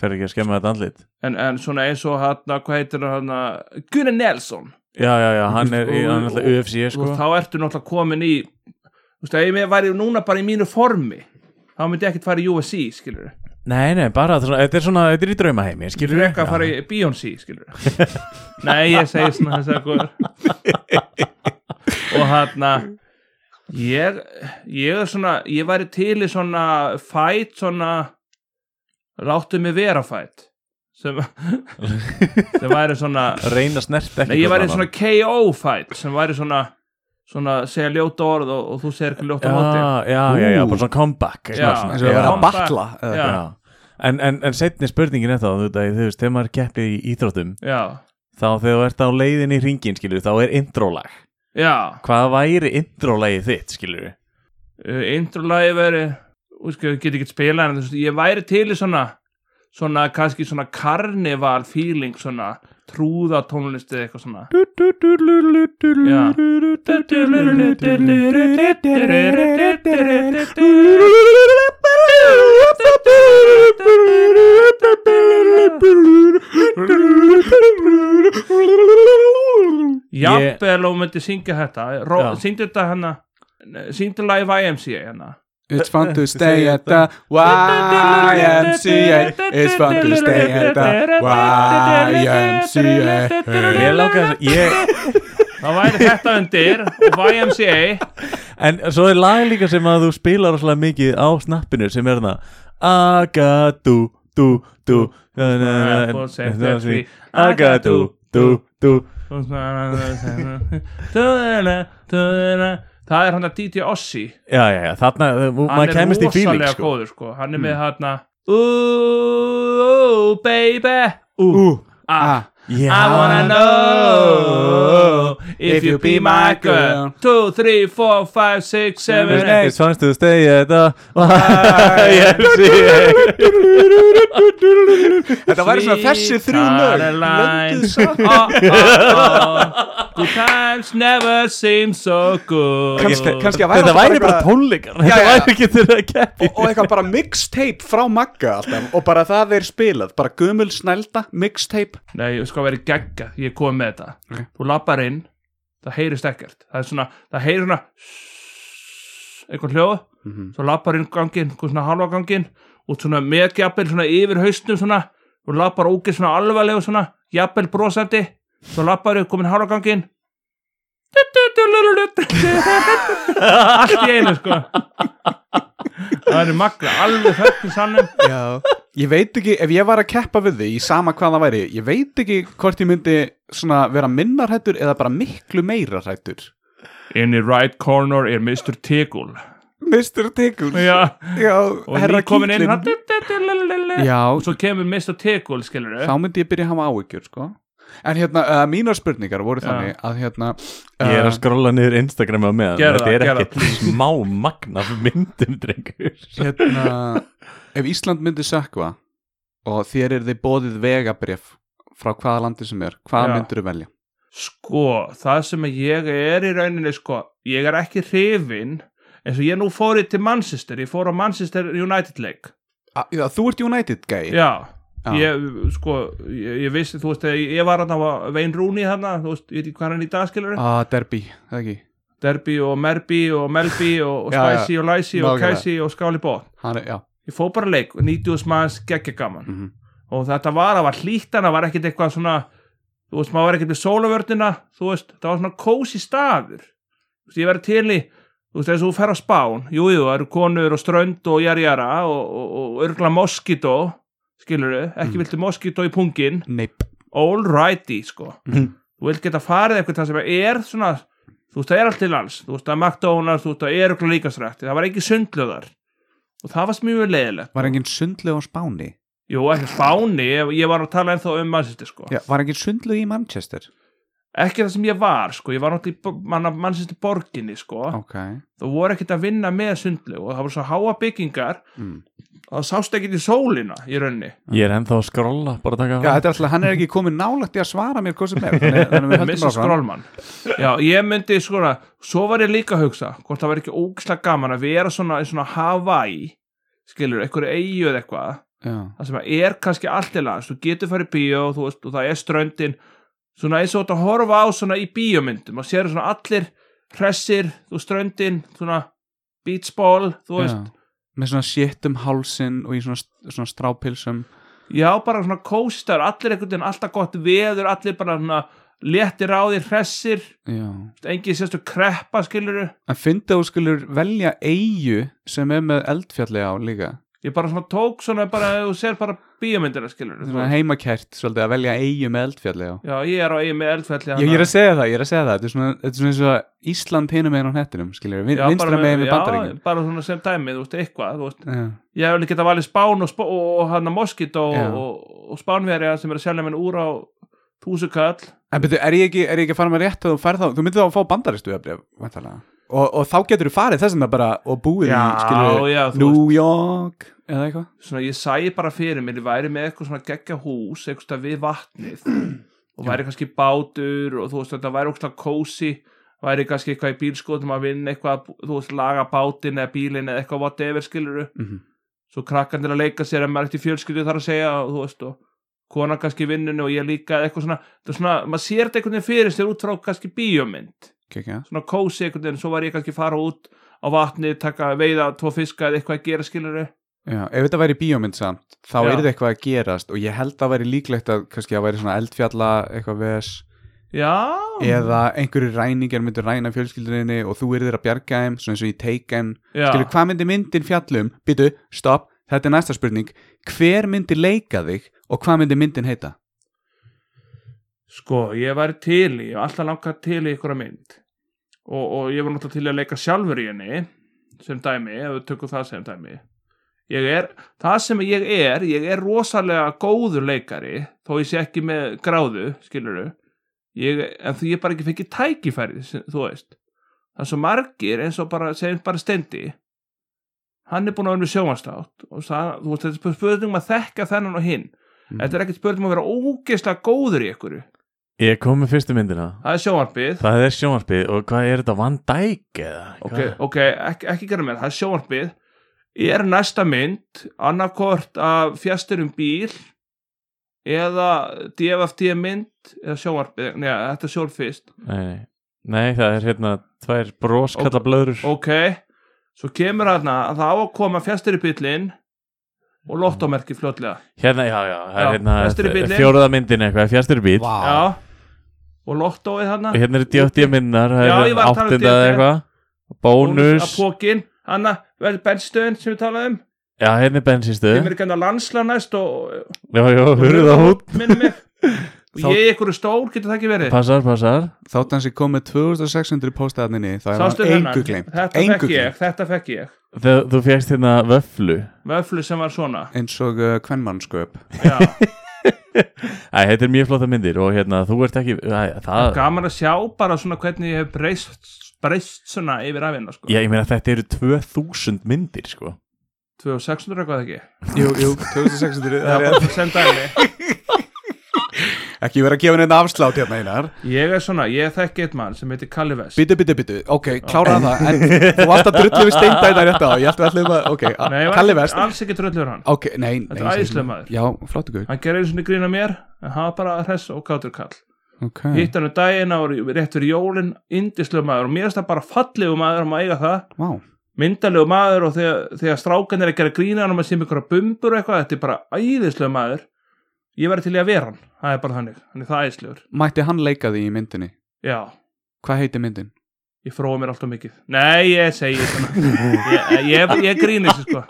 C: fer ekki að skemma þetta andlit
D: en, en svona eins og hann, hvað heitir hann Gunnar Nelson
C: Já, já, já, hann er, í- hann er alltaf UFC
D: sko?
C: sko.
D: veist, þá ertu náttúrulega komin í þú veist, ef ég væri núna bara í mínu formi þá myndi ég ekkert fara í UFC, skilur
C: Nei, nei, bara, þetta er svona- þetta er svona, þetta er í draumaheimi
D: skilur
C: Skilur
D: ekki að fara í Beyoncé, skilur nei, ég segi svona þess að góður og hann ég, ég er svona ég væri til í svona fætt svona láttu mig vera fætt sem, sem væri svona
C: Reyna snert ekki
D: Nei, ég
C: hvort
D: væri
C: annað.
D: svona KO fight sem væri svona, svona segja ljóta orð og, og þú segir ekki ljóta móti
C: já, já, já, já,
A: Ú.
C: bara svona comeback
D: Já.
C: svona,
A: Eins og að vera að
D: Comeback.
A: batla eða
D: Já.
A: eitthvað.
C: Já. En, en, en setni spurningin er þá þú, veist, þú veist, þegar maður keppir í íþróttum
D: Já,
C: þá þegar þú ert á leiðin í ringin skilur, þá er intro-lag
D: já
C: Hvað væri intro-lagið þitt, skilur
D: uh, Introlagi veri úsku, Get ekki spila en þessu Ég væri til í svona Svona kannski svona karnival feeling Svona trúða tónlist eða eitthvað svona Já Jafnvel og myndi syngja þetta Ró-
C: Já.
D: Syngdu þetta hana Syngdu lagi YMCA hana
A: It's fun to stay at the YMCA It's fun to stay at the YMCA
C: Ég langa þess að ég,
D: Það væri þetta undir og YMCA
C: En svo er lag líka sem að þú spilar rosalega mikið á snappinu sem er þarna Agadú, dú, dú na, na, na, na, na, Agadú, dú, dú
D: Það er hann að DJ Ossi
C: Já, já, já, þarna, þú- maður kemist í feeling
D: rosalega
C: sko
D: góður sko Hann er með hann að Ooh baby Ooh ah,
C: Já,
D: I wanna know If you be my girl 2, 3, 4, 5, 6, 7, 8
C: It's fun to stay at the YMCA
A: Þetta væri svona þessi þrjú lög blönduð
D: Lines, oh,
A: saman.
D: oh, oh. Good times never seem so good
A: Kannski- kannski að væri
C: Þetta
A: alltaf
C: væri bara
A: eitthvað-
C: tónleikar
A: Já,
C: Þetta
A: já.
C: væri ekki þeirra að keppi
A: og eitthvað bara mixtape frá Magga alltaf og bara það er spilað, bara gömul snælda mixtape
D: Nei, ég skal vera gegga, ég kom með þetta Þú lappar inn, það heyrist ekkert Það er svona, það heyrir svona eitthvað hljóð Svo lappar inn ganginn, eitthvað svona halva ganginn og svona með jafnvel svona yfir haustum svona og lappar ógeð svona alvarlegu svona jafnvel brosandi Svo lappar upp komin halva ganginn Allt í einu sko Það er magna, alveg þökk í sannum
A: Já. ég veit ekki, ef ég var að keppa við þig í sama hvað það væri, ég veit ekki hvort ég myndi svona vera minnarhættur eða bara miklu meira hrættur
D: In the right corner er Mr. Tegul
A: Mr. Tickles
D: Já
A: Já,
D: og
A: herra
D: nýkomin komin inn
A: kýllinn.
D: hann,
A: Já.
D: og svo kemur Mr. Tegul skilur
A: þá myndi ég byrja að hafa áhyggjur sko. en hérna, uh, mínar spurningar voru
D: Já.
A: þannig að hérna uh,
C: Ég er að skrolla niður Instagram á meðan
D: Gerðu
C: Þetta er
D: það, gerðu
C: ekkert smá magna myndum drengur
A: hérna, ef Ísland myndi sökva og þér er þið bóðið vegabref frá hvaða landi sem er
D: Já.
A: hvað myndirðu velja?
D: sko, það sem að ég er í rauninni sko, ég er ekki hrifin eins og ég nú fórið til Manchester ég fór á Manchester United leik
A: A, Ah, já, þú ert United gæi
D: já,
A: Já.
D: ég sko ég, ég vissi, þú veist, ég, ég var hann á Vein Rúni þarna, þú veist, ég veit ekki hvað hann er í dag skilur
A: Ah, derby, það ekki
D: Derby og Merby og Melby og, og
A: Já, já.
D: Spicy og Læsi og
A: Nákvæmlega.
D: Kæsi og Skáli Bótt
A: Hann er, já,
D: ég fór bara leik, 90 manns geggja gaman
A: mhm
D: og þetta var, það var hlýtt en það var ekkert eitthvað svona þú veist, maður var ekkert við sólavörnina þú veist, það var svona kósi staður þú veist, ég verið til í þú veist, þess að þú fer á spán, jú, jú, það eru konur og strönd og jara jara og, og, og örgla moskító, skilur ekki viltu moskító í pungin
A: neip
D: allrighty, sko
A: Mhm.
D: þú vilt geta farið eitthvað það sem er svona þú veist, það er allt til alls, þú veist, það er McDonalds þú veist, það er örgla líkastrækt, það var ekki sundlöðar og það var mjög leiðilegt
A: Var engin sundlug á Spáni?
D: jú, ekki spáni, ég, ég var að tala ennþá um mannsýsti, sko
A: Já, var engin sundlug í Manchester?
D: ekki það sem ég var sko, ég var náttúrulega í mannsýstu borginni sko,
A: Ok
D: það voru ekkert að vinna með sundlu og það voru svo háa byggingar
A: mm.
D: og það sást ekkert í sólina í raunni
C: Ég er ennþá að skrolla, bara að taka
A: Já, þetta er alltaf, hann er ekki komið nálægt í að svara mér hvað sem er Þannig, þannig við höldum
D: missa
A: áfram
D: skrólmann já, ég myndi sko, svo var ég líka að hugsa hvort það var ekki ógislega gaman að vera svona, í svona Hawaii skilur, einhverju eigu eða eitthvað
A: Já,
D: það sem er kannski allt í lands þú getur farið í bíó þú veist, og það er ströndin svona eins og þú ert að horfa á svona í bíómyndum og sér svona allir hressir, þú veist, ströndin svona beachball, þú
A: já.
D: veist
A: Með svona shit um hálsin og í svona, svona strápilsum
D: já, bara svona kóstar, allir einhvern veginn alltaf gott veður, allir bara svona léttir á þér, hressir
A: Já
D: engin sérstu kreppa, skiluru
A: En fyndið að þú skulur velja eigu sem er með eldfjalli á líka
D: ég bara svona tók svona bara, þú sér bara bíómyndina, skiluru
A: Svona heimakert, svolítið, að velja eigu með eldfjalli á
D: já, ég er á eigi með eldfelli
A: Ég, ég er að segja það, ég er að segja það Þetta er svona, þetta er svona eins og Ísland hinum meginn á hettinum, skiljum við, vinstra meginn við bandaríkjum
D: já, bara svona sem dæmi, þú veist, eitthvað, þú veist
A: Já,
D: ég hef alveg getað valið Spán og, Spá- og, og hann að Moskít og,
A: Já.
D: og, og Spánverja sem er að selja mér úr á túsukall
A: En betur, er ég ekki, er ég ekki að fara með rétt að þú færð þá, þú myndir þá að fá bandaristu efrið, vantarlega. Og, og þá getur þú farið þess að bara og búið í,
D: Já,
A: skilur
D: já, þú
A: New York, eða eitthvað.
D: svona ég sæi bara fyrir mér, ég væri með eitthvað svona geggja hús, eitthvað stað við vatnið og væri kannski bátur og þú veist þetta væri ógstlega kósi væri kannski eitthvað í bílskotum að vinna eitthvað, að bú- þú veist, laga bátinn eða bílinn eða eitthvað whatever skiluru
A: Mhm.
D: svo krakkandir að leika sér ef maður ekkert í fjölskyldu þar að segja og þú veist og kona kannski í vinnunni og ég líka eða eitthvað svona, þetta er svona, maður sér þetta einhvern veginn fyrir sér út frá kannski bíómynd
A: Kekja.
D: svona kósi einhvern veginn, svo var ég kannski að fara út á vatni, taka veiða tvo fiska eða eitthvað að gera skiluru
A: Já, ef þetta væri bíómynd samt, þá
D: Já.
A: er þetta eitthvað að gerast og ég held að væri líklegt að kannski að væri svona eldfjalla eitthvað ves
D: Já,
A: eða einhverju ræningar myndir ræna fjölskylduninni og þú eru þeir að bjarga þeim, svona eins og í Taken.
D: já.
A: Skilur, hvað myndir myndin fjallum? Býtu, stopp, þetta er næsta spurning. Hver myndir leika þig og hvað myndir myndin heita?
D: Sko, ég væri til í, ég hef alltaf langað til í ykkur mynd og, og ég var náttúrulega til í að leika sjálfur í henni sem dæmi, ef við tökum það sem dæmi Ég er, það sem ég er ég er rosalega góður leikari þó ég sé ekki með gráðu skilurðu, ég, en því ég bara ekki fengi tækifærið, sem- þú veist það er svo margir eins og bara segjum bara stendi hann er búin að vera með sjónvastátt og það, þú veist, þetta er spurning um að þekka þennan og hinn þetta er ekkert spurning um að vera ógeðslega góður í ykkur
C: Ég kom með fyrstu myndina
D: Það er sjónvarpið
C: Það er sjónvarpið og hvað er þetta, Van Dijk eða?
D: Ok,
C: Hvað?
D: ok, ekki, ekki gera mér, það er sjónvarpið Er næsta mynd annarkort af fjastur um bíl eða DFFD mynd eða sjónvarpið, neða, þetta er sjónvarp fyrst
C: Nei, nei. nei, það er hérna tvær broskalla blöður
D: Ok, svo kemur þarna að það á að koma fjastur í bílinn og lottómerki fljótlega
C: Hérna, já, já, það
D: Já,
C: er
D: fjastur í
C: hérna
D: bílinn.
C: fjóruða myndin eitthvað, fjastur í bíl
A: Vá.
D: Já, og lottóið þarna
C: Ah. og hérna eru djóttið minnar,
D: Já,
C: það
D: Ah. ég
C: er
D: var að tala um
C: áttunda eða
D: DFD.
C: eitthvað
D: Bónus
C: Bónus,
D: að pókin, Anna, verður bennstöðin sem við talaðum um.
C: já, hérna er bensinstöð
D: Þeim er ekki annað landslá næst og
C: Já, já, hurða hút
D: minnum mig
A: Þá-
D: og ég er einhverju stór, getur það ekki verið
C: Passar, passar
A: Þátt hans ég kom með 2600 póstaðninni þá er
D: Sástu
A: hann
D: þennan?
A: engu glemt
D: Þetta
A: engu
D: fekk ég,
A: glemt
D: þetta fekk ég
C: Þegar þú fegst hérna vöflu
D: Vöflu sem var svona
A: eins og uh, kvennmannsköp
D: Já,
C: Æ, þetta er mjög flotta myndir og hérna, þú ert ekki Æ, það,
D: Gaman að sjá bara svona hvernig ég hef breyst, breyst svona yfir afina sko.
C: já, ég meina þetta eru 2000 myndir, sko
D: 2600 eitthvað ekki
A: Jú, jú, 2600 það er rétt.
D: Já, sem dæmi
A: Ekki vera að gefa neina afslátt hérna einar
D: Ég er svona, ég þekki eitt mann sem heitir Kalli Vest
A: Bítu, bítu, bítu, ok, kláraði það en, Þú varst að drullu við steinda þetta rétt á Ég ætti allir að, ok,
D: Nei, ég
A: a-
D: var
A: Kalli
D: ekki-
A: vest
D: Alls ekki tröllur hann
A: Ok, nei, nei
D: Þetta er
A: ég segi-
D: æðislegur maður.
A: Já, flottu guð
D: Hann gerir einu svona grína mér En hann var bara hress og kátur kall
A: Ok,
D: Hitt hann um daginn og rétt fyrir jólin Indislu maður og mér er þetta bara fallegu maður um að eiga það
A: vá
D: myndalegu maður og þegar, þegar strákan er að gera grína hann og maður sem ykkur að bumbur og eitthvað, þetta er bara æðislega maður ég verði til í að vera hann það er bara þannig, hann er það æðislegur
A: Mætti hann leika því í myndinni?
D: já,
A: Hvað heitir myndin?
D: ég fróa mér alltaf mikið nei, ég segi svona ég, ég, ég grínist sko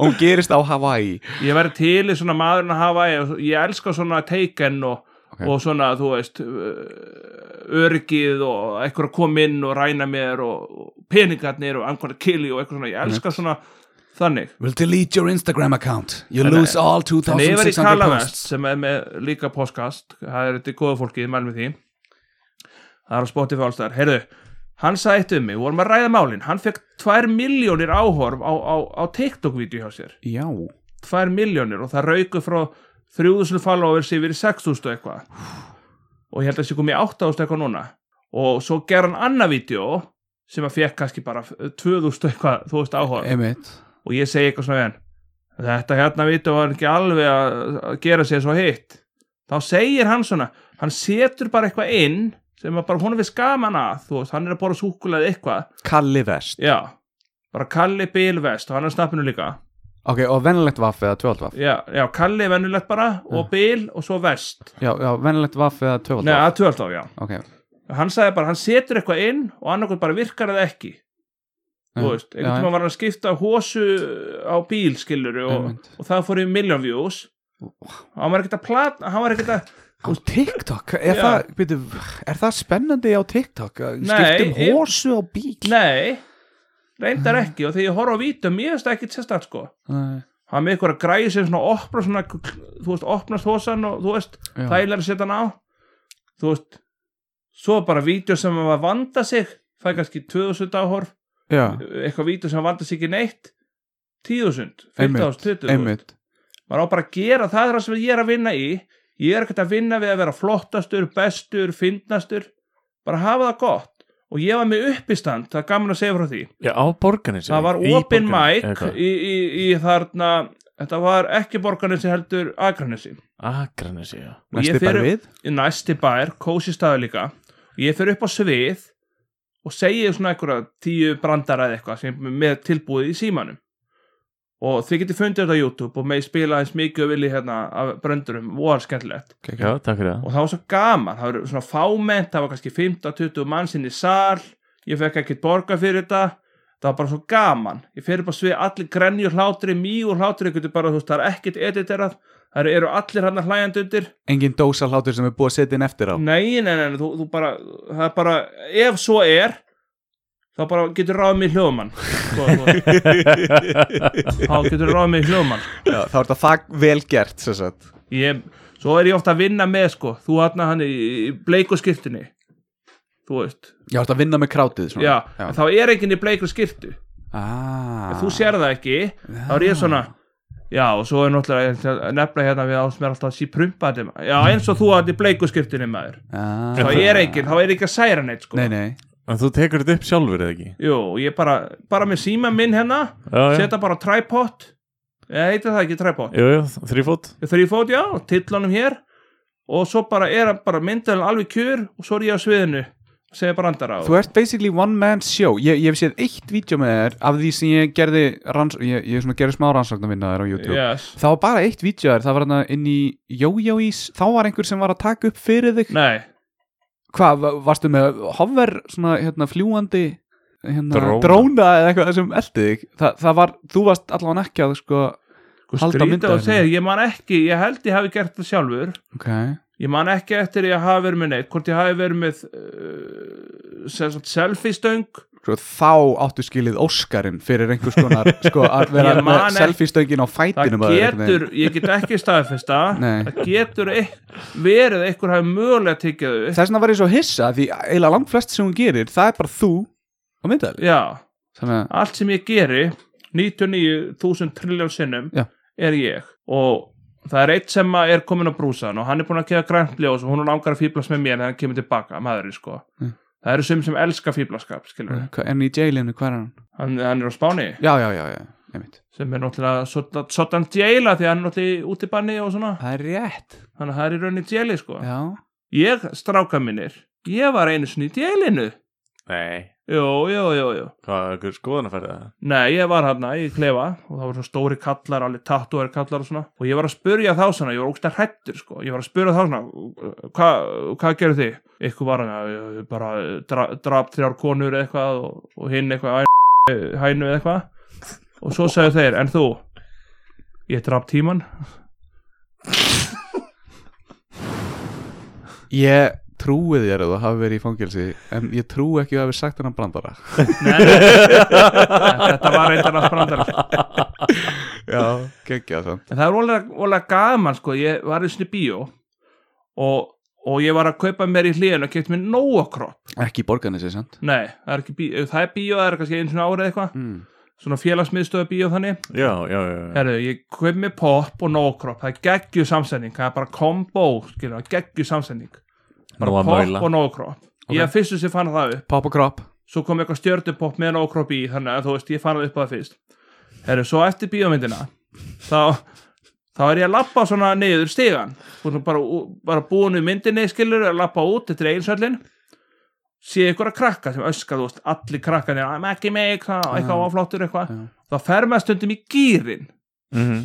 A: Og hún gerist á Hawaii
D: ég verði til í svona maðurinn að hafa ég, ég elska svona taken og,
A: Ok.
D: og svona þú veist ö- örgið og eitthvað að koma inn og ræna mér og, og peningarnir og I'm gonna kill you og eitthvað svona ég elska svona þannig
A: We'll delete your Instagram account You
D: Þannig-
A: lose all
D: þannig ég verði í
A: 2600
D: Kalavest
A: posts
D: sem er með líka podcast það er þetta góða fólkið, mælum við því það er á Spotify allstæðar heyrðu, hann sagði eitt um mig, vorum að ræða málin hann fekk 2 miljónir áhorf á, á, á TikTok-vídeó hjá sér
A: Já,
D: 2 miljónir og það rauku frá 3000 followers yfir í 6000 og eitthvað og ég held að þessi kom í 8000 eitthvað núna og svo ger hann annað vídeo sem að fekk kannski bara 2000 eitthvað þú veist áhuga
A: emitt
D: og ég segi eitthvað svona við hann þetta hérna vídeo var ekki alveg að að gera sér svo hitt þá segir hann svona hann setur bara eitthvað inn sem að bara honum við skaman að þú veist hann er að bora súkulega eitthvað
A: Kalli Vest
D: já bara Kalli Bilvest og hann er snappinu líka
A: Ok, og venlegt vaff eða tvöld vaff
D: já, já, Kalli er venjulegt bara og Bill og svo Vest
A: Já, já venlegt vaff eða tvöld
D: Nei,
A: vaff
D: að 12 já
A: Ok,
D: Hann sagði bara, hann setur eitthvað inn og annarkoð bara virkar eða ekki Þú
A: Já,
D: veist,
A: já,
D: einhvern
A: já.
D: tíma var hann að skipta hósu á bíl, skilur og,
A: Einmitt.
D: og það fór í million views Hann var ekkert að plata, hann var ekkert að
A: á TikTok, er,
D: Já.
A: það, byrju, er það spennandi á TikTok? Skiptum
D: ég-
A: hósu á bíl
D: Nei, reyndar ekki og þegar ég horf á vítum, ég veist ekki sérstætt sko
A: Nei.
D: Hann er með eitthvað að græði sem svona opna svona, þú veist, opnast hósan og þú veist,
A: Já.
D: þægilega að setja hann á þú veist svo bara vídeo sem var að vanda sig það er kannski 2000 áhorf
A: Já,
D: eitthvað vídeo sem vanda sig ekki neitt 10.000,
A: Einmitt,
D: 15.000, 20.000
A: einmitt
D: maður á bara að gera það er það sem ég er að vinna í ég er ekkert að vinna við að vera flottastur, bestur fyndnastur, bara hafa það gott og ég var með uppistand það er gaman að segja frá því
C: Já, á borganis
D: það var open mic í, í, í þarna þetta var ekki borgarnesi heldur agranesi
C: Akranis, já
D: Og ég
A: Næsti bara
D: fer-
A: við
D: í næsti bær, kósi staður líka og ég fer upp á svið og segi svona einhverja tíu brandara eða eitthvað sem er með tilbúið í símanum og þið getið fundið þetta á YouTube og með spila eins mikið og viljið hérna af brandurum, voru skemmtilegt
C: Já, takk fyrir það
D: og það var svo gaman, það var svona fámennt það var kannski 15-20 mannsinn í sal ég fekk ekkert borga fyrir þetta það var bara svo gaman ég fer upp á svið, allir grenjur hlátri, mýgur hlátri ég getur bara, þú veist, það er ekkert editerað það eru allir hann hlæjandi undir
A: Engin dósa hlátur sem er búið að setja inn eftir á
D: Nei, nei, nei, nei, þú, þú bara, það er bara, ef svo er, þá bara getur ráðið mig í hljóðumann. Sko, þú- Þá getur ráðið mig í hljóðumann.
A: Já, Þá er þetta það vel gert sem sagt.
D: Ég, svo er ég ofta að vinna með, sko, þú aðna hann í, í bleiku skiptinni, þú veist.
A: Já, þetta vinna með krátið svona.
D: Já, en þá er enginn í bleiku skiptu.
A: ah.
D: Ef þú sér það ekki, þá er ég svona, já, og svo er náttúrulega, ég ætla að nefna hérna við ásmér alltaf að sí prumpaði, já, eins og þú aðna í bleiku skiptinni, maður.
A: ah.
D: Þá er enginn, þá er ekki að særa neitt, sko.
A: Nei, nei
C: En þú tekur þetta upp sjálfur eða ekki?
D: Jú, ég bara, bara með síma minn hérna
C: Já, já,
D: setja bara á tripod eða heitir það ekki tripod
C: jú, jú, þrýfót
D: þrýfót, já, tillanum hér og svo bara er hann bara myndaðan alveg kjur og svo er ég á sviðinu segja brandara og
A: Þú ert basically one man show Ég, ég hef séð eitt vídeo með þér af því sem ég gerði ranns, ég, ég svona gerði smá rannsókn að vinna þér á YouTube
D: yes.
A: Það var bara eitt vídeo þér, það var hann inn í Jójóís, þá var einhver sem var að taka upp fyrir þig
D: Nei,
A: Hvað, va- varstu með hover svona hérna fljúandi hérna,
C: Dróna.
A: dróna eða eitthvað sem eldi þig Þa, Það var, þú varst allavega ekki að sko
D: sko
A: Halda
D: skrýta
A: myndaðinni.
D: og segja ég man ekki, ég held ég hafi gert það sjálfur
A: Ok,
D: ég man ekki eftir ég hafi verið með neitt hvort ég hafi verið með uh, selfie stöng
A: svo Sko, þá áttu skilið Óskarinn fyrir einhvers konar sko að vera
D: Ég man
A: með
D: ekki-
A: selfie-stöngin á
D: það
A: fætinum á þér einhvern veginn.
D: getur, ég get ekki staðfesta
A: Nei.
D: það getur eik, verið að einhver hafi mögulega tekið þau upp
A: þess vegna var ég svo hissa því eiginlega langt flest sem hún gerir það er bara þú og myndaðil
D: já,
A: þannig að
D: allt sem ég geri 99.000 trilljón sinnum
A: Já.
D: er ég og það er eitt sem að er komin á brúsan og hann er búin að gefa grænt ljós og hún er langar að fýblast með mér en hann kemur tilbaka, maðurinn sko
A: Mm.
D: það eru sum sem elska fýblaskap, skilur
A: Hva- er hann í jailinu, hvað er hann?
D: hann, hann er á Spáni
A: já, já, já, já, einmitt
D: sem er náttúrulega soddan- soddan djæla því að hann er náttúrulega í útibanni og svona
A: það er rétt
D: þannig að það er í rauninni djæli sko
A: já,
D: ég, stráka mínir, ég var einu sinni í djælinu
C: Nei
D: Jú, jú, jú, jú
C: Hvað, er einhver skoðanafærið það?
D: Nei, ég var hérna í klefa og það voru svona stóri kallar, alveg tattúar kallar og svona og ég var að spurja þá svona, ég var ógst að hrættur sko, ég var að spurja þá svona hva, hvað gerðu þið? Eitthvað var hann að bara dra, drap þrjár konur eða eitthvað og, og hinn eitthvað að hænu eða eitthvað og svo sagði þeir, en þú? Ég drap tíman
A: Ég trúi þér að þú hafi verið í fangelsi en ég trúi ekki að þú hafi sagt hennan brandara
D: Nei, þetta var reyndar að brandara
A: Já, geggja það
D: En það er ólega, ólega gaman sko, ég var í sinni bíó og, og ég var að kaupa mér í hlýðinu og keitt mér nóakropp.
A: Ekki í borganessi, sant?
D: Nei, það er ekki bíó, ef það er bíó, það er kannski einu svona árið eitthvað,
A: Mm.
D: svona félagsmiðstöðu bíó þannig.
C: Já, já, já, já.
D: Herru, ég kaup mér pop og nóakropp, það er geggju samsending, það er bara kombo, skilur, það er geggju samsending.
C: Nú
D: Bara
C: að
D: pop
C: maula.
D: og nóakropp. Okay. Ég fyrstu sem fann það upp
A: Pop og kropp
D: svo kom eitthvað stjörnupopp með nókropp í þannig að þú veist, ég fann það upp á það fyrst Herru, svo eftir bíómyndina þá, þá er ég að lappa svona niður stigan og bara, bara búin við myndinni skilur að lappa út, þetta er eiginsöllin sé ykkur að krakka sem öskar, þú veist, allir krakkan er að ekki mig, eitthvað, eitthvað áflottur eitthvað
A: Já.
D: þá fer maður stundum í gýrin
C: Mhm.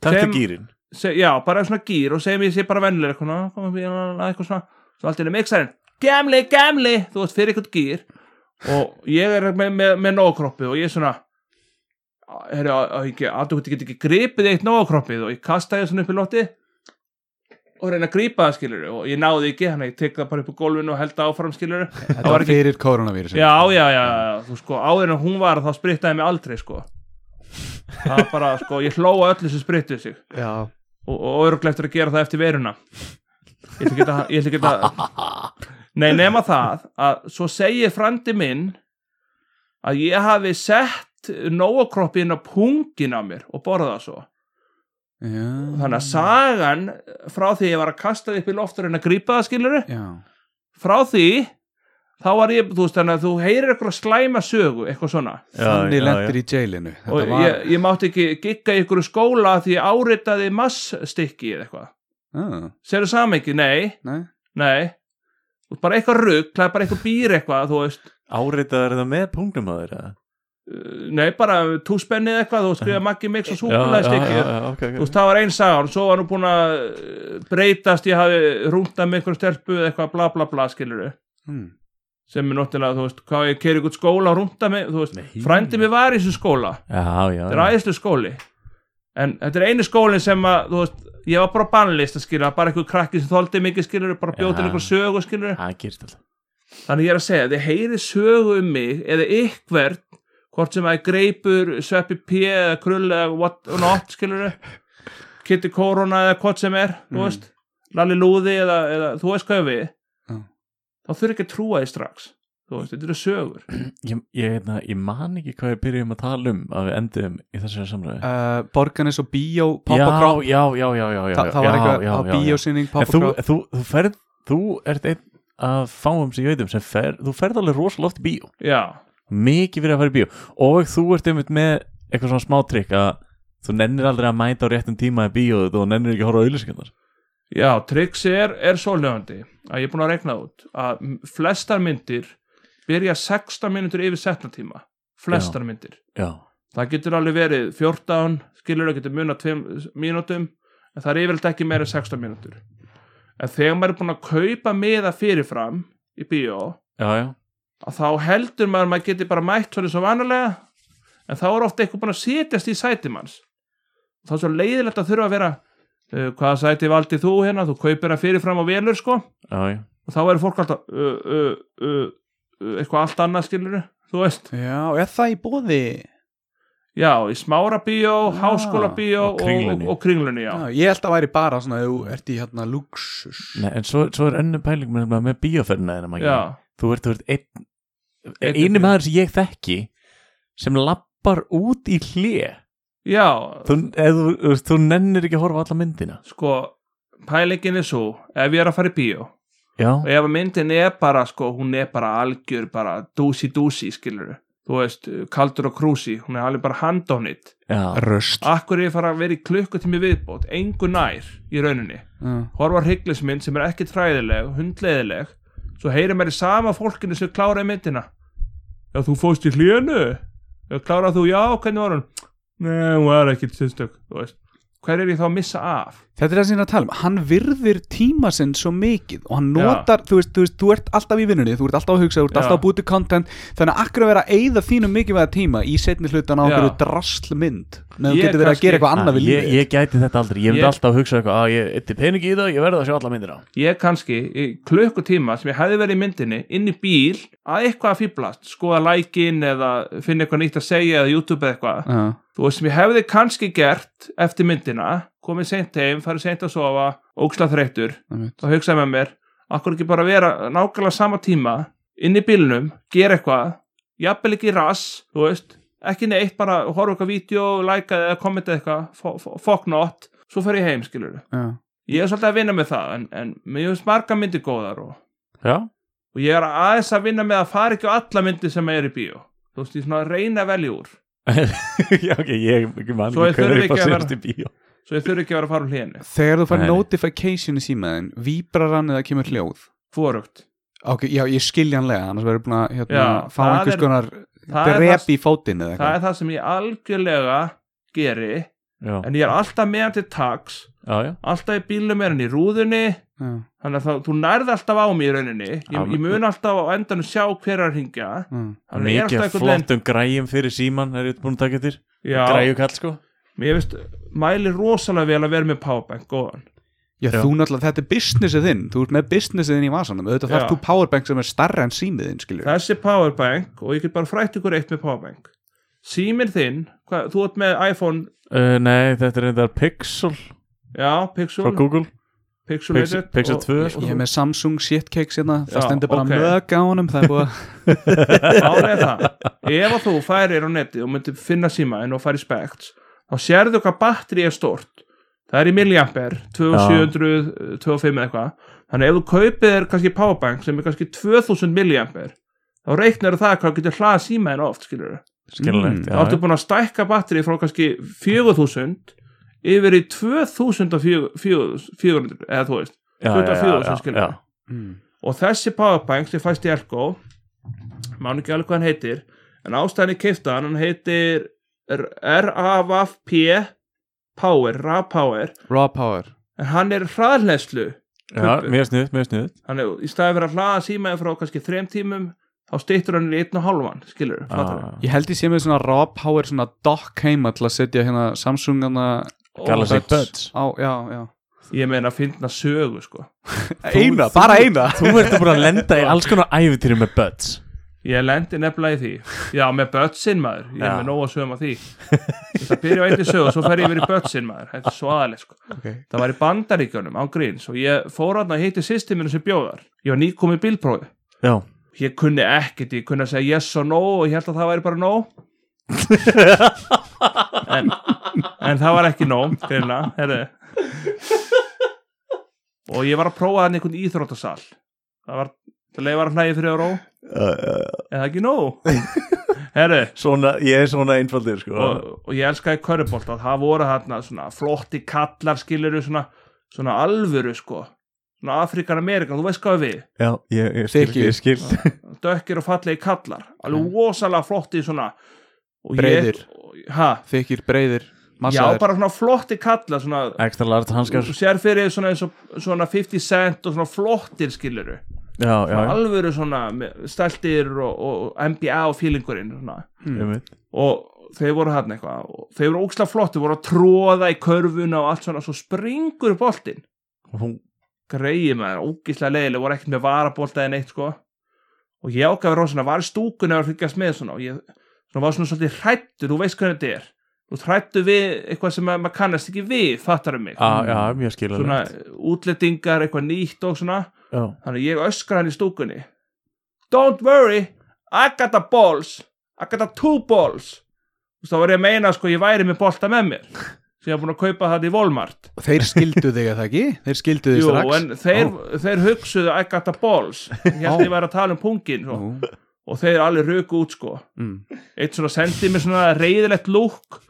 C: Takk til
D: Sem-
C: gýrin
D: Se, já, bara svona gýr og segjum ég sé bara vennilega eitthvað, ná, koma upp í hann, eitthvað svona svo allt í einu mixarinn, gemli, gemli þú veist fyrir eitthvað gýr og ég er með, með, með nógkroppi og ég er svona herri, aldrei get ekki gripið eitt nógkroppið og ég kasta ég svona upp í lotti og reyna að grípa það skilur og ég náði ekki, hann ég tek það bara upp á gólfinu og held það áfram skilur
A: Þetta var fyrir koronavírusin
D: já, já, já, já, þú sko áður en hún var þá sprittaði mig aldrei sko það var bara sko, ég hlóa öllu sem sprittuði sig
A: já.
D: og, og öruglega eftir að gera það eftir veruna ég ætla ekki að- ég ætla ekki að nei nema það að svo segi frandi minn að ég hafi sett nóakroppi inn á pungin á mér og borða það svo
A: Já.
D: þannig að sagan frá því ég var að kasta því upp í loftur en að grípa það skiluru
A: Já.
D: frá því þá var ég, þú veist þannig að þú heyrir eitthvað slæma sögu eitthvað svona
A: Þannig lendir í jailinu
D: og
A: Þetta var
D: ég, ég mátti ekki gigga í ykkur skóla af því ég áritaði massstykki eða eitthvað
A: ah,
D: Serðu saman ekki, nei,
A: Nei
D: Nei, þú ert bara eitthvað rugg, það er bara eitthvað býr eitthvað, þú veist,
C: Áritaður það með punktum að þeirra
D: uh, nei, bara túspennið eitthvað, þú skrifa Maggi Mix og súkulæst ekki,
C: ok,
D: þú veist, það var einn sagan, svo var nú búin að uh, breytast, ég hafi rúndað með einhverjum stelpu eða eitthvað bla bla bla, skilur
A: mm.
D: sem er náttúrulega, þú veist, hvað ég keiri ykkur skóla og rúndað með, þú veist,
C: Nei.
D: frændi mér var í þessu skóla,
C: Já, já,
D: þetta er aðeinslu skóli, en þetta er einu skólin sem að, þú veist, ég var bara á bannlist að skilja, bara eitthvað krakki sem þoldi mikið skilur, bara bjóti
C: Já.
D: einhver sögu skilur,
C: það gerist alltaf
D: Þannig ég er að segja, þið heyrið sögu um mig eða ykkvert, hvort sem það er greipur, sveppi p eða krull eða what not, skilur þau, kitty korona eða hvort sem er, þú veist, lalli lúði eða, eða þú veist hvað ég á við,
A: Já.
D: þá þurfi ekki að trúa því strax, þú veist, þetta eru sögur.
C: Ég, ég, hérna, ég man ekki hvað við byrjum að tala um að við endum í þessari samræðu
A: uh, Borganes og bíó Pop
C: já,
A: og kropp
C: já, já, já, já, já,
A: Þa, Það var
C: já,
A: eitthvað
C: já,
A: á
C: já, já.
A: bíósynning Pop
C: En
A: og
C: þú,
A: kropp
C: þú, þú, ferð, þú ert einn að fáum sem ég veit um sem fer, þú ferð alveg rosalega oft í bíó
D: Já,
C: mikið fyrir að fara í bíó og þú ert einmitt með eitthvað svona smátrykk að þú nennir aldrei að mæta á réttum tíma í bíó og þú nennir ekki að horfa á auðlýsingarnar
D: já, triksi er, er svoljöfandi að ég er búin að regna út að m- flestar myndir byrja 16 mínútur yfir setna tíma, flestar myndir.
C: Já,
D: það getur alveg verið 14 skilur það getur muna 2 mínútum en það er yfirleitt ekki meira en 16 mínútur en þegar maður er búin að kaupa miða fyrirfram í bíó
C: já, já,
D: að þá heldur maður að maður geti bara mætt svolítið svo vanalega en þá er ofta eitthvað búin að setjast í sæti manns og þá er svo leiðilegt að þurfa að vera uh, hvaða sæti valdi þú hérna þú kaupir það fyrirfram og velur sko
C: já, já.
D: og þá eru fólk alltaf uh, uh, uh, uh, eitthvað allt annað skilur þú veist
A: Já, er það í bóði?
D: Já, í smárabíó, háskólabíó
C: og
D: og,
C: Kringlunni.
D: og, og kringlunni,
A: Já,
D: já.
A: ég held að væri bara svona ef Þú ert í hérna luxus
C: Nei, en svo, svo er önnum pæling með, með bíóferðina þeirra
D: Já,
C: Maggi.
D: já.
C: þú ert, þú ert einn,
D: Einn
C: einu
D: uppi.
C: maður sem ég þekki sem lappar út í hlið þú, eð, þú, þú veist, þú nennir ekki að horfa á alla myndina
D: sko, pælingin er svo, ef ég er að fara í bíó og
C: já,
D: ef að myndin er bara, sko, hún er bara algjör, bara dúsi-dúsi, skilur þú veist, kaldur og krúsi, hún er alveg bara hand on it.
C: já,
A: Röst
D: Akkur er ég fara að vera í klukkutími viðbót, engu nær í rauninni.
A: Já,
D: Horfa hrygglismynd sem er ekkit fræðileg, hundleiðileg, svo heyrir maður í sama fólkinu sem kláraði myndina. Já, þú fóst í hlínu Já, klárað þú, já, hvernig var hún Nei, hún var ekkit sérstök, þú veist Hver er ég þá að missa af?
A: Þetta er það sem ég er að tala um, hann virðir tíma sinn svo mikið og hann notar, þú veist, þú veist, þú ert alltaf í vinnunni, þú ert alltaf að hugsa, þú ert
D: Já.
A: alltaf að búti content þannig að akkur að vera að eyða þínum mikilvæða tíma í setni hlutan á
D: Já.
A: einhverju draslmynd meðan þú
D: Ég
A: getur verið að
D: kannski-
A: gera eitthvað annað við
C: Ah, ég,
A: lífið
C: ég gæti þetta aldrei, ég myndi
D: Ég-
C: alltaf að hugsa eitthvað að ég eitthi pening í það, ég verði að sjá alla myndir á
D: Ég kannski, í klukkutíma sem ég hefði verið í myndinni, inn í bíl að eitthvað að fýblast, skoða lækin eða finna eitthvað nýtt að segja eða YouTube eða eitthvað
A: Já.
D: þú veist sem ég hefði kannski gert eftir myndina, komið seint heim farið seint að sofa, óksla þreyttur
A: Einmitt.
D: þá hugsaði með mér akkur ekki bara vera nákvæmlega sama tíma inn í bílnum, gera eitthvað jafnvel ekki rass, þú veist ekki neitt, bara horfa eitthvað vídeo lækaði eða kommenta eitthvað, fo- fo- fuck not svo fer ég heim, skilur
A: Já.
D: ég er svolítið að vinna með það, en, en mér finnst marga myndir góðar og,
C: Já,
D: og ég er aðeins að vinna með að fara ekki á alla myndir sem er í bíó þú veist, ég er svona að reyna að velja úr
C: já ok, ég ekki mann
D: Svo þurfum við
C: hverju
D: ekki að
C: fannst
D: vera-
C: í bíó
D: svo ég þurfi ekki að vera að fara úr hléni,
A: Þegar þú fær
C: Nei.
A: notification í símaðin víbrar hann eða kemur hljóð
D: fórugt
A: Ok, já, ég skilja hann lega, annars verður búin að hérna,
D: Já,
A: fá
D: það
A: einhvers
D: er-
A: konar
D: það er
A: drep
D: það-
A: í fótinn eða
D: það
A: eitthvað
D: er það sem ég algjörlega geri
C: Já,
D: en ég er alltaf meðan til tags
C: já, já
D: alltaf í bílum er hann í rúðunni
A: Já,
D: þannig að þá, þú nærði alltaf á mig í rauninni ég,
C: Já,
D: ég mun alltaf á endanum sjá hver er að hringja
A: já.
D: Þannig ég er alltaf
C: Mikið
D: einhvern veginn-
C: flottum græjum fyrir síman er ég búin að taka eftir
D: já,
C: Græjukall sko
D: mér veist mæli rosalega vel að vera með powerbank góðan
A: Já,
C: Já.
A: þú náttúrulega, þetta er businessið þinn Þú ert með businessið þinn í vasanum Auðvitað þarf
D: Já.
A: þú powerbank sem er starra en símið þinn, skilur
D: þessi powerbank og ég get bara frætt ykkur eitt með powerbank síminn þinn, hva, þú ert með iPhone
C: uh, Nei, þetta er reyndar Pixel
D: já,
C: frá
D: Pixel,
C: Google
D: Pixel,
C: Pixel- Pixel 2, sko.
A: Ég er með Samsung shitcakes hérna
D: Já,
A: Það stendur bara
D: ok.
A: okay. mög á honum Það er búið að
D: Málið er það Ef að þú færir á netið og myndir finna símaðin og færir spekts þá sérðu hvað batteri er stort það er í milliamper 2700, 25 eitthvað þannig ef þú kaupið er kannski powerbank sem er kannski 2000 milliamper þá reiknar það hvað þú getur hlaða símaðin oft skilur
C: Skiljanlegt,
A: Mm,
D: þá ertu
C: já,
D: búin að stækka batteri frá kannski 4000 yfir í 2400 eða þú veist
C: já, já, já,
D: 24
C: já,
D: sem skilur.
C: já,
A: mm.
D: og þessi powerbank sem fæst í Elko mánu ekki alveg hvað hann heitir en ástæðan í keiftan hann heitir R-A-V-P Power, R-A-Power
A: Raw power
D: en hann er hraðhleðslu
C: já, mjög snuð, mjög snuð
D: hann er í staði fyrir að hlaða símaði frá kannski þrem tímum þá stýttur hann í einn og hálfan skilur,
C: Ah,
D: fattar
A: Ég held ég sé með svona raw power Svona dock heima til að setja hérna Samsung hana
C: Galaxy Buds
A: á, já, já.
D: ég meina að finna sögu sko
A: Eina, bara eina
C: Þú ertu búin að lenda í alls konar æfintýri með Buds
D: Ég lendi nefnilega í því Já, með bötsin maður, ég er
C: Já.
D: með nóg að sögum að því Það byrja á einni sög og svo fer ég yfir í bötsin maður Þetta er svo aðalega sko
A: Ok.
D: Það var í bandaríkjunum á gríns og ég fór hann að hitti sýsti minn sem bjóðar Ég var nýkomið bílprófi
C: Já
D: Ég kunni ekkert, ég kunni að segja yes og no og ég held að það væri bara no en, en það var ekki no greinlega, herri Og ég var að prófa hann einhvern íþróttasal Það var, það leifar að hlæja fyrir að ró
C: Uh,
D: eða ekki nóg herru
C: Svona, ég er svona einfaldir sko
D: og, og ég elskaði körubólt að það voru þarna svona flotti kallar skiluru svona, svona alvöru sko svona Afrikan Amerikan, þú veist hvað við
C: Já, ég, ég skil,
A: Þykir.
C: ég skil
D: dökkir og fallegi kallar alveg vosalega flotti svona og
A: Breiðir.
D: ég, ha,
A: Þykir breiðir
D: já
A: Massaðir
D: bara svona flotti kallar svona,
C: Ekstra large hanskar
D: þú sér fyrir svona, eins og- svona 50 cent og svona flottir skiluru
C: Já, já, já,
D: alvöru svona með- stæltir og, og NBA og feelingurinn svona
C: ég veit
D: og þeir voru hann eitthvað og þeir voru ókslega flott, þeir voru að tróða í körfuna og allt svona, svo springur boltinn
C: Hún-
D: greið maður, ógislega leiðileg, voru ekkert með varabolta en eitt sko og ég ákæði rósina, var í stúkunni að fylgjast með svona og ég svona var svona svolítið hrættur, þú veist hvernig þetta er þú hrættu við eitthvað sem að maður kannast ekki við, fattarum mig
C: Já, já, mjög
D: svona
C: skilulegt
D: útlendingar, eitthvað nýtt og svona
C: Já,
D: Þannig að ég öskra hann í stúkunni Don't worry I got the balls I got the two balls Þú veist, þá var ég að meina sko ég væri með bolta með mér sem ég var búin að kaupa það í Walmart
A: Þeir skildu þig að það ekki Þeir skildu þig
D: Jú,
A: strax
D: en þeir, þeir hugsuðu I got the balls Ég held
A: Ó.
D: ég væri að tala um pungin svo.
A: Jú,
D: og þeir alveg röku út sko
A: mm.
D: Eitt svona sendi mér svona reyðilegt lúk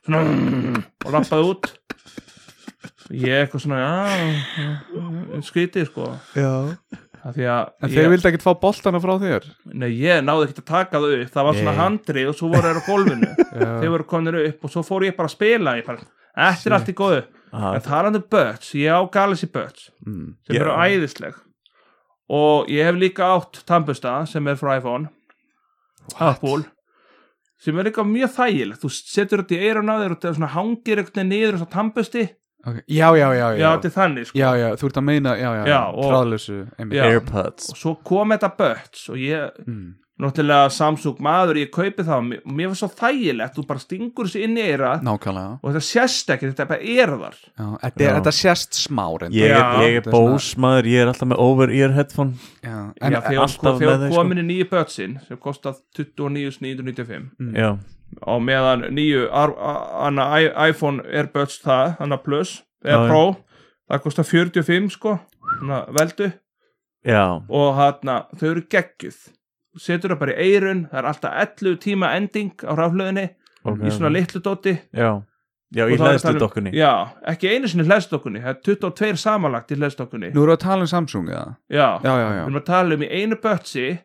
D: svona mm, og lappaði út Ég eitthvað svona já, já, já, skrítið sko
A: Já
D: af því að
A: En þeir
D: ég,
A: vildi ekkert fá boltana frá þér
D: nei, ég náði ekkert að taka þau upp það var svona
A: Nei.
D: handrið og svo voru þeir á gólfinu þeir voru konir upp og svo fór ég bara að spila ég bara, þetta er allt í góðu
C: Ah,
D: en talandi um Butts, ég á Galaxy Butts
A: mm.
D: sem
C: Já.
D: eru æðisleg og ég hef líka átt tampusta sem er frá iPhone Apple sem er líka mjög þægilegt þú setur þetta í eyrun á þér og þetta svona hangir einhvern veginn niður þess að tampusti já,
A: okay. Já, já, já, já
D: þetta er þannig sko.
A: Já, já, þú ert að meina, já, já,
D: Já, og-
A: tráðlösu
D: Já.
C: Airpods
D: og svo kom þetta Butts og ég,
A: Mm.
D: náttúrulega Samsung maður ég kaupi það og mér, og mér var svo þægilegt þú bara stingur þessi inn í eyra
A: Nákvæmlega
D: og þetta sést ekki, þetta er bara erðar
A: já, þetta, er,
C: Já.
A: þetta sést smá reyndar.
C: Ég,
D: Já.
C: ég er
A: Þetta er svona-
C: bós maður, ég er alltaf með over-ear headphone
A: já, en,
D: já, þegar
C: alltaf
D: þegar
C: með þeim, sko.
D: komin í nýju Buttsin sem kostar 29.995
C: Já,
D: á meðan nýju ar- a- hana i- iPhone Airbuds það, hana Plus
C: Já,
D: eða
C: já.
D: Pro, það kostar 45 sko, hana veldu
C: já,
D: og hana, þau eru geggjuð Þú setur það bara í eirun, það er alltaf 11 tíma ending á raflöðinni
C: ok
D: í svona litlu dóti
C: Já, já
D: Og
C: í
D: þá er að
C: hlæðstu
D: tala um-
C: dokkunni
D: já, ekki einu sinni hlæðstokkunni það er 22 samanlagt í hlæðstokkunni
A: Nú erum við að tala um Samsung, eða?
D: já,
A: Já, já,
D: við
A: já
D: erum að tala um í einu bötsi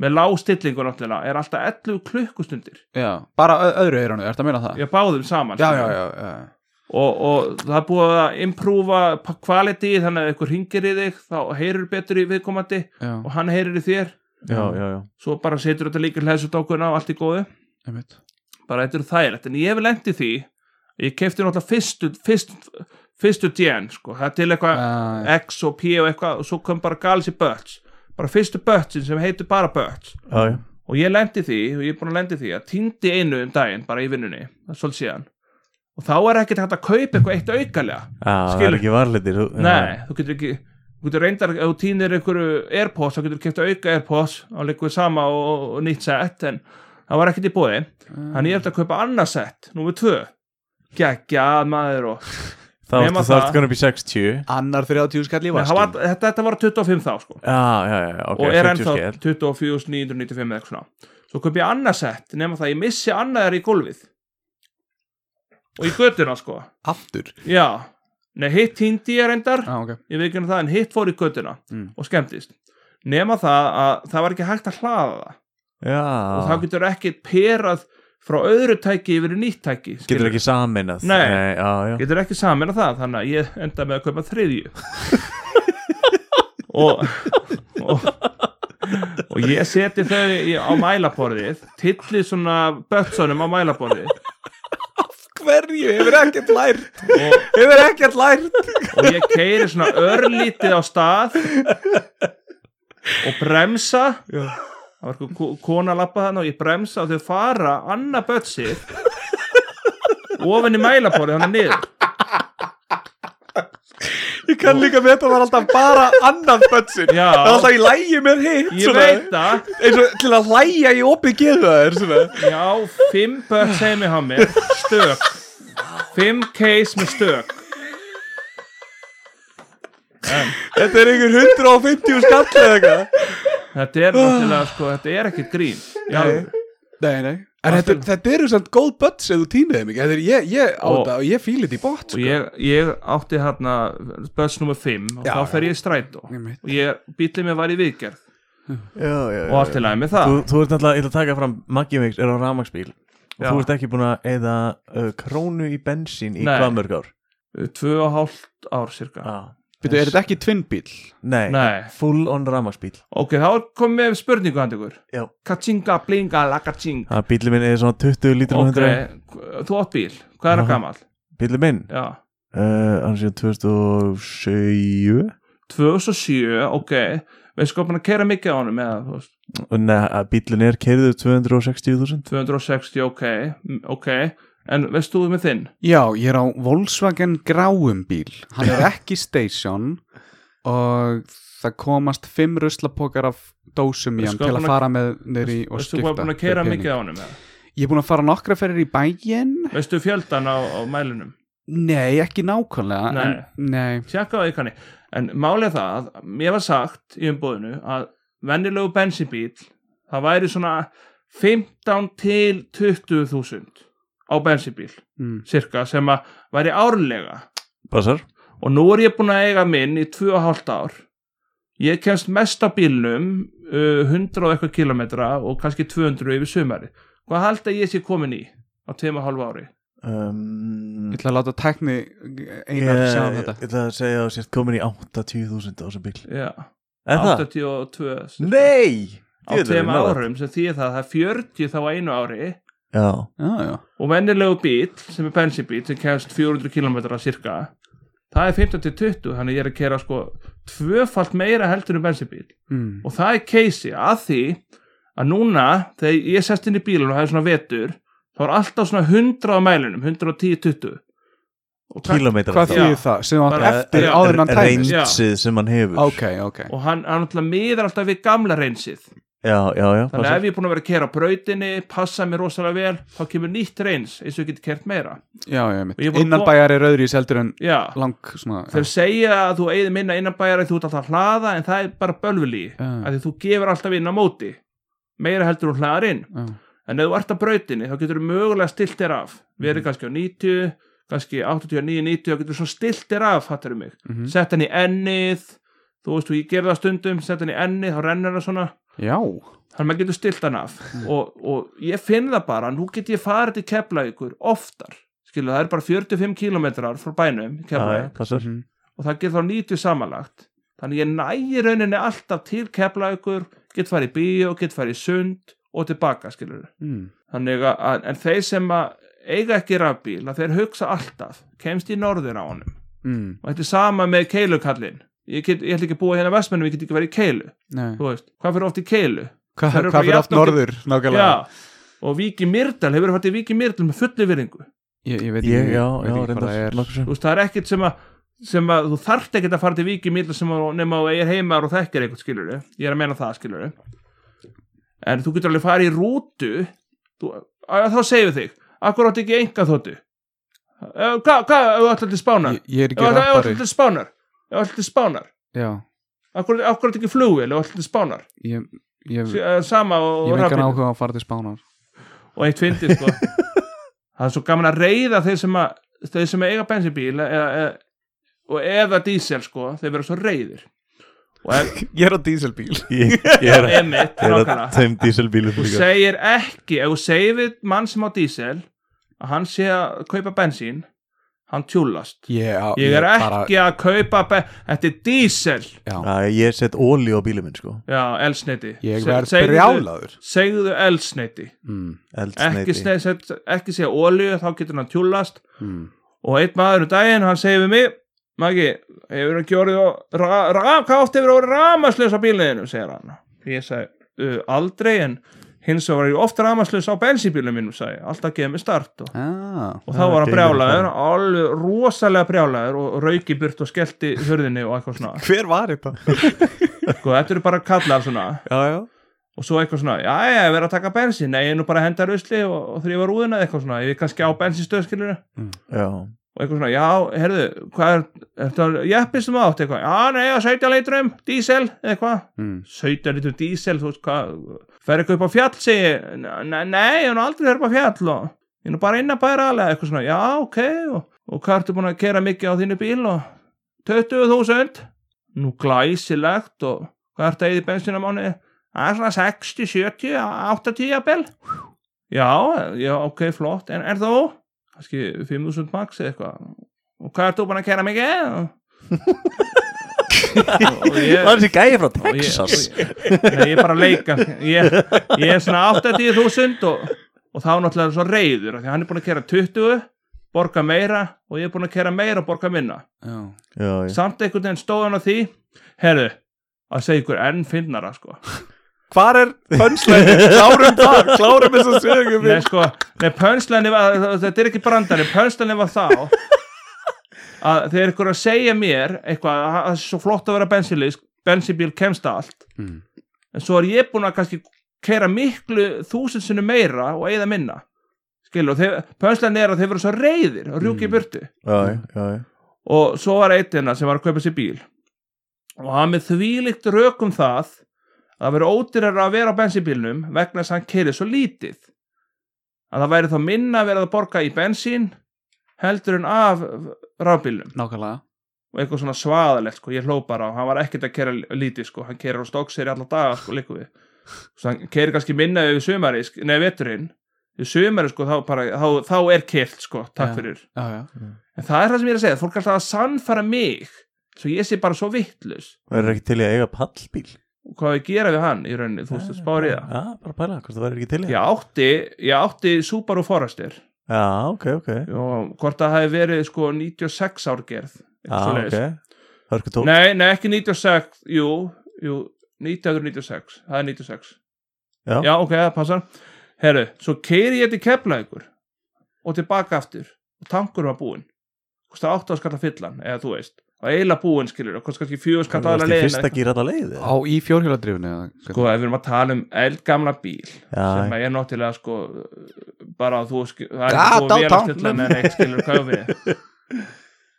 D: með lágstillingu náttúrulega, er alltaf 11 klukkustundir
A: Já, bara ö- öðru eyranu, ertu að meina það?
D: ég báðum saman
A: já,
D: skilur.
A: já, já, já.
D: og, og það er búið að imprúfa quality þannig að ykkur hringir í þig þá heyrir betur í viðkomandi
A: já.
D: og hann heyrir í þér
C: Já, já, já
D: svo bara setur þetta líka hlæðsutákuna og allt í góðu
A: einmitt.
D: bara þetta eru þægilegt en ég hef lent í því ég kefti náttúrulega fyrstu fyrst, fyrstu djen sko það er til eitthvað
A: Uh,
D: X og P og eitthvað og svo kom bara Galaxy Buds bara fyrstu Budsin sem heitir bara Buds
C: Já, já,
D: og ég lendi því og ég er búin að lendi því að týndi einu um daginn bara í vinnunni það er svolítið síðan og þá er ekkert hægt að kaupa eitthvað eitt aukalega
C: Já, Ah, það er
D: Skilur.
C: ekki varlitir
D: Nei, þú getur ekki þú getur reyndar, ef þú týnir einhverju Airpods, þá getur þú kæft auka Airpods á leikur sama og, og nýtt sett en það var ekkert í bóði þannig ég held að kaupa annað sett, númer tvö geggjað maður og
C: Þá
D: nema
C: ertu
D: það-
C: það komin upp í 60 Já,
A: Annar 30 skall í
D: Nei, það
A: vaskin
D: var, þetta, þetta var 25 þá sko
C: Ah, já, já, ok
D: og er
C: 40
D: ennþá
C: skell.
D: 24.995 eða eitthvað svona svo kaup ég annað sett nema það ég missi annaðar í gólfið og í göttuna sko
A: Aftur
D: já, nei hitt týndi ég reyndar
A: ah, okay.
D: ég veit ekki um það en hitt fór í göttuna
A: Mm.
D: og skemmtist nema það að það var ekki hægt að hlaða það og
C: Já,
D: það getur ekki perað frá öðru tæki yfir í nýtt tæki
C: getur
D: skilur.
C: ekki saminað
D: Nei.
C: já, já
D: getur ekki samin að það þannig að ég enda með að kaupa þriðju og, og og ég seti þau í- á mælaborðið tilli svona bötsunum á mælaborðið
A: Hverju, hefur ekkert lært
D: og,
A: Hefur ekkert lært
D: og ég keiri svona örlítið á stað og bremsa
A: Já.
D: það var eitthvað ko- kona að lappa þannig og ég bremsa og þau fara annað bötsið ofin í mælaborðið þannig niður
A: Ég kann líka með þetta var alltaf bara annað bötsin
D: Já.
A: Það var alltaf í lægi með hitt
D: ég veit það
A: Eins og til að læja í opið geðu það er svona
D: Já, fimm börn heimi hjá mér Stök Fimm case með stök
A: Þetta er einhver 150 skall eða eitthvað
D: Þetta er náttúrulega sko, þetta er ekkert grín Já,
A: Nei, nei En þetta, þetta eru samt góð böts ef þú týnir þeim ekki Þetta er ég, ég á
D: Og-
A: þetta og ég fíli þetta í sko. bótt
D: og ég, ég átti hérna börns nummer fimm og
A: Já,
D: þá fer
A: já.
D: ég í strætó
A: Einmitt.
D: og ég, bíllinn mér var í viðgerð
C: Já, já,
D: og allt í lagi með það
C: Þú, þú ert alltaf, ég ætla að taka fram Maggi Mix er á ramagsbíl og
D: Já.
C: þú ert ekki búin að eða uh, krónu í bensín í
D: Nei.
C: hvað mörg ár
D: Tvö og hálft ár cirka
C: ah.
A: Býtu, er þetta ekki tvinnbíl?
C: Nei,
D: Nei,
C: full on ramagsbíl
D: ok, þá kom með spurningu hann ykkur
C: Já.
D: Katsinga, blinga, lakatsing
C: Það bíli Ah, minn er svona 20 lítur og
D: Ok,
C: 100
D: þú átt bíl, hvað er
C: Aha.
D: það gamall?
C: Bíli minn,
D: Já
C: uh, hann sé 2007
D: 2007, ok við sko búin að keira mikið á honum eða, þú veist,
C: Og Nei, að bílinn er kerður 260.000
D: 260, ok mm, ok, en veist þú með þinn
A: Já, ég er á Volkswagen gráum bíl Hann er ekki station og það komast fimm ruslapokar af dósum í
D: Veistu hvað
A: hann til að
D: búin að-
A: fara með neyri og
D: veist þú
A: skipta
D: hvað búin að
A: fyrir
D: keira
A: pening.
D: mikið á honum eða?
A: Ég er búin að fara nokkra ferir í bæinn
D: veist þú fjöldan á, á mælinum
A: Nei, ekki nákvæmlega
D: Nei.
A: En, nei.
D: tjekka á ykkani, en málið það að mér var sagt í umbúðinu að venjulegu bensinbíl það væri svona 15 til 20 þúsund á bensinbíl,
A: Mm.
D: cirka sem að væri árlega
C: Basar?
D: og nú er ég búin að eiga minn í 2,5 ár ég kemst mest á bílnum uh, 100 og eitthvað kilometra og kannski 200 yfir sumari hvað hald að ég sé komin í á tveim og hálfu ári
A: Ég
C: um,
D: Mm.
A: ætla að láta tækni
C: Ég
A: einar sjá um
C: ég
A: þetta
C: ætla að segja að þú sért komin í 80.000 á þessum bíl
D: já,
C: Er það?
D: 82 sem-
C: Nei!
D: á
C: Djöfull,
D: tveim
C: nálægt.
D: árum sem því það að það er 40 þá á einu ári
C: Já,
A: Já, já
D: og vennilegu bíl sem er bensinbíl sem kemst 400 km cirka það er 15 til 20 þannig ég er að kera sko tvöfalt meira heldur en bensinbíl
A: Mm.
D: og það er keisi að því að núna þegar ég sest inn í bílun og það er svona vetur þá er alltaf svona 100 á mælunum 110-20 og, tak-
C: kilometra
A: Hvað
D: Já.
A: þýðir það sem átt
D: Bara-
A: eftir
D: Já.
A: áður en hann tæmist?
D: Reynd-
C: Reynsið sem hann hefur
A: Ok, ok
D: og hann, hann alltaf miðar alltaf við gamla reynsið
C: Já, já, já
D: þannig að ef ég er búin að vera að kera á brautinni passa mér rosalega vel, þá kemur nýtt reyns eins og ég geti kert meira
A: Já, já, mitt
D: Og ég voru
A: Innan
D: kom-
A: bæjar er öðru í seldur en
D: já,
A: lang svona
D: þeir segja að þú eigði minna innanbæjar þú ert alltaf að hlaða en það er bara bölvili
A: Já.
D: af því þú gefur alltaf inn á móti meira heldur þú hlaðar inn
A: Já.
D: en ef þú ert á brautinni þá getur þú mögulega stilt þér af verið
C: Mhm.
D: kannski á 90 kannski 89, 90 þá getur þú svo stilt þér af fattar mig,
A: Mhm.
D: sett hann í ennið þú veist þú, ég gerði það stundum sett hann í ennið, þá rennur hann svona
A: Já,
D: þannig að maður getur stilt hann af
C: Mhm.
D: og, og ég finn það bara, nú get ég farið til Keflavíkur oftar skilu, það er bara 45 kilometrar frá bænum í
C: Já, já,
D: Keflavík
C: passar
A: Mhm.
D: og það getur þá 90 samanlagt þannig ég næ í rauninni alltaf til Keflavíkur, get farið í bíó get farið í sund og tilbaka skilur
A: Mm.
D: þannig að- að, en þeir sem að eiga ekki rafbíl, að þeir hugsa alltaf kemst í norður á honum
A: Mm.
D: og þetta er sama með keilukallin ég, get, ég ætla ekki að búa hérna að vestmennum, ég get ekki verið í keilu
A: Nei.
D: þú veist, hvað fyrir oft í keilu
A: Hva,
D: Það eru
A: hvað
D: bara
A: fyrir oft
D: jafn okkur-
A: norður nákvæmlega
D: Já, og Víki Myrdal hefur fætt í Víki Myrdal með fulli virðingu
A: ég, ég veit
C: Ég,
A: ekki
C: já, já,
A: veit ekki hvað það
C: reyndar
A: er
C: nokkuð sem.
D: þú veist það er ekkert sem að, sem að þú þarft ekkert að fara til Víki Myrdal sem að, nema að eigir heimar og þekkir eitthvað skilur ég er að meina það skilur en þú getur alveg farið í rútu þú, að, þá segir þig akkur átti ekki enga þóttu hvað, hvað, ef þú ætlar til spánar
A: ég, ég er
D: ef þú
A: ekki
D: ætlar
A: rappari
D: til spánar ef þú ætlar til spánar
A: Já,
D: akkur átti ekki flugvél ef þú ætlar til spánar
A: ég, ég,
D: S-
A: ég,
D: eh, sama og,
A: Mm. ég
D: og
A: hef engan
D: rafbíl.
A: áhuga á að fara til spánar
D: og eitt fyndið sko það er svo gaman að reyða þeir sem að þeir sem eiga bensinbíl eða, eða, og eða dísel sko þeir vera svo reyðir og ef
A: Ég er á díselbíl
C: Ég ég er að-
D: emitt
C: ég er að
D: nákvæmlega
C: tveim díselbílum
D: þú
C: líka
D: segir ekki ef þú segir við mann sem á dísel að hann sé að kaupa bensín hann tjúlast
A: Ég,
D: ég er
A: bara-
D: ekki að kaupa be- þetta er dísel
A: Já,
C: Já, Ég set ólíu á bílum minn sko
D: já, elsneiti Se-
A: ég verð
D: segðu-
A: brjálaður
D: segðu elsneiti
A: mm.
C: Eldsneyti.
D: ekki, sneið, set, ekki segja olíu þá getur hann tjúlast
A: Mm.
D: og einn maður um daginn hann segir við mig Maggi, hefur ekki orðið á ra, ra, hvað oft hefur orðið ramaslaus á bílniðinu segir hann ég sagði, uh, aldrei en hins vegar var ég oft ramaslaus á bensínbílum mínum sagði, ég, alltaf gefið mér start og,
A: ah.
D: og þá var hann
C: ok,
D: brjálaður, alveg rosalega brjálaður og rauki burt og skellti hörðinni og eitthvað svona
A: Hver var þetta?
D: sko, þetta eru bara kallar svona
A: já, já
D: og svo eitthvað svona, já, já, ég verð að taka bensín nei, ég er nú bara að henda rusli og, og þrýfa rúðuna eða eitthvað svona, ég er kannski á bensinstöðskilinu
C: Já
D: og eitthvað svona, já, herðu, hvað er, er það jeppis um átt, eitthvað, já, nei, já, 17 litrum, dísel, eitthvað,
A: mm.
D: 17 litrum dísel, þú veist hvað, fer eitthvað upp á fjall, segi, ég. nei, nei, ég er nú aldrei verið upp á fjall og ég er nú bara inn að bæra alveg, eitthvað svona, já, ok, og, og hvað ertu búin að kera mikið á þínu bíl og 20.000, nú glæsilegt og hvað ertu að eyða í bensinamáni, það er svona 60, 70, 80 jafnvel, já, já, ok, flott, en er þú? kannski 5.000 max eða eitthvað og hvað ert þú búin að kæra mikið? og, og ég,
C: Það er þessi gæði frá
D: og ég-
C: Texas
D: og ég- Nei, ég er bara að leika ég, ég er svona 80.000 og, og þá náttúrulega er svo reyður af því að hann er búin að kæra 20 borga meira og ég er búin að kæra meira og borga minna
A: Já,
C: Já, já
D: samt einhvern veginn stóð hann á því herðu, að segja ykkur enn finnara sko.
A: Hvar er pönslæði? Klárum það, klárum þess að sögum
D: Nei, sko, nei, pönslanni var þetta er ekki brandari, pönslanni var þá að þegar ykkur að segja mér eitthvað, að það er svo flott að vera bensinlýs, bensinbíl kemst að allt
A: Mm.
D: en svo er ég búin að kannski keira miklu þúsundsunum meira og eigða minna skilur, og þeir, pönslanni er að þeir vera svo reyðir og rjúki í burtu
C: Já, já, já, já
D: og svo var einn hérna sem var að kaupa sér bíl og hann með þvílíkt rök um það að það veri ódýrar að vera á bensínbílnum vegna þess að hann keiri svo lítið að það væri þá minna verið að borga í bensín heldur en af rafbílnum
A: Nákvæmlega
D: og eitthvað svona svaðalegt sko, ég hló bara og hann var ekkert að kera lítið sko, hann kerir á stókseri alla daga sko, líku við svo hann kerir kannski minna yfir sumari, sk- nei veturinn yfir sumari sko, þá, bara, þá, þá er keilt sko, takk
A: Já.
D: fyrir
A: já, já.
D: en það er það sem ég er að segja, fólk er alltaf að sannfara mig svo ég sé bara svo vittlaus
F: Það er ekki til í að eiga pallbíl
D: og hvað á ég að gera við hann í rauninni, þú veist, spári ég það
F: Já, bara pæla, hvort það væri ekki til í
D: ég átti, ég átti Subaru Forester
F: Já, ok, ok
D: og hvort það hefði verið sko 96 árgerð
F: Já,
D: eitthvað svoleiðis.
F: Ah, ok Það er sko tók
D: Nei, nei, ekki 96 Jú, jú, 1996 Það er 96
F: Já.
D: Já ok, það passar Herru, svo keiri ég til kepla ykkur og tilbaka aftur og tankur var búinn Kosta átt að skalla fyllan, eða þú veist og eiginlega búinn skilur, og kosta kannski fjögur skalla aðla
F: Það er
D: leiðin
F: fyrsta gýr alla leið
A: á í fjórhjóladrifinu eða hvað?
D: Sko, ef við erum að tala um eldgamla bíl sem
F: Já,
D: að ég náttúrulega sko bara að þú skil, það er
F: Gat á
D: ekki búið að vera stilla
F: tanknum.
D: með neitt skilur hvað ég á við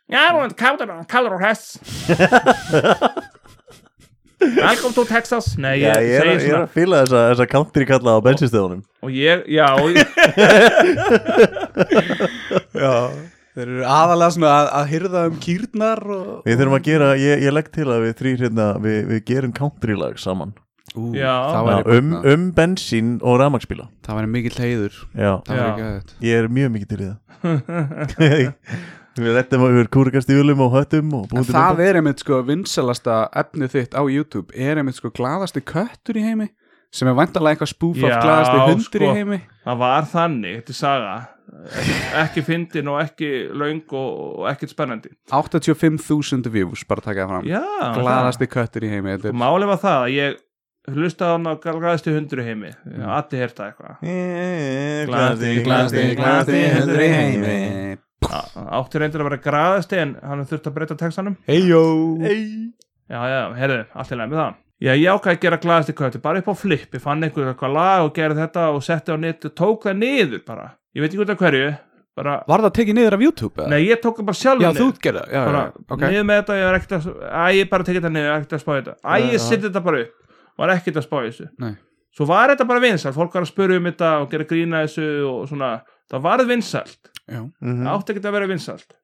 D: Já, nú er káttur hann kallar á hess Welcome to Texas Nei,
F: já
D: ég,
F: ég er,
D: segi
F: ég er
D: svona
F: að fýla þessa, þessa country kalla á bensinstöðunum
D: og ég, já, og ég,
A: þeir eru aðalega svona að, að hyrða um kýrnar og...
F: Við þurfum að gera, ég, ég legg til að við þrý hérna Við, við gerum country lag saman
A: Ú,
D: Já.
A: það
F: já,
A: væri,
F: um, um bensín og rafmaksbíla
A: það væri mikill heiður
F: Já,
A: það
D: Já.
A: væri ekki aðeitt
F: ég er mjög mikið til í það Við lettum að við kúrikastíðulum og höttum og
A: En
F: búum til
A: það
F: mynda.
A: er einmitt sko vinsalasta efnið þitt á YouTube er einmitt sko glaðasti köttur í heimi sem er vantalega eitthvað spoof af
D: Já,
A: glaðasti hundur
D: sko.
A: í heimi
D: það var þannig þetta er saga ekki, ekki fyndin og ekki löng og, og ekkert spennandi
A: 85.000 views, bara taka það fram
D: Já,
A: glaðasti köttur í heimi þetta
D: og
A: er-
D: máli var það að ég hlustaði á hann á glæðasti hundru heimi Addi hérta eitthvað
F: Glasti,
A: Glaðasti, glaðasti hundur í heimi
D: átti reyndir að vera græðasti en hann þurfti að breyta textanum
A: Eyjó
D: já, já, heyrðu, allt í lagi með það já, ég ákvaði að gera glæðasti köttu, bara upp á flip ég fann einhver eitthvað lag og gerði þetta og setti á nýtt og tók það niður bara ég veit ekki út af hverju, bara
A: Var það tekið niður af YouTube? eða?
D: nei, ég tók það bara sjálf
A: Já, þú gerði það, já, já,
D: bara,
A: já, ok
D: niður með þetta, ég var ekkert að æ, ég bara tekið þetta niður, ég var ekkert að spá í þetta æ, ég seti þetta bara upp, var ekkert að spá í þessu
A: Nei.
D: svo var þetta bara vinsalt, fólk var að spyrja um þetta og gera grína þessu og svona það varð vinsalt,
A: Já.
F: Mhm.
D: það átti ekki að vera vinsalt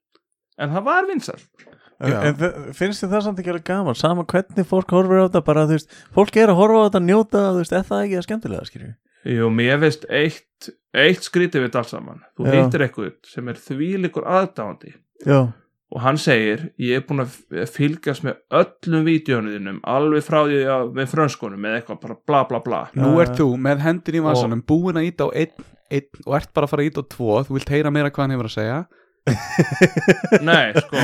D: en það var vinsalt
F: En,
A: Já.
F: en þe- finnst þið það samt ekki alveg gaman sama hvernig fólk horfir á þetta bara þú veist fólk er að horfa á þetta, njóta, þú veist, eða það ekki að skemmtilega skilju
D: Jú, mér veist eitt, eitt skrítið við þetta alls saman. Þú
F: Já.
D: hittir eitthvað sem er þvílikur aðdáandi
F: Já,
D: og hann segir, ég er búin að f- fylgjast með öllum vídjónuðinum alveg frá því að með frönskunum eða eitthvað bara bla bla bla.
A: Nú
F: Já,
A: ert þú með hendin í vasanum búin að íta á einn, einn og ert bara að fara að íta á tvo þú vilt heyra meira hvað hann hefur að segja
D: Nei, sko,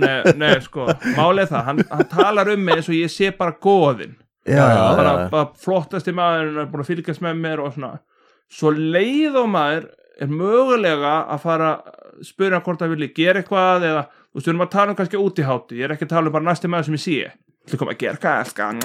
D: nei, nei, sko, málið er það, hann, hann talar um mig eins og ég sé bara góðinn.
F: já, já,
D: bara,
F: já.
D: bara flottasti maður er búin að fylgjast með mér og svona svo leið og maður er mögulega að fara að spura hvort að vilja gera eitthvað eða þú veist, við erum að tala um kannski út í hátu ég er ekki að tala um bara næsti maður sem ég sé til koma að gera hvað elskan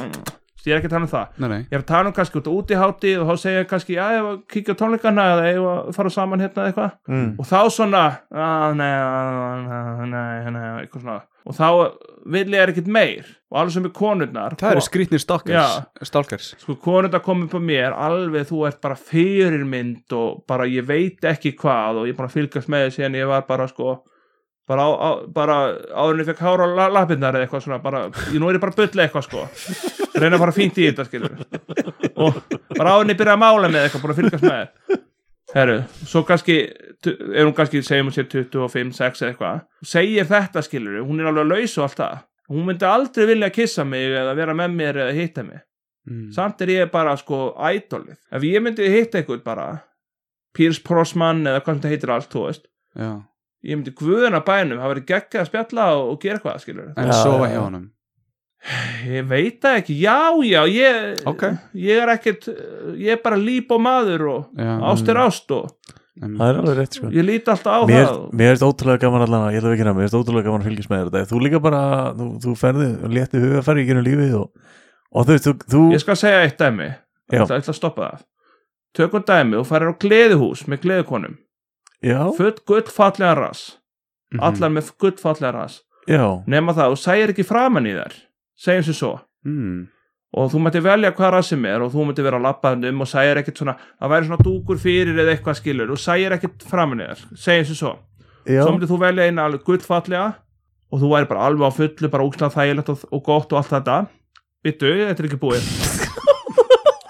D: ég er ekki að tala um það
A: Nei, nei,
D: ég er að tala um kannski út, út í hátu og þá segja ég kannski já, ég var að kíkja á tónleikana eða ég var að fara saman hérna eða eitthvað
F: Mm.
D: og þá svona "Ah, nei, ah, nei, nei, nei, eitthvað svona og þá vil ég er ekkert meir og alveg sem er konurnar
A: það eru
D: ko-
A: skrýtnir stalkers,
D: Já.
A: stalkers.
D: sko konur þetta komið på mér alveg þú ert bara fyrirmynd og bara ég veit ekki hvað og ég er bara að fylgjast með þessi en ég var bara sko bara, á, á, bara áður en ég fekk hára la, lappirnar eða eitthvað svona bara, ég nú er ég bara að bulla eitthvað sko reyna að fara fínt í þetta skilur og bara áður en ég byrja að mála með eitthvað bara að fylgjast með herru, svo kannski tu- ef hún kannski segjum hún sér 25, 6 eða eitthvað segir þetta skilur, hún er alveg laus og allt það hún myndi aldrei vilja kissa mig eða vera með mér eða hitta mig
A: Mm.
D: samt er ég bara sko ædolið ef ég myndi hitta einhvern bara Piers Prosman eða hvað sem þetta heitir allt þú veist
A: Já.
D: ég myndi guðuna bænum, það verið geggjað að spjalla og, og gera eitthvað skilur
A: en
F: Já,
A: sofa
F: já,
A: hjá
F: já.
A: honum
D: ég veit það ekki, já já ég,
A: Ok.
D: ég er ekkert ég er bara líp og maður og
A: Já, Mm.
D: ást er ást og
A: en,
F: það er alveg rétt sko
D: ég líti alltaf á
F: Mér,
D: það og-
F: mér erst ótrúlega gaman allan að, ég ætla ekki hérna, mér erst ótrúlega gaman að fylgjast með þér þetta Þú líka bara, þú, þú ferði, létti huga ferði ekki hérna lífið og, og þú veist, þú, þú
D: ég skal segja eitt dæmi
F: Já.
D: ég ætla, ætla að stoppa það tökum dæmi og farir á gleðuhús með gleðukonum
F: já,
D: full gullfallega rass
A: Mhm.
D: allar með gullfallega rass
F: já,
D: nema það og sægir ekki framann í þær segjum sem svo
A: mm.
D: og þú mætti velja hvað rassim er og þú mætti vera að labba hann um og sægir ekkert svona það væri svona dúkur fyrir eða eitthvað skilur og sægir ekkert framann í þær segjum sem svo
F: já
D: svo mætti þú velja eina alveg gullfallega og þú væri bara alveg á fullu bara ógstlega þægilegt og, og gott og allt þetta Vittu, þetta er ekki búið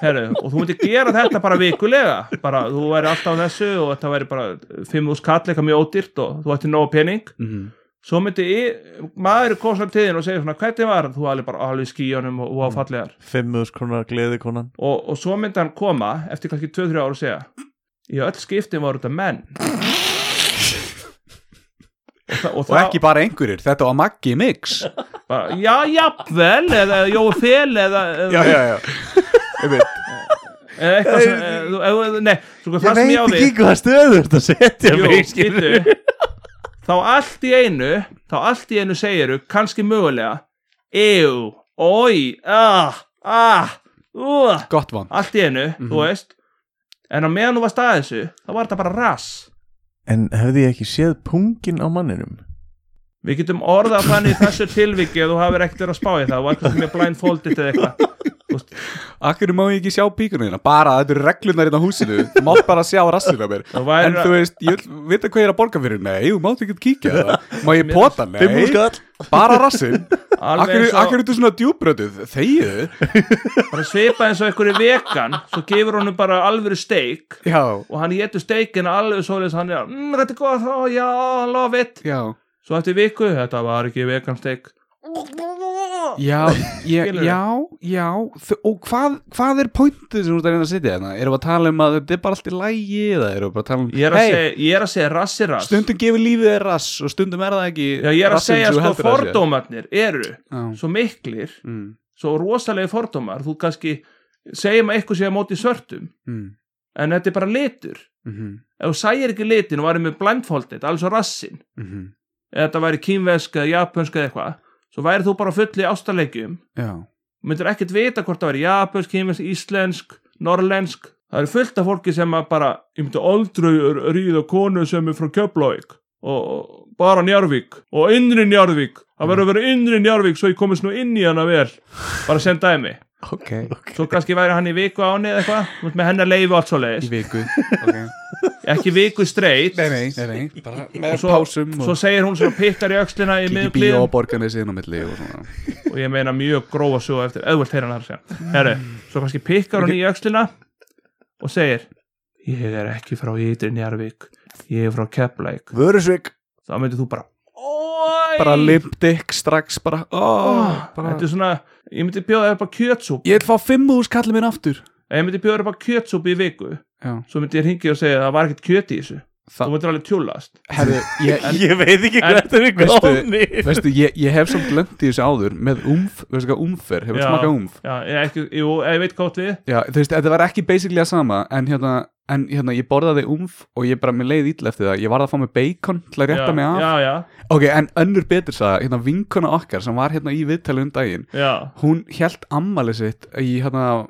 D: Heru, og þú myndir gera þetta bara vikulega bara, þú væri alltaf á þessu og þetta væri bara 5.000 kall eitthvað mjög ódýrt og þú ætti nóg pening
A: Mhm.
D: svo myndi í- maður kostar tíðin og segir svona hvernig var þú alveg bara alveg í skíunum og, og fallegar
F: 5.000 krónar gleði konan
D: og, og svo myndi hann koma eftir kannski 2-3 ára og segja í öll skiptin voru þetta menn og, þa og,
A: Og ekki bara einhverjir, þetta var Maggi Mix
D: bara já, jafnvel, eða Jói Fel eða, eða,
A: já, já
D: eða eitthvað sem eða, eða, eða, nei, svo
F: Ég
D: það sem
F: veit
D: ég á
F: ekki
D: því
F: hvað stöðu þetta setja
D: Jú,
F: mig skil.
D: bíddu. þá allt í einu þá allt í einu segiru, kannski mögulega ew, oi ah, ah, uh
A: Gott vann
D: allt í einu, þú
A: Mhm.
D: veist en á meðan þú varst að þessu, þá var þetta bara rass
F: En hefði ég ekki séð pungin á manninum?
D: Við getum orðað þannig í þessu tilviki að þú hafir ekkert verið að spá í það og eitthvað sem er blindfoldið eða eitthvað
A: Akkur má ég ekki sjá píkunum þína Bara þetta eru reglunar hérna á húsinu Þú mátt bara sjá rassinu á mér
D: Þú væri-
A: En þú veist, ég vil vita hvað ég er að borga fyrir Nei, þú mátt ekki kíkja á það Má ég pota, nei, bara rassin Akkur,
D: alveg eins
A: akkur
D: og
A: er þetta svona djúbrötuð Þegiðu
D: bara svipað eins og einhverju vegan svo gefur honum bara alvöru steik
A: Já,
D: og hann getur steikin alveg svoleiðis hann er mmm, þetta er góð þá, já, love it
A: já
D: svo eftir viku, þetta var ekki vegan steik
A: Já, ég,
D: Skilurðu?
A: já, já Þ- Og hvað, hvað er pointið sem þú ert að reyna að setja þarna? Erum við að tala um að þetta er bara allt í lægi Eða erum við bara að tala um
D: ég er að,
A: "Hey,
D: segja, ég er að segja rassi rass
A: Stundum gefur lífið þér rass og stundum er það ekki
D: já, ég er að
A: rassinn
D: segja
A: sem þú
D: sko
A: heldur að sé.
D: fordómarnir eru
A: Já.
D: svo miklir,
A: Mm,
D: svo rosalegi fordómar þú kannski segjum að eitthvað sé að móti svörtum
A: mm,
D: en þetta er bara litur
A: mhm,
D: ef þú sæir ekki litin og væri með blindfolded alls og rassin,
A: mhm,
D: eða þetta væri kínveska eða japanska eða eitthvað, svo væri þú bara fulli ástalegjum,
A: Já
D: myndir ekkert vita hvort það væri japansk, kínvesk, íslensk norlensk, það eru fullt af fólki sem að bara, ég myndi aldrei r- ríða konu sem er frá Kjöplavík og og bara Njarvík og innri Njarvík, það verður að vera innri Njarvík svo ég komist nú inn í hana vel bara sem dæmi,
A: Ok,
D: svo kannski væri hann í viku áni eða eitthvað, þú veist, með hennar leifu allt svo
A: í
D: leiðis,
A: viku Ok,
D: ekki viku straitt
A: nei, nei, nei, nei Bara með
D: svo-
A: pásum
D: svo
A: og
D: segir hún svona pikkar í öxlina í
A: ekki
D: miðjum
A: bíó
D: klíðum
A: og borgarni síðan á milli og svona
D: og ég meina mjög grófa svo eftir eðvöld þeirra nær sem Heru, svo kannski pikkar hún í öxlina og segir ég er ekki frá Ytri Njarvík ég er frá Keflæk
F: Vörusvík
D: þá myndir þú bara
A: Bara limpdikk strax, bara oh,
D: "Ah,
A: bara
D: þetta er svona ég myndi bjóða upp á kjötsúp
A: Ég vil fá fimm úr skallið minn aftur
D: ég myndi bjóða upp á kjötsúp í viku
A: Já.
D: svo myndi ég ringi og segja að það var ekkert kjöt í þessu
A: Þa-
D: þú myndir alveg tjúlast
A: Herðu, ég,
F: Ég veit ekki
D: En-
F: hvað þetta er
A: Veistu-
F: komni
A: veistu, ég, ég hef samt glömt í þessu áður með umf, veistu hvað umfer, hefur
D: Já.
A: smakað umf
D: já, ég, ekki, jú, ég veit hvað átt við
A: Já, þú veist, þetta var ekki basically að sama en hérna, en hérna, ég borðaði umf og ég bara, mér leið ítla eftir það, ég varð að fá mig bacon til að rétta
D: já,
A: mig af
D: já, já,
A: Ok, en önnur betur sagði, hérna vinkona okkar sem var hérna í viðtali um daginn
D: já,
A: hún held ammali sitt í hérna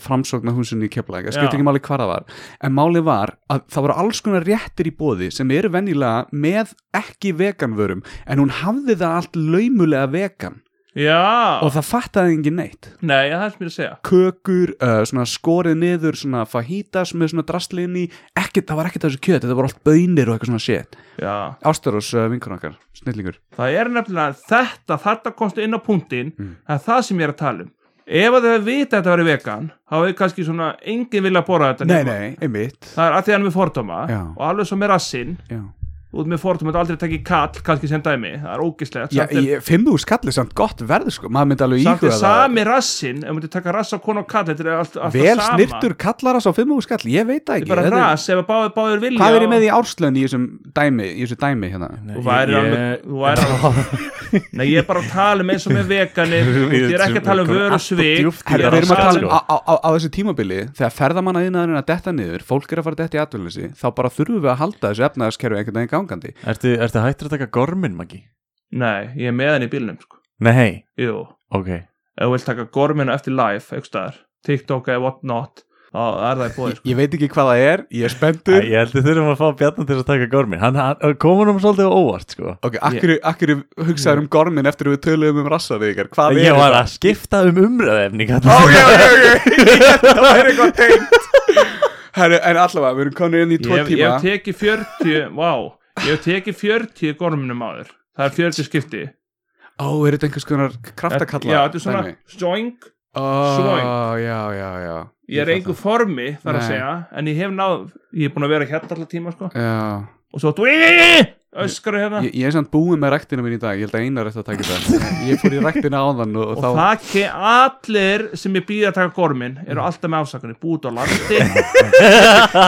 A: framsóknar húsinni í Keflæk ég
D: Já.
A: skipt ekki máli hvar það var en máli var að það voru alls konar réttir í bóði sem eru venjulega með ekki veganvörum en hún hafði það allt laumulega vegan
D: já.
A: og það fattaði engin neitt
D: nei, það er sem ég er að segja
A: kökur, uh, svona skorið niður svona fajitas með svona drastlinni ekkert, það var ekkert af þessu kjöt, þetta voru allt bönir og eitthvað svona shit
D: Já,
A: Ástaros uh, vinkona okkar, snillingur
D: það er nefnilega þetta, þetta komstu inn á punktin
A: Mm.
D: það er það sem ég er að tala um ef að þau hefði vitað að þetta væri vegan þá hefði kannski svona enginn vilja að bóra þetta
A: Nei,
D: nema-
A: nei, einmitt
D: það er að því hann er með fordóma
A: Já.
D: og alveg svo með rassinn
A: Já.
D: út með fordóma, þetta aldrei tekið kall kannski sem dæmi, það er ógislegt
A: Já, ég, fimmu skallið samt gott verð sko, maður myndi alveg
D: samt
A: íhuga
D: er sami rassinn ef maður taka rass á konu og kall þetta er allt, allt
A: Vel
D: sama.
A: snirtur kallar þess á fimmu skall, ég veit
D: þetta
A: það ekki
D: er bara
A: Þetta er-
D: rass ef að báður, báður vilja
A: Hvað er ég
D: og-
A: með í árslun í þessum dæmi, í þessu dæmi hérna?
D: Þú væri alveg, þú væri alveg Nei, ég er bara að tala um eins og með veganir þú veist, Ég er ekki að tala um vöru svik
F: djúpt í
A: Herra,
F: Ég er
A: við erum að
F: að
A: tala um
F: sko.
A: á, á, á, á þessu tímabili þegar ferðamanna yðnaðurinn að detta niður fólk er að fara að detta í atvinnleysi þá bara þurfum við að halda þessu efnaðaskerfi einhvern veginn gangandi
F: Ertu, ertu hættur að taka gormin, Maggi?
D: Nei, ég er með henni í bílnum sko.
F: Nei,
D: Jú,
F: ok
D: ef þú vilt taka gorminu eftir live einhvers staðar, TikTok eða what not þá er það í bóði
A: ég,
D: sko.
A: ég veit ekki hvað það er, ég er
F: Æ,
A: spenntur
F: Ég held að þurfum að fá Bjarnar til að taka gormin Hann, hann kom hann um svolítið á óvart, sko
A: Ok, akkur, akkur hugsaður um gormin eftir við töluðum um rassa við ykkar Hvað
F: Ég
A: er
F: var
A: þetta?
F: að skipta um umræðefni
A: Ó,
F: kallar.
A: já, já, já, já, það væri eitthvað tengt Herru, en allavega, við erum konið inn í tvo
D: Ég hef- ég
A: tíma
D: hef tekið 40 Vá, ég hef tekið 40 gorminum áður það er 40 skipti
A: Ó, er þetta einhvers konar kraftakalla?
D: já, þetta er svona sjóing
A: oh,
D: Slang.
A: Já, já, já
D: ég er einhver formi þar að
A: Nei.
D: segja en ég hef náð, ég er búin að vera hérna alltaf tíma sko.
A: Já,
D: og svo öskar hérna
A: ég, ég er samt búið með ræktina mín í dag, ég held að einar eftir að taka þetta Ég fór í ræktina áðan og,
D: og
A: þá
D: það ke allir sem ég býð að taka gormin
A: Mm.
D: eru alltaf með ásakunni, búið út á landi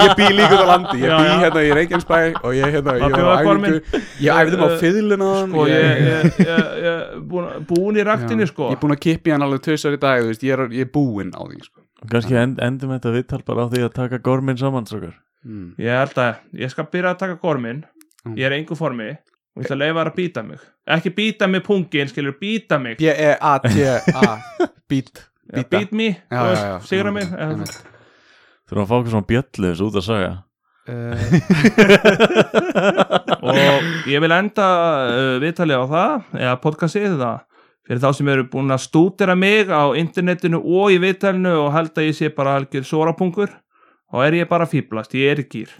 A: Ég bý líka út á landi,
D: Já,
A: ég bý
D: já.
A: hérna í Reykjanesbæ og ég hérna,
D: Var
A: ég var á
D: bjóða
A: æfingu Ég æfðum á fiðlun áðan
D: sko, ég er búin í
A: Já.
D: raktinni sko.
A: Ég er búin að kippa í hann alveg tvisar í dag, þú veist, ég er, ég er búinn á því sko.
C: Ganski end, endum þetta viðtal bara á því að taka gormin saman strókar
A: mm.
D: ég held að ég skal byrja að taka gormin
A: Mm.
D: ég er í engu formi og ég ætla að
A: Eh.
D: leifa þær að býta mig ekki býta mig pungin, skilur, býta mig
A: B-E-A-T-A Beat
D: Já, beat me,
A: Já,
D: þú
A: já, já.
D: veist, sigra mig
A: Mm,
D: eða-
A: einmitt.
C: Þurfum að fá okkur svona bjöllu þessu út að saga
D: og ég vil enda uh, viðtalið á það eða podcastið það fyrir þá sem eru búin að stútera mig á internetinu og í viðtalinu og held að ég sé bara algjör sórapungur og er ég bara að fýblast, ég er í gýr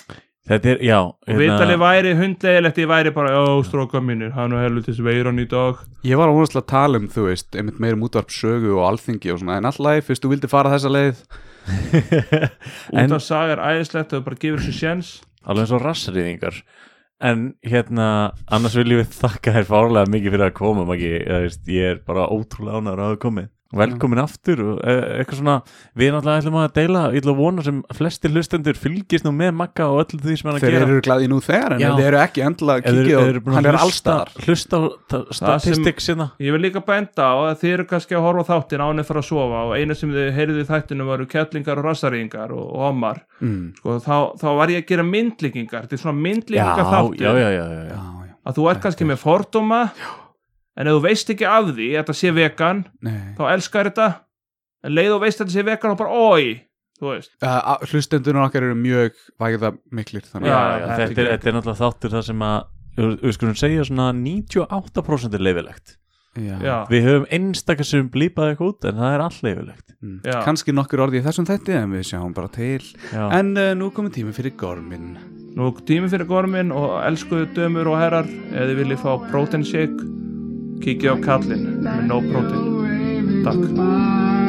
C: Þetta er, já
D: og
C: Hérna-
D: viðtalið væri hundlegilegt ég væri bara, ó stróka mínir hann og helvitis veiran í dag
A: Ég var óvast að tala um, þú veist, einmitt meirum útvarp sögu og alþingi og svona, en alltaf, fyrst þú vildi fara þessa leið
F: hérna-
D: út af saga er æðislegt og bara gefur þessu sjens
C: alveg eins og rassriðingar en hérna, annars viljum við þakka þér fárlega mikið fyrir að koma Maggi, Eða, veist, ég er bara ótrúlega ánæður að hafa komið velkomin aftur og e eitthvað svona við náttúrulega ætlum að deila, ég ætla að vona sem flestir hlustendur fylgist nú með Magga og öllu því sem hann er að
A: Þeir
C: gera
A: eru glæði nú þegar,
C: Já.
A: en ef þeir eru ekki endilega
C: Ef þeir- ef þeir
A: kikið
C: eru
A: og
C: búin að
A: hann er
C: hlusta-
A: allstaðar
C: hlusta á ta- hérna. statistik sinna
D: Ég vil líka benda á að þið eru kannski að horfa á þáttin ánið fyrir að sofa og eina sem þið heyrðu í þættinu varu kettlingar og rassaríðingar og, og omar
A: mm.
D: sko, þá, þá var ég að gera myndlíkingar þetta er svona
C: já,
D: myndlíkingar
C: já,
D: þáttur
C: já, já, já, já.
A: Já, já,
D: að þú ert kannski með fordóma en ef þú veist ekki af því að þetta sé vegan
A: nei
D: þá elskar þetta en leið og veist að þetta sé vegan og bara oi þú veist
A: uh, Hlustendunar okkar eru mjög væða miklir þannig
D: Já,
A: að-
D: já,
C: þetta, er, þetta er náttúrulega þáttur það sem að við- við skulum segja svona 98% er leifilegt
A: já.
D: já,
C: við höfum einstakar sem blípað eitthvað út en það er all leifilegt
A: Mm.
D: Já.
A: Kannski nokkur orði í þessum þetta en við sjáum bara til
C: Já.
A: En uh, nú komið tími fyrir gormin
D: nú tími fyrir gormin og elskuðu dömur og herrar ef þið viljið fá protein shake kikið á kallin með no protein takk
B: Takk